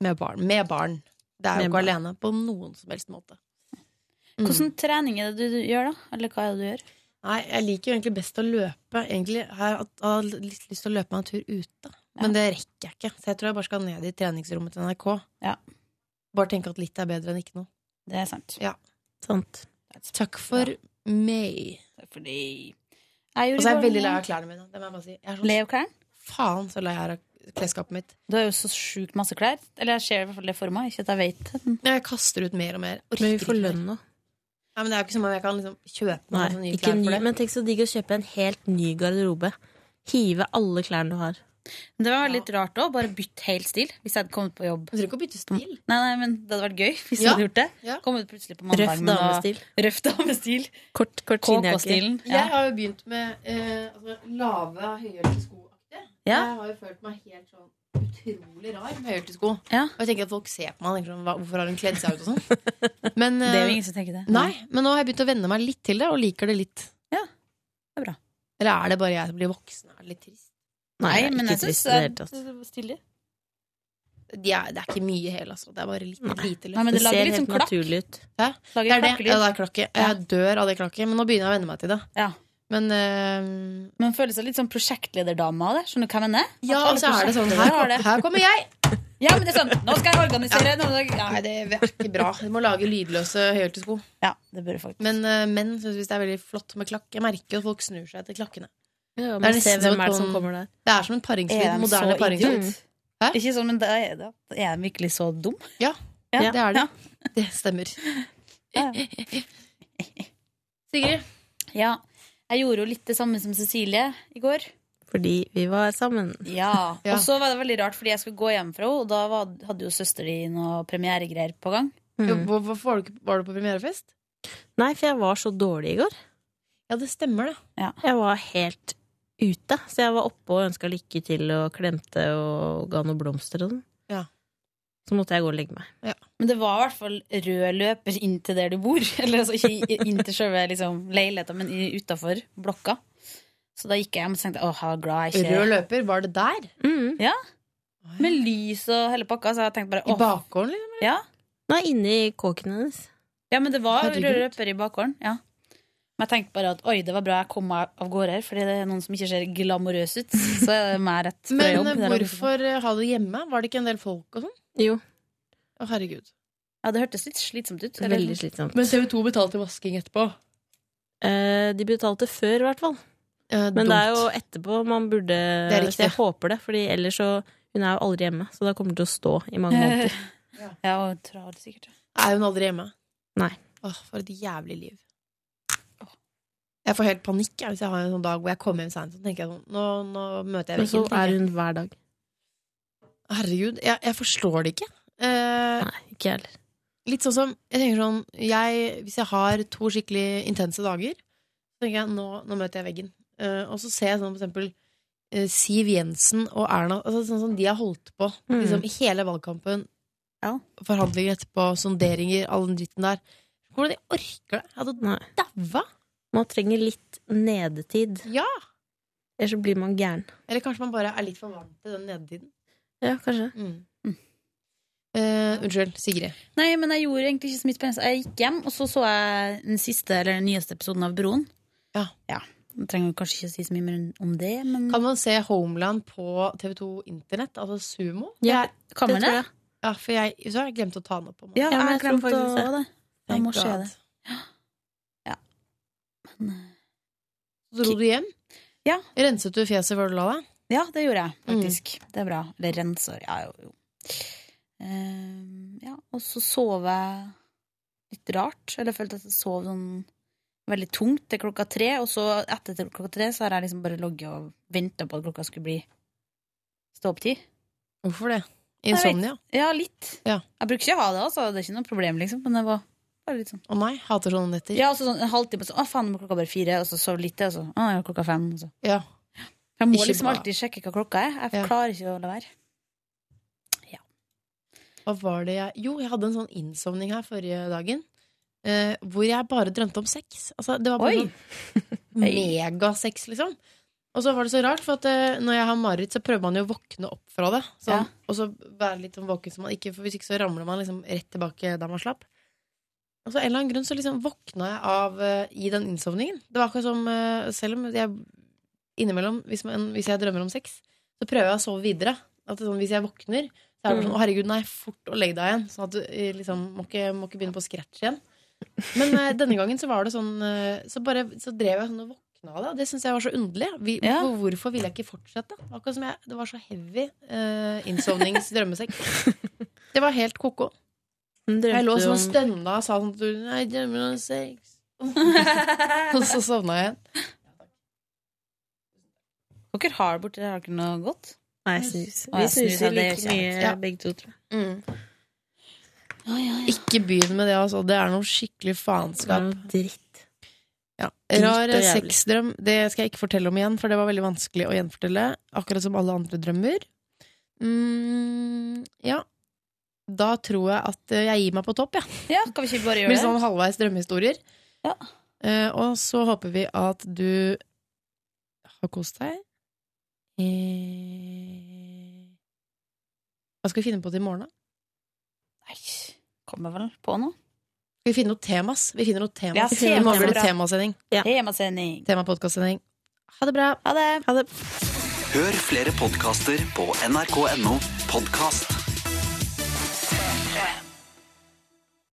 Speaker 2: Med barn. Med barn. Det er jo
Speaker 18: Med
Speaker 2: ikke
Speaker 18: barn.
Speaker 2: alene på noen som helst måte.
Speaker 18: Mm. Hvordan trening er det du gjør, da? Eller hva er det du gjør?
Speaker 2: Nei, jeg liker jo egentlig best å løpe. Egentlig har jeg hatt- har litt lyst til å løpe meg en tur ute, men det rekker jeg ikke. Så jeg tror jeg bare skal ned i treningsrommet til NRK. Bare tenke at litt er bedre enn ikke noe.
Speaker 18: Det er sant.
Speaker 2: Ja.
Speaker 16: Sant.
Speaker 2: Takk for meg.
Speaker 18: Fordi
Speaker 2: Og så er Altså, jeg veldig lei av klærne mine. Det må jeg bare si. Jeg er sånn-
Speaker 18: Lei av klærne?
Speaker 2: Faen så lei jeg er av klesskapet mitt.
Speaker 18: Du har jo så sjukt masse klær. Eller jeg ser i hvert fall det for meg. Ikke at jeg vet det.
Speaker 2: Jeg kaster ut mer og mer.
Speaker 16: Men vi får lønn nå.
Speaker 2: Ja, men det er jo ikke som om jeg kan liksom kjøpe meg
Speaker 16: Nei,
Speaker 2: noen nye
Speaker 16: ikke
Speaker 2: klær
Speaker 16: sånn ny,
Speaker 2: for det.
Speaker 16: men tenk så digg å kjøpe en helt ny garderobe. Hive alle klærne du har.
Speaker 18: Men det var litt rart òg, bare bytt helt stil. Hvis jeg hadde kommet på jobb.
Speaker 2: Du trenger ikke å bytte stil.
Speaker 18: Nei, nei, men Det hadde vært gøy hvis jeg
Speaker 16: Ja,
Speaker 18: hadde gjort det.
Speaker 2: ja.
Speaker 18: Kom ut plutselig på mandag
Speaker 16: Røff
Speaker 18: med noe-
Speaker 16: damestil.
Speaker 18: Røff damestil.
Speaker 16: Kort, kort
Speaker 18: KK-stilen.
Speaker 2: Jeg har jo begynt med eh, altså, lave, høyhælte sko.
Speaker 18: Ja.
Speaker 2: Jeg har jo følt meg helt sånn utrolig rar med høyhælte sko. Og jeg tenker at folk ser på meg og tenker sånn, hva- hvorfor har hun kledd seg ut og sånn.
Speaker 18: <laughs>
Speaker 2: Men,
Speaker 18: Det er
Speaker 2: eh,
Speaker 18: jo ingen som tenker det.
Speaker 2: Nei, men nå har jeg begynt å venne meg litt til det, og liker det litt.
Speaker 18: Ja, det er bra.
Speaker 2: Eller er det bare jeg som blir voksen? Er det litt trist?
Speaker 18: Nei, Nei, men ikke jeg synes trist i det hele tatt.
Speaker 2: stilig. De er, det er ikke mye hæl, altså. Det er bare litt, lite løft.
Speaker 18: Nei, men det Det lager ser litt helt sånn klakk. naturlig
Speaker 16: ut.
Speaker 2: Hæ? Det
Speaker 18: Lager
Speaker 2: er det.
Speaker 18: klakkelyd.
Speaker 2: Ja, det er klakket. Jeg dør av det klakket, men nå begynner jeg å venne meg til det. Men eh,
Speaker 18: Man føler seg litt sånn prosjektlederdame av det. Skjønner du hva jeg mener?
Speaker 2: Ja,
Speaker 18: At alle
Speaker 2: og så er det sånn,
Speaker 18: prosjektledere
Speaker 2: her-
Speaker 18: har det.
Speaker 2: her kommer jeg!
Speaker 18: Ja, men det er sånn, nå skal jeg organisere nå skal jeg- ja.
Speaker 2: Nei, det er ikke bra. Du må lage lydløse høyhælte sko.
Speaker 18: Ja, det burde faktisk
Speaker 2: Men eh, menn syns visst det er veldig flott med klakk. Jeg merker jo at folk snur seg til klakkene.
Speaker 16: Ja, man
Speaker 2: Det er nesten
Speaker 16: ser hvem
Speaker 2: et
Speaker 16: er det som
Speaker 2: sånn-
Speaker 16: kommer der.
Speaker 2: Det er som en
Speaker 18: Er
Speaker 2: paringsflid.
Speaker 18: de
Speaker 2: Moderne
Speaker 18: så
Speaker 2: paringsflid.
Speaker 18: idiot? Ikke sånn, men da er, da er de virkelig så dum.
Speaker 2: Ja,
Speaker 18: Ja.
Speaker 2: det er det. Det stemmer. Sigrid?
Speaker 18: Ja. Jeg gjorde jo litt det samme som Cecilie i går.
Speaker 16: Fordi vi var sammen.
Speaker 18: Ja. Og så var det veldig rart, fordi jeg skulle gå hjem fra henne, og da var, hadde jo søster di noe premieregreier på gang.
Speaker 16: Mm. Jo,
Speaker 2: Hvorfor var du, ikke- var du på premierefest?
Speaker 16: Nei, for jeg var så dårlig i går.
Speaker 2: Ja, det stemmer, det.
Speaker 16: Jeg var helt ute. Så jeg var oppe og ønska lykke til og klemte og ga noen blomster og sånn.
Speaker 2: Ja.
Speaker 16: Så måtte jeg gå og legge meg.
Speaker 18: Men det var i hvert fall rød løper inn til der du bor. <laughs> Eller altså ikke i- inn til selve liksom, leiligheta, men utafor blokka. Så da gikk jeg hjem og tenkte åh, jeg er glad jeg ikke Mm.
Speaker 2: Rød løper, var det der?
Speaker 18: Ja. Med lys og hele pakka. Så jeg tenkte bare åh.
Speaker 2: I bakgården, liksom?
Speaker 18: Ja.
Speaker 16: Nå er inni kåken hennes.
Speaker 18: ja, men det var
Speaker 16: Herregud.
Speaker 18: rød løper i bakgården. Ja. Men jeg tenkte bare at oi, det var bra jeg kom meg av gårde her, fordi det er noen som ikke ser glamorøs ut. Så er det meg rett fra
Speaker 2: Men
Speaker 18: jobb.
Speaker 2: eh,
Speaker 18: der jeg bor.
Speaker 2: hvorfor eh, ha det hjemme? Var det ikke en del folk og sånn?
Speaker 16: Jo.
Speaker 2: Å, herregud.
Speaker 18: Ja, det hørtes litt slitsomt ut.
Speaker 16: Veldig slitsomt.
Speaker 2: Men TV2 betalte vasking etterpå.
Speaker 16: Eh, de betalte før, i hvert fall. Men det er jo etterpå man burde
Speaker 2: Det er riktig.
Speaker 16: Så jeg håper det, Fordi ellers så Hun er jo aldri hjemme, så da kommer hun til å stå i
Speaker 18: <laughs>
Speaker 16: mange måneder.
Speaker 18: Eh, Ja, ja og travelt sikkert.
Speaker 2: Er hun aldri hjemme?
Speaker 16: Nei.
Speaker 2: Åh, for et jævlig liv. Jeg får helt panikk jeg, hvis jeg har en sånn dag hvor jeg kommer hjem seint. Så tenker jeg sånn, nå, nå møter jeg
Speaker 16: Men så
Speaker 2: veggen. tenker
Speaker 16: er
Speaker 2: jeg.
Speaker 16: hun hver dag.
Speaker 2: Herregud, jeg, jeg forstår det ikke. Nei,
Speaker 16: ikke heller.
Speaker 2: Litt sånn som Jeg tenker sånn jeg, Hvis jeg har to skikkelig intense dager, så tenker jeg nå, nå møter jeg veggen. Eh, og så ser jeg sånn for eksempel eh, Siv Jensen og Erna altså Sånn som de har holdt på
Speaker 16: Mm.
Speaker 2: liksom, i hele valgkampen. Forhandlinger etterpå, sonderinger, all den dritten der. Hvordan de orker det? Altså, Jeg hadde daua!
Speaker 16: Man trenger litt nedetid.
Speaker 2: Ja!
Speaker 16: Ellers så blir man gæren.
Speaker 2: Eller kanskje man bare er litt for vant til den nedetiden.
Speaker 16: Ja, kanskje.
Speaker 2: Mm. Eh, unnskyld, Sigrid.
Speaker 18: Nei, men jeg gjorde egentlig ikke så mye spennende. så Jeg gikk hjem, og så så jeg den siste, eller den nyeste episoden av Broen.
Speaker 2: Ja.
Speaker 18: Jeg trenger kanskje ikke å si så mye mer om det, men
Speaker 2: Kan man se Homeland på TV2 Internett, altså Sumo?
Speaker 18: Ja, kan man det?
Speaker 2: tror jeg. Ja, for jeg, så har jeg glemt å ta den opp. på meg.
Speaker 18: Ja, jeg glemte faktisk det. Jeg må
Speaker 2: Thank
Speaker 18: se
Speaker 2: God.
Speaker 18: det. eh,
Speaker 2: Så dro du hjem?
Speaker 18: Ja.
Speaker 2: Renset du fjeset før du la deg? Mm.
Speaker 18: Ja, det gjorde jeg, faktisk. Det er bra. Eller renser. Ja, jo, jo. Ehm, ja, og så sov jeg litt rart. Eller jeg følte at jeg sov sånn veldig tungt til klokka tre. Og så etter til klokka tre så har jeg liksom bare ligget og venta på at klokka skulle bli stå-opp-tid.
Speaker 2: Hvorfor det? Insomnia?
Speaker 18: Jeg vet- Ja, litt.
Speaker 2: Ja.
Speaker 18: Jeg bruker ikke å ha det, altså. Det er ikke noe problem, liksom. Men det var bare litt sånn.
Speaker 2: Å nei, hater sånne netter.
Speaker 18: Ja, og så sånn en halvtime, så å faen, nå er klokka bare fire, og så sov litt altså. til, og så å Ah, ja, klokka fem, altså. og så.
Speaker 2: Ja.
Speaker 18: Jeg må
Speaker 2: Ikke
Speaker 18: liksom
Speaker 2: bra.
Speaker 18: alltid sjekke hva klokka er. Jeg klarer ikke å la være.
Speaker 2: Hva var det jeg Jo, jeg hadde en sånn innsovning her forrige dagen. eh, hvor jeg bare drømte om sex. Altså, det var bare
Speaker 18: Oi. <laughs>
Speaker 2: sånn megasex, liksom. Og så var det så rart, for at eh, når jeg har mareritt, så prøver man jo å våkne opp fra det. Sånn, Og så være litt sånn våken, så man ikke, for hvis ikke så ramler man liksom rett tilbake der man slapp. Og så av en eller annen grunn så liksom våkna jeg av eh, i den innsovningen. Det var akkurat som eh, Selv om jeg innimellom, hvis, man, hvis jeg drømmer om sex, så prøver jeg å sove videre. At det er sånn, hvis jeg våkner, så er det bare sånn Å, herregud, nei, fort å legge deg igjen. Sånn at du eh, liksom må ikke, må ikke begynne på scratch igjen. Men eh, denne gangen så var det sånn eh, Så, bare, så drev jeg sånn og våkna av det. og Det syns jeg var så underlig. Vi,
Speaker 18: Ja.
Speaker 2: hvor- Hvorfor ville jeg ikke fortsette? Akkurat som jeg, Det var så heavy eh, innsovnings-drømmesekk. Det var helt ko-ko. Jeg lå sånn og stønna og sa sånn til Nei, jeg drømmer om sex. <laughs> og så sovna jeg igjen.
Speaker 18: Dere har borti der, har dere noe godt?
Speaker 16: Nei, snus.
Speaker 18: Å,
Speaker 16: Vi
Speaker 18: ja, snus, ja,
Speaker 16: snuser
Speaker 18: det gjør
Speaker 16: like
Speaker 18: ikke jeg.
Speaker 16: mye
Speaker 18: Ja.
Speaker 16: begge to, tror jeg.
Speaker 2: Ikke begynn med det, altså. Det er noe skikkelig faenskap.
Speaker 16: Dritt.
Speaker 2: Ja.
Speaker 16: Dritt
Speaker 2: Rar
Speaker 16: og jævlig.
Speaker 2: sexdrøm. Det skal jeg ikke fortelle om igjen, for det var veldig vanskelig å gjenfortelle. Akkurat som alle andre drømmer. Mm, ja. Da tror jeg at eh, jeg gir meg på topp, jeg.
Speaker 18: Ja, kan vi ikke bare gjøre
Speaker 2: Med
Speaker 18: det?
Speaker 2: sånn halvveis drømmehistorier. Eh, og så håper vi at du har kost deg. Eh, Hva skal vi finne på til i morgen, da?
Speaker 18: Kommer vel på noe.
Speaker 2: Skal vi finne noe temas? Vi finner noe tema.
Speaker 18: Ja,
Speaker 2: I morgen blir
Speaker 18: tema.
Speaker 2: det temasending.
Speaker 18: Temasending.
Speaker 2: Temapodkastsending. Ha det bra.
Speaker 18: Ha det.
Speaker 19: Hør flere podkaster på nrk.no podkast.